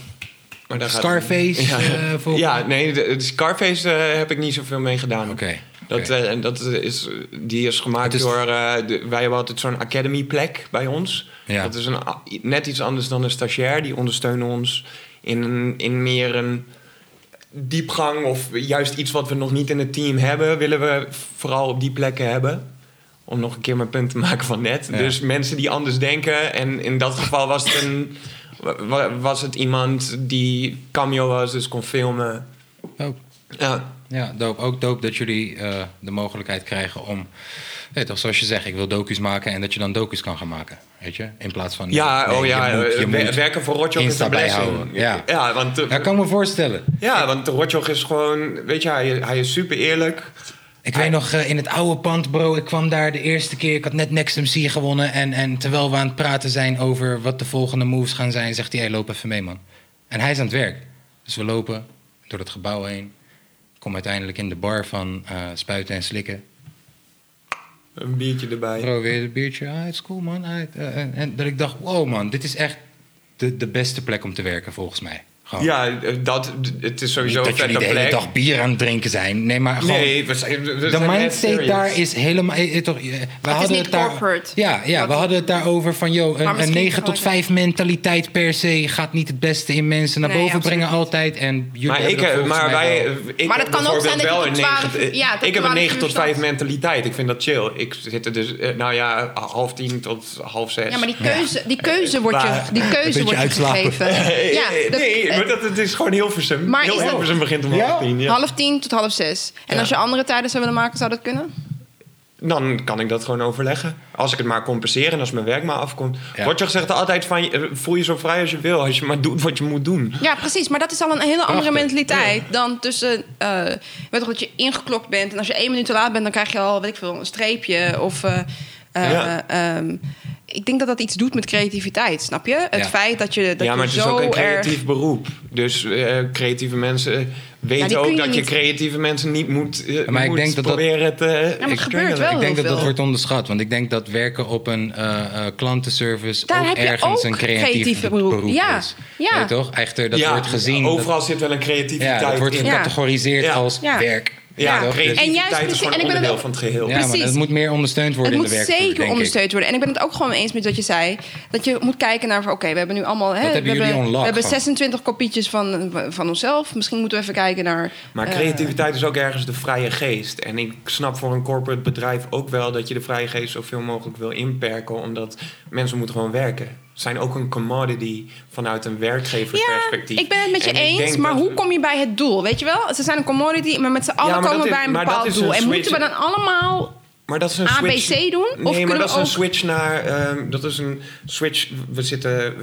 S3: daar gaat-
S1: Scarface.
S3: Ja,
S1: eh, volgens-
S3: ja nee, de, de Scarface eh, heb ik niet zoveel mee gedaan.
S1: Oké,
S3: Dat,
S1: oké.
S3: eh, en dat is, die is gemaakt
S1: Het is-
S3: door... eh, de- wij hebben altijd zo'n academy plek bij ons.
S1: Ja.
S3: Dat is een, a- net iets anders dan een stagiair. Die ondersteunen ons in, een- in meer een diepgang... of juist iets wat we nog niet in het team hebben... willen we vooral op die plekken hebben. Om nog een keer mijn punt te maken van net.
S1: Ja.
S3: Dus mensen die anders denken. En in dat geval was het, een, wa- was het iemand die cameo was, dus kon filmen.
S1: Dope.
S3: Ja.
S1: Ja, dope. Ook dope dat jullie eh, de mogelijkheid krijgen om... Weet toch, zoals je zegt, ik wil docu's maken en dat je dan docu's kan gaan maken. Weet je? In plaats van...
S3: Ja,
S1: nee,
S3: oh
S1: je
S3: ja,
S1: moet- je
S3: eh, wer-
S1: moet-
S3: werken voor Rotjoch is
S1: Insta
S3: een blessing.
S1: bijhouden, ja.
S3: ja, want, eh,
S1: Ja, kan me voorstellen.
S3: ja, want Rotjoch is gewoon, weet je, hij, hij is super eerlijk.
S1: Ik weet nog, eh, in het oude pand, bro, ik kwam daar de eerste keer. Ik had net Next MC gewonnen. En, en terwijl we aan het praten zijn over wat de volgende moves gaan zijn, zegt hij: hey, loop even mee, man. En hij is aan het werk. Dus we lopen door het gebouw heen. Kom uiteindelijk in de bar van eh, Spuiten en Slikken.
S3: Een biertje erbij.
S1: Bro, weer een biertje. Ah, het is cool, man. Ah, het- eh, en, en dat ik dacht: wow, man, dit is echt de, de beste plek om te werken, volgens mij. Gewoon.
S3: Ja, eh, dat, het is
S1: Niet
S3: sowieso een
S1: dat jullie
S3: vette
S1: de hele
S3: plek.
S1: dag bier aan het drinken zijn. Nee, maar gewoon.
S3: Nee, we zijn, we
S1: De
S3: zijn net
S1: mindset
S3: serious.
S1: daar is helemaal. eh, eh, toch, eh, we hadden
S2: niet
S1: het daar,
S2: corporate.
S1: Ja, ja we
S2: Dat-
S1: hadden het daarover van. Yo, een, een
S2: misschien
S1: 9 tot
S2: gewoon-
S1: 5 mentaliteit per se gaat niet het beste in mensen naar
S2: Nee,
S1: boven
S2: absoluut
S1: brengen, altijd. En jullie
S3: Maar,
S1: hebben
S3: ik,
S1: dat
S3: eh,
S1: volgens
S3: maar,
S1: mij
S3: wij,
S1: wel.
S3: ik
S2: Maar
S3: heb
S2: dat kan ook zijn dat je
S3: bijvoorbeeld
S2: tot
S3: wel een
S2: 12
S3: negen-
S2: ja, tot
S3: ik heb een
S2: 12
S3: 9 tot
S2: uur staat.
S3: 5 mentaliteit. Ik vind dat chill. Ik zit er dus, eh, nou ja, half tien tot half zes.
S2: Ja, maar die keuze, die keuze wordt je,
S1: [LAUGHS]
S3: Maar-
S2: die keuze
S1: Eh, beetje
S2: wordt je
S1: uitslapen. [LAUGHS]
S2: gegeven.
S3: Eh,
S2: Ja,
S3: eh,
S2: de-
S3: [LAUGHS] nee,
S2: eh,
S3: maar dat, het is gewoon heel versum.
S2: Maar
S3: Heel
S2: is dat-
S3: Hilversum begint om half tien. Ja.
S2: half tien tot half zes. En
S3: Ja.
S2: als je andere tijden zou willen maken, zou dat kunnen?
S3: Dan kan ik dat gewoon overleggen. Als ik het maar compenseer en als mijn werk maar afkomt.
S1: Ja.
S3: Wordt je gezegd altijd van, je- eh, voel je zo vrij als je wil. Als je maar doet wat je moet doen.
S2: Ja, precies. Maar dat is al een hele andere
S1: Prachtig.
S2: mentaliteit dan tussen... eh, weet toch, dat je ingeklokt bent. En als je één minuut te laat bent, dan krijg je al, weet ik veel, een streepje. Of... eh, eh,
S3: Ja.
S2: ehm, ik denk dat dat iets doet met creativiteit, snap je? Het
S1: Ja.
S2: feit dat je, dat
S3: ja, maar
S2: je
S3: het is
S2: zo
S3: ook een
S2: erg...
S3: creatief beroep. Dus eh, creatieve mensen weten
S2: die kun
S3: ook
S2: je
S3: dat je
S2: niet-
S3: creatieve mensen niet moet, eh,
S1: Maar ik
S3: moet
S1: denk dat dat-
S3: proberen het te
S2: maar het gebeurt wel.
S1: Ik denk
S2: heel
S1: dat dat
S2: veel.
S1: wordt onderschat. Want ik denk dat werken op een eh, eh, klantenservice
S2: Daar
S1: ook
S2: heb je
S1: ergens
S2: ook
S1: een creatief
S2: creatieve
S1: beroep,
S2: beroep. Ja,
S1: is.
S2: ja.
S1: Weet toch? Echter, dat
S3: ja,
S1: wordt gezien. dat-
S3: Overal zit wel een
S1: ja,
S3: creativiteit
S1: dat wordt
S3: in.
S2: Ja.
S1: gecategoriseerd
S3: Ja.
S1: als
S2: Ja.
S1: werk.
S3: Ja,
S2: Ja,
S1: Toch? Dus-
S2: creatief. En juist
S3: creativiteit is
S2: precies,
S3: gewoon
S2: en ik ben
S3: onderdeel
S2: ook-
S3: van het geheel.
S1: Ja, maar
S2: Precies.
S1: het moet meer ondersteund worden
S2: Het
S1: in
S2: moet
S1: de werkvloer,
S2: zeker
S1: denk ik.
S2: ondersteund worden. En ik ben het ook gewoon eens met wat je zei. Dat je moet kijken naar, van, oké, we hebben nu allemaal... Hè,
S1: Dat hebben
S2: we,
S1: jullie
S2: hebben,
S1: unlocked
S2: we hebben
S1: van.
S2: 26 kopietjes van, van onszelf. Misschien moeten we even kijken naar...
S3: Maar
S2: eh,
S3: creativiteit is ook ergens de vrije geest. En ik snap voor een corporate bedrijf ook wel dat je de vrije geest zoveel mogelijk wil inperken. Omdat mensen moeten gewoon werken. Ze zijn ook een commodity vanuit een werkgeversperspectief.
S2: Ja, ik ben het met je
S3: En ik
S2: eens,
S3: denk
S2: maar
S3: dat-
S2: hoe kom je bij het doel? Weet je wel, ze zijn een commodity, maar met z'n allen
S3: maar dat
S2: komen we
S3: is-
S2: bij een
S3: maar dat
S2: bepaald
S3: is een
S2: doel. En
S3: switch-
S2: moeten we dan allemaal
S3: Maar dat is een
S2: ABC
S3: switch.
S2: doen? Of
S3: nee,
S2: kunnen
S3: maar
S2: we
S3: dat is een
S2: ook-
S3: switch naar. ehm, dat is een switch. We zitten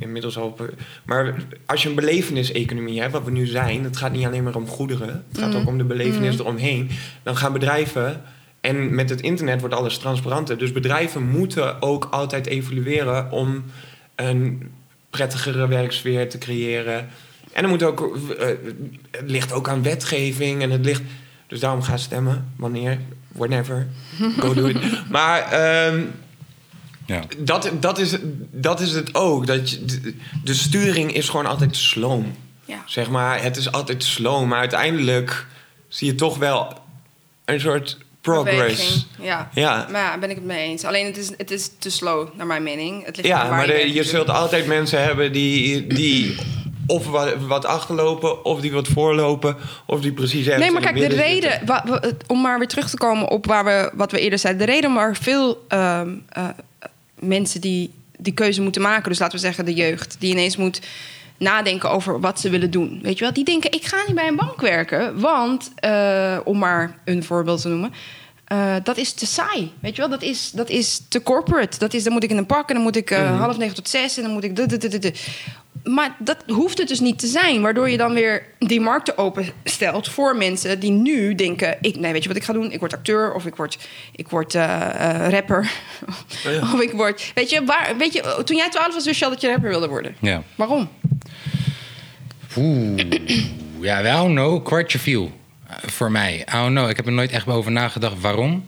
S3: inmiddels al. op- Maar als je een beleveniseconomie hebt, wat we nu zijn, het gaat niet alleen maar om goederen. Het gaat ook om de belevenis eromheen. Dan gaan bedrijven. En met het internet wordt alles transparanter. Dus bedrijven moeten ook altijd evalueren om een prettigere werksfeer te creëren. En er moet ook, eh, het ligt ook aan wetgeving en het ligt. Dus daarom ga stemmen. Wanneer, whenever, go do it. Maar ehm,
S1: Ja.
S3: dat, dat, is, dat is het ook. Dat je, de- de sturing is gewoon altijd sloom.
S2: Ja.
S3: Zeg maar, het is altijd sloom. Maar uiteindelijk zie je toch wel een soort progress.
S2: Beweging, Ja.
S3: Ja.
S2: Maar ja, ben ik het mee eens. Alleen het is, het is te slow, naar mijn mening. Het ligt
S3: Ja,
S2: aan waar
S3: maar de-
S2: bent
S3: je
S2: natuurlijk.
S3: zult altijd mensen hebben die, die of wat, wat achterlopen, of die wat voorlopen, of die precies ergens
S2: Nee, maar
S3: in het
S2: kijk, de
S3: midden zitten.
S2: reden, wa- wa- het- om maar weer terug te komen op waar we, wat we eerder zeiden. De reden waar veel ehm, eh, mensen die die keuze moeten maken, dus laten we zeggen de jeugd, die ineens moet nadenken over wat ze willen doen. Weet je wel, die denken: ik ga niet bij een bank werken, want, eh, om maar een voorbeeld te noemen. eh, dat is te saai, weet je wel? Dat is, dat is te corporate. Dat is, dan moet ik in een pak en dan moet ik eh, half negen tot zes en dan moet ik... dit, dit, dit, dit, dit. Maar dat hoeft het dus niet te zijn. Waardoor je dan weer die markten openstelt voor mensen die nu denken... Ik, nee, weet je wat ik ga doen? Ik word acteur of ik word, ik word eh, eh, rapper. Of ik word... Weet je, waar, weet je, oh, toen jij twaalf was, wist je al dat je rapper wilde worden.
S1: Ja.
S2: Waarom?
S1: Oeh. Ja, I don't know. Kwartje viel. Eh, Voor mij. I don't know. Ik heb er nooit echt over nagedacht waarom.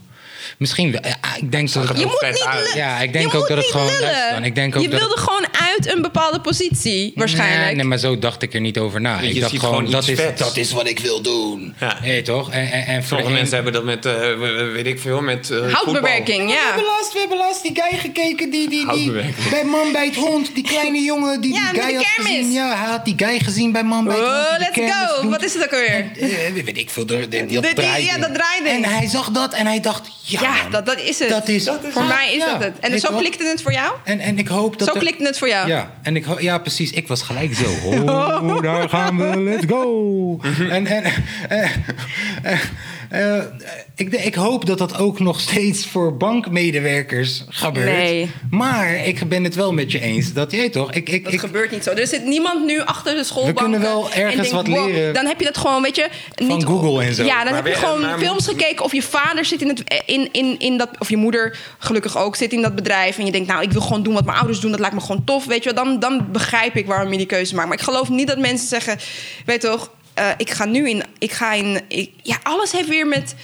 S1: Misschien wel. Eh, ah, Ik denk dat...
S2: Je moet
S3: vet
S2: niet
S3: uit.
S2: lullen.
S1: Ja, ik denk
S2: Je
S1: ook
S2: moet
S1: dat het
S2: niet
S1: gewoon
S2: lullen.
S1: luistert dan. Ik denk ook
S2: je
S1: dat
S2: wilde gewoon uit een bepaalde positie, waarschijnlijk.
S1: Nee, nee, maar zo dacht ik er niet over na.
S3: Je
S1: Ik dacht
S3: ziet
S1: gewoon,
S3: gewoon
S1: dat,
S3: iets
S1: is,
S3: vets.
S1: dat is wat ik wil doen.
S3: Ja.
S1: Nee, toch? En, en, en voor de
S3: Sommige
S1: een-
S3: mensen hebben dat met, eh, weet ik veel, met eh,
S2: Houtbewerking,
S4: We
S2: ja.
S4: hebben laatst, we hebben laatst die guy gekeken, die, die, die
S3: Houtbewerking.
S4: bij Man bij het Hond, die kleine jongen die
S2: Ja,
S4: die
S2: met
S4: guy
S2: de
S4: had
S2: kermis.
S4: gezien. Ja, hij had die guy gezien bij Man bij het Hond.
S2: Oh,
S4: die de
S2: let's
S4: kermis
S2: go.
S4: doet.
S2: Wat is het ook alweer?
S4: Eh, weet ik veel, de, de, die
S2: De-
S4: had
S2: die-
S4: draaiding.
S2: ja, dat draaiding.
S4: En hij zag dat en hij dacht, ja,
S2: Ja,
S4: man,
S2: dat, dat is het.
S4: dat is
S2: voor mij is
S4: Ja,
S2: dat het. En
S4: weet
S2: zo
S4: je wat?
S2: klikte het voor jou?
S1: En, en ik hoop dat...
S2: Zo
S1: er-
S2: klikte het voor jou?
S1: Ja, en ik, ho- ja, precies. Ik was gelijk zo.
S2: [LAUGHS]
S1: Oh, daar gaan we, let's go. En, en eh, eh, eh, eh, ik, de- ik hoop dat dat ook nog steeds voor bankmedewerkers gebeurt.
S2: Nee.
S1: Maar ik ben het wel met je eens. Dat jij toch? Ik, ik,
S2: Dat
S1: ik,
S2: gebeurt niet zo. Er zit niemand nu achter de schoolbanken.
S1: kunnen wel
S2: en
S1: ergens
S2: denkt,
S1: wat
S2: wow,
S1: leren
S2: Dan heb je dat gewoon, weet je...
S1: Van Google en zo.
S2: Ja, dan
S1: Maar
S2: heb je
S3: weer-
S2: gewoon
S3: maar-
S2: films gekeken. Of je vader zit in, het, in, in, in dat... Of je moeder, gelukkig ook, zit in dat bedrijf. En je denkt, nou, ik wil gewoon doen wat mijn ouders doen. Dat lijkt me gewoon tof, weet je wel. Dan, dan begrijp ik waarom je die keuze maakt. Maar ik geloof niet dat mensen zeggen... Weet toch, eh, ik ga nu in... Ik ga in ik, ja, alles heeft weer met...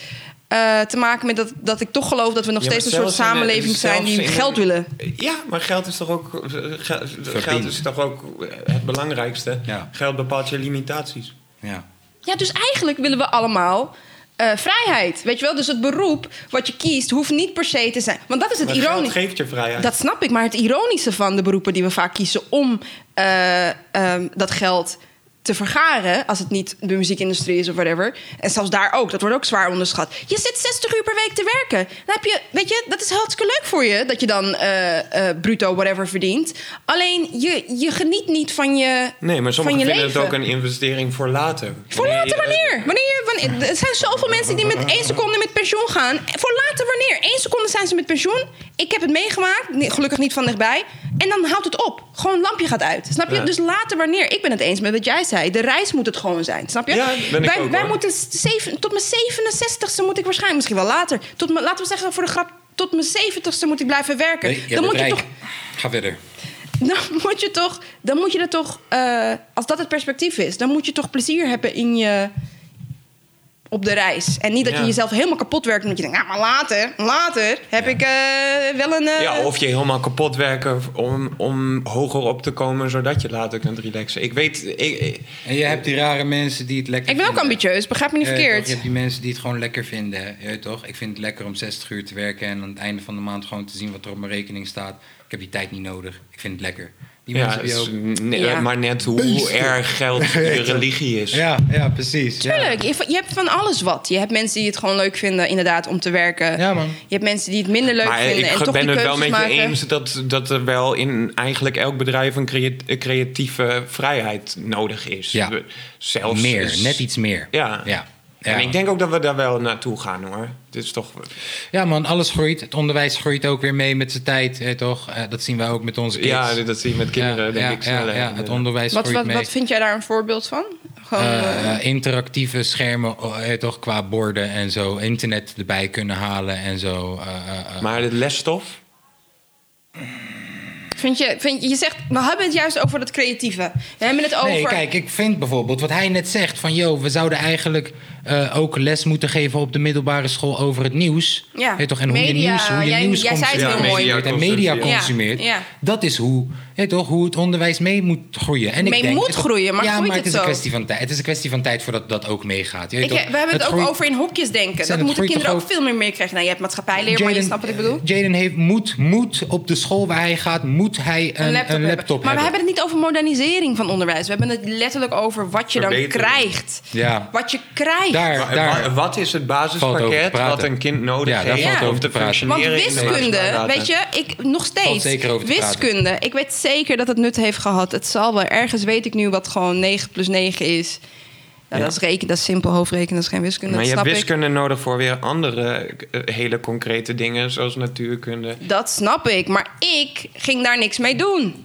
S2: eh, te maken met dat, dat ik toch geloof dat we nog
S3: Ja,
S2: steeds een
S3: maar
S2: soort
S3: zelfs in de-
S2: samenleving zijn
S3: zelfs
S2: die
S3: in de-
S2: geld willen.
S3: Ja, maar geld is toch ook, eh, geld, geld is toch ook eh, het belangrijkste.
S1: Ja.
S3: Geld bepaalt je limitaties.
S1: ja.
S2: Ja, dus eigenlijk willen we allemaal eh, vrijheid. Weet je wel? Dus het beroep wat je kiest hoeft niet per se te zijn. Want dat is het
S3: Maar geld
S2: ironische.
S3: geeft je vrijheid.
S2: Dat snap ik, maar het ironische van de beroepen die we vaak kiezen om eh, ehm, dat geld te vergaren, als het niet de muziekindustrie is of whatever. En zelfs daar ook, dat wordt ook zwaar onderschat. Je zit 60 uur per week te werken. Dan heb je, weet je, dat is hartstikke leuk voor je, dat je dan eh, eh, bruto whatever verdient. Alleen je, je geniet niet van je.
S3: Nee, maar sommigen
S2: van je
S3: vinden
S2: leven.
S3: het ook een investering voor later.
S2: Voor later
S3: Nee, eh,
S2: wanneer? wanneer? wanneer? Er zijn zoveel mensen die met één seconde met pensioen gaan. Voor later wanneer? Eén seconde zijn ze met pensioen. Ik heb het meegemaakt, nee, gelukkig niet van dichtbij. En dan houdt het op. Gewoon een lampje gaat uit. Snap je?
S3: Ja.
S2: Dus later wanneer? Ik ben het eens met wat jij zei. De reis moet het gewoon zijn. Snap je?
S3: Ja, ben ik
S2: wij
S3: ook,
S2: wij
S3: hoor.
S2: moeten zeven, tot mijn 67ste moet ik waarschijnlijk, misschien wel later. Tot mijn, laten we zeggen voor de grap, tot mijn 70ste moet ik blijven werken.
S1: Nee, jij
S2: dan,
S1: bent
S2: moet je
S1: rijk.
S2: toch,
S1: Ga verder.
S2: [LAUGHS] dan moet je toch, dan moet je dat toch, eh, als dat het perspectief is, dan moet je toch plezier hebben in je, op de reis. En niet dat je
S3: Ja.
S2: jezelf helemaal kapot werkt omdat je denkt, nou, maar later, later heb ik eh, wel een. eh,
S3: Ja, of je helemaal kapot werken om, om hoger op te komen, zodat je later kunt relaxen. Ik weet, ik- ik,
S1: En je hebt die rare mensen die het lekker
S2: Ik ben ook
S1: vinden.
S2: ambitieus, begrijp me niet
S1: Ja, Eh, toch,
S2: verkeerd.
S1: Je hebt die mensen die het gewoon lekker vinden. hè. Je weet toch? Ik vind het lekker om 60 uur te werken en aan het einde van de maand gewoon te zien wat er op mijn rekening staat. Ik heb die tijd niet nodig. Ik vind het lekker. Die
S3: ja,
S1: mensen heb je
S3: is-
S1: ook.
S3: nee,
S2: Ja.
S3: maar net hoe
S1: [LAUGHS]
S3: erg geld je religie is.
S1: Ja, ja, precies. ja.
S2: Tuurlijk, je, je hebt van alles wat. Je hebt mensen die het gewoon leuk vinden, inderdaad, om te werken.
S1: Ja, man.
S2: Je hebt mensen die het minder leuk
S3: Maar
S2: vinden.
S3: ik
S2: en toch
S3: ben
S2: die
S3: het wel met
S2: keuzes
S3: je
S2: maken.
S3: eens dat, dat er wel in eigenlijk elk bedrijf een crea- een creatieve vrijheid nodig is.
S1: Ja.
S3: Zelfs
S1: Meer,
S3: is-
S1: net iets meer.
S3: Ja.
S1: ja. Ja.
S3: En ik denk ook dat we daar wel naartoe gaan hoor. Het is toch.
S1: Ja, man, alles groeit. Het onderwijs groeit ook weer mee met zijn tijd, hè, toch? Eh, dat zien we ook met onze kids.
S3: Ja, dat zie je met kinderen,
S1: Ja,
S3: denk
S1: ja,
S3: ik sneller.
S1: ja, ja, het onderwijs
S2: Wat,
S1: groeit
S2: wat,
S1: mee.
S2: wat vind jij daar een voorbeeld van? Gewoon, eh,
S1: Eh, interactieve schermen, oh, eh, toch qua borden en zo. Internet erbij kunnen halen en zo. eh, eh, eh.
S3: Maar de lesstof?
S2: vind je, vind je, je zegt, we hebben het juist over dat creatieve. We hebben het over...
S1: Nee, kijk, ik vind bijvoorbeeld wat hij net zegt van... joh, we zouden eigenlijk eh, ook les moeten geven op de middelbare school over het nieuws.
S2: Ja,
S1: Hè, toch? En hoe je
S2: media,
S1: nieuws, hoe je
S2: jij-
S1: nieuws
S2: jij zei het
S1: consumeert
S2: heel mooi.
S1: en media
S3: Ja,
S1: consumeert.
S2: ja.
S1: Dat is hoe, hè, toch, hoe het onderwijs mee moet groeien. En
S2: Mee
S1: ik denk,
S2: moet
S1: het-
S2: groeien, maar
S1: ja,
S2: groeit
S1: maar het
S2: het
S1: is een
S2: zo?
S1: kwestie van tijd. Het is een kwestie van tijd voordat dat ook meegaat.
S2: Ik- we hebben het, ook over in hokjes denken.
S1: Zijn
S2: Dat
S1: het
S2: moeten
S1: groeit
S2: kinderen ook
S1: toch ook-
S2: veel meer meekrijgen. Nou, je hebt maatschappijleer, maar je
S1: Jaden-
S2: snapt wat ik bedoel.
S1: Jaden heeft, moet, moet op de school waar hij gaat, moet hij een, een laptop,
S2: hebben.
S1: hebben.
S2: Maar we hebben het niet over modernisering van onderwijs. We hebben het letterlijk over wat je dan
S3: Verbetering.
S2: krijgt.
S1: Ja.
S2: Wat je krijgt.
S1: Daar.
S3: Wa- wa- Wat is het
S1: Valt over te
S3: basispakket
S1: praten.
S3: wat een kind nodig
S1: Ja, daar
S3: heeft
S2: valt
S3: om
S1: over
S3: te
S1: te praten.
S2: Want
S3: functioneren? in de
S2: wiskunde,
S3: maatschappij?
S2: weet je, ik nog
S1: Valt
S2: steeds.
S1: zeker over te
S2: wiskunde. Ik weet zeker dat het nut heeft gehad. Het zal wel. Ergens weet ik nu wat gewoon 9 plus 9 is. Nou,
S3: Ja.
S2: dat, is reken, dat is simpel hoofdrekenen, dat is geen wiskunde.
S3: Maar
S2: dat
S3: je hebt
S2: snap ik.
S3: wiskunde nodig voor weer andere eh, hele concrete dingen, zoals natuurkunde.
S2: Dat snap ik. Maar ik ging daar niks mee doen.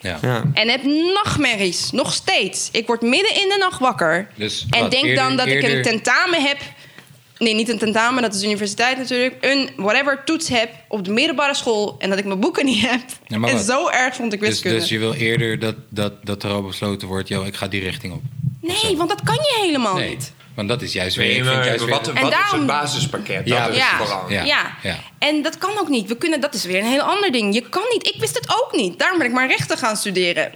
S1: Ja.
S3: Ja.
S2: En heb nachtmerries. Nog steeds. Ik word midden in de nacht wakker.
S1: Dus
S2: en
S1: wat,
S2: denk
S1: eerder-
S2: dan dat ik een
S1: eerder-
S2: tentamen heb. Nee, niet een tentamen, dat is universiteit natuurlijk. Een whatever toets heb op de middelbare school. En dat ik mijn boeken niet heb.
S1: Ja, maar
S2: [LAUGHS] en
S1: wat?
S2: zo erg vond ik
S1: Dus,
S2: wiskunde.
S1: dus je wil eerder dat, dat, dat er al besloten wordt, joh, ik ga die richting op. Of zo.
S2: Nee, want dat kan je helemaal
S1: Nee,
S2: Oh, niet.
S1: want dat is juist weer...
S3: Nee,
S1: ik vind
S3: maar
S1: juist weer-
S3: wat,
S2: En
S3: wat is
S2: daarom-
S3: het basispakket?
S1: Ja,
S3: dat is
S2: Ja.
S3: vooral.
S1: Ja.
S2: Ja.
S1: ja.
S2: En dat kan ook niet. We kunnen, dat is weer een heel ander ding. Je kan niet. Ik wist het ook niet. Daarom ben ik maar rechten gaan studeren.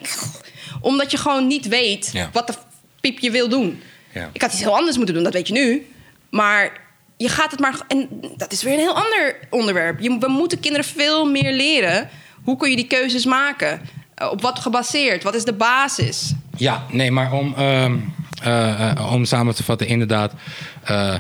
S2: Omdat je gewoon niet weet
S1: Ja.
S2: wat de piep je wil doen.
S1: Ja.
S2: Ik had iets heel anders moeten doen, dat weet je nu. Maar je gaat het maar. En dat is weer een heel ander onderwerp. Je, we moeten kinderen veel meer leren. Hoe kun je die keuzes maken? Eh, Op wat gebaseerd? Wat is de basis?
S1: Ja, nee, maar om, ehm, eh, eh, om samen te vatten, inderdaad. eh,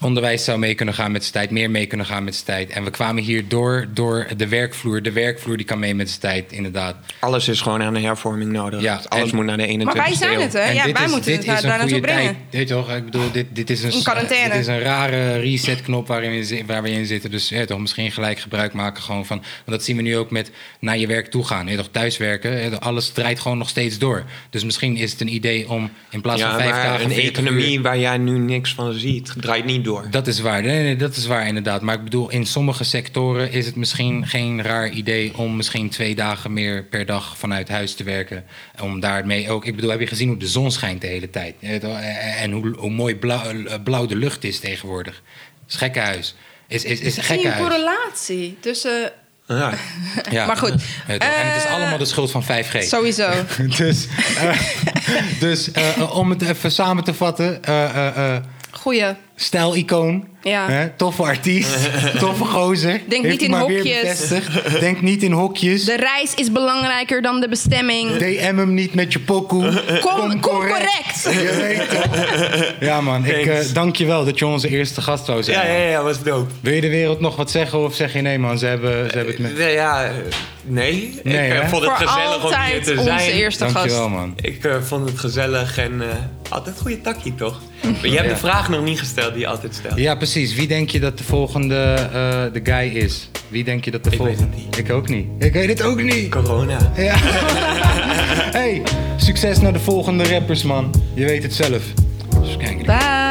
S1: onderwijs zou mee kunnen gaan met zijn tijd, meer mee kunnen gaan met zijn tijd. En we kwamen hier door, door de werkvloer. De werkvloer die kan mee met zijn tijd, inderdaad.
S3: Alles is gewoon aan de hervorming nodig.
S1: Ja,
S3: Alles
S1: en-
S3: moet naar de 21ste
S2: Maar wij zijn
S3: eeuw.
S2: het, hè?
S1: En
S2: Ja,
S1: dit
S2: wij
S1: is-
S2: moeten
S1: dit is
S2: het daar
S1: een
S2: daar naartoe
S1: goede
S2: brengen.
S1: tijd. Weet je toch, ik bedoel, dit, dit is een,
S2: In quarantaine.
S1: dit is een rare resetknop waarin we, zi- waar we in zitten. Dus ja, toch, misschien gelijk gebruik maken gewoon van... Want dat zien we nu ook met naar je werk toe gaan. Ja, toch, thuiswerken, ja, toch, alles draait gewoon nog steeds door. Dus misschien is het een idee om in plaats
S3: Ja,
S1: van vijf
S3: maar
S1: dagen...
S3: een
S1: 40 uur-
S3: economie waar jij nu niks van ziet, draait niet door.
S1: Dat is waar. Nee, nee, dat is waar inderdaad. Maar ik bedoel, in sommige sectoren is het misschien geen raar idee om misschien twee dagen meer per dag vanuit huis te werken. Om daarmee ook. Ik bedoel, heb je gezien hoe de zon schijnt de hele tijd? Je weet wel, eh, En hoe, hoe mooi blauw, eh, blauw de lucht is tegenwoordig. Is gekkenhuis. Is, is, is
S2: Zie je een
S1: gekkenhuis.
S2: correlatie tussen. eh,
S3: Ja.
S1: Ja.
S2: [LAUGHS] Maar goed.
S1: Ja, toch? en het is
S2: Eh,
S1: allemaal de schuld van 5G.
S2: Sowieso.
S1: [LAUGHS] Dus,
S2: [LAUGHS]
S1: eh, dus eh, eh, om het even samen te vatten. eh eh, eh,
S2: Goeie.
S1: stijlicoon.
S2: Ja.
S1: Hè? Toffe artiest.
S3: [LAUGHS]
S1: toffe gozer. Heeft
S2: niet
S1: hij
S2: in
S1: maar
S2: hokjes.
S1: Weer bevestigd. Denk niet in hokjes.
S2: De reis is belangrijker dan de bestemming.
S1: DM hem niet met je pokoe.
S2: Kom, kom correct.
S1: Je weet het. Ja man, ik
S3: Thanks.
S1: eh dank je wel dat je onze eerste gast zou zijn.
S3: ja, ja, ja, was dope.
S1: Wil je de wereld nog wat zeggen of zeg je nee man, ze hebben, ze hebben het met...
S3: Nee, Ja, eh, nee.
S1: Nee,
S3: ik eh,
S1: hè?
S3: vond het
S2: Voor
S3: gezellig om hier
S2: altijd
S3: te
S2: onze
S3: zijn.
S2: eerste
S1: Dank je
S2: gast.
S1: wel man.
S3: Ik eh, vond het gezellig en eh, altijd goede takkie, [LAUGHS] toch? Maar jij hebt
S1: Ja.
S3: de vraag nog niet gesteld die je altijd stelt.
S1: Ja precies, wie denk je dat de volgende eh, de guy is? Wie denk je dat de
S3: Ik weet het
S1: volgende...
S3: niet.
S1: Ik ook niet. Ik weet het ook niet.
S3: Corona.
S1: Ja. hey, succes naar de volgende rappers, man. Je weet het zelf. Dus kijk,
S2: Bye.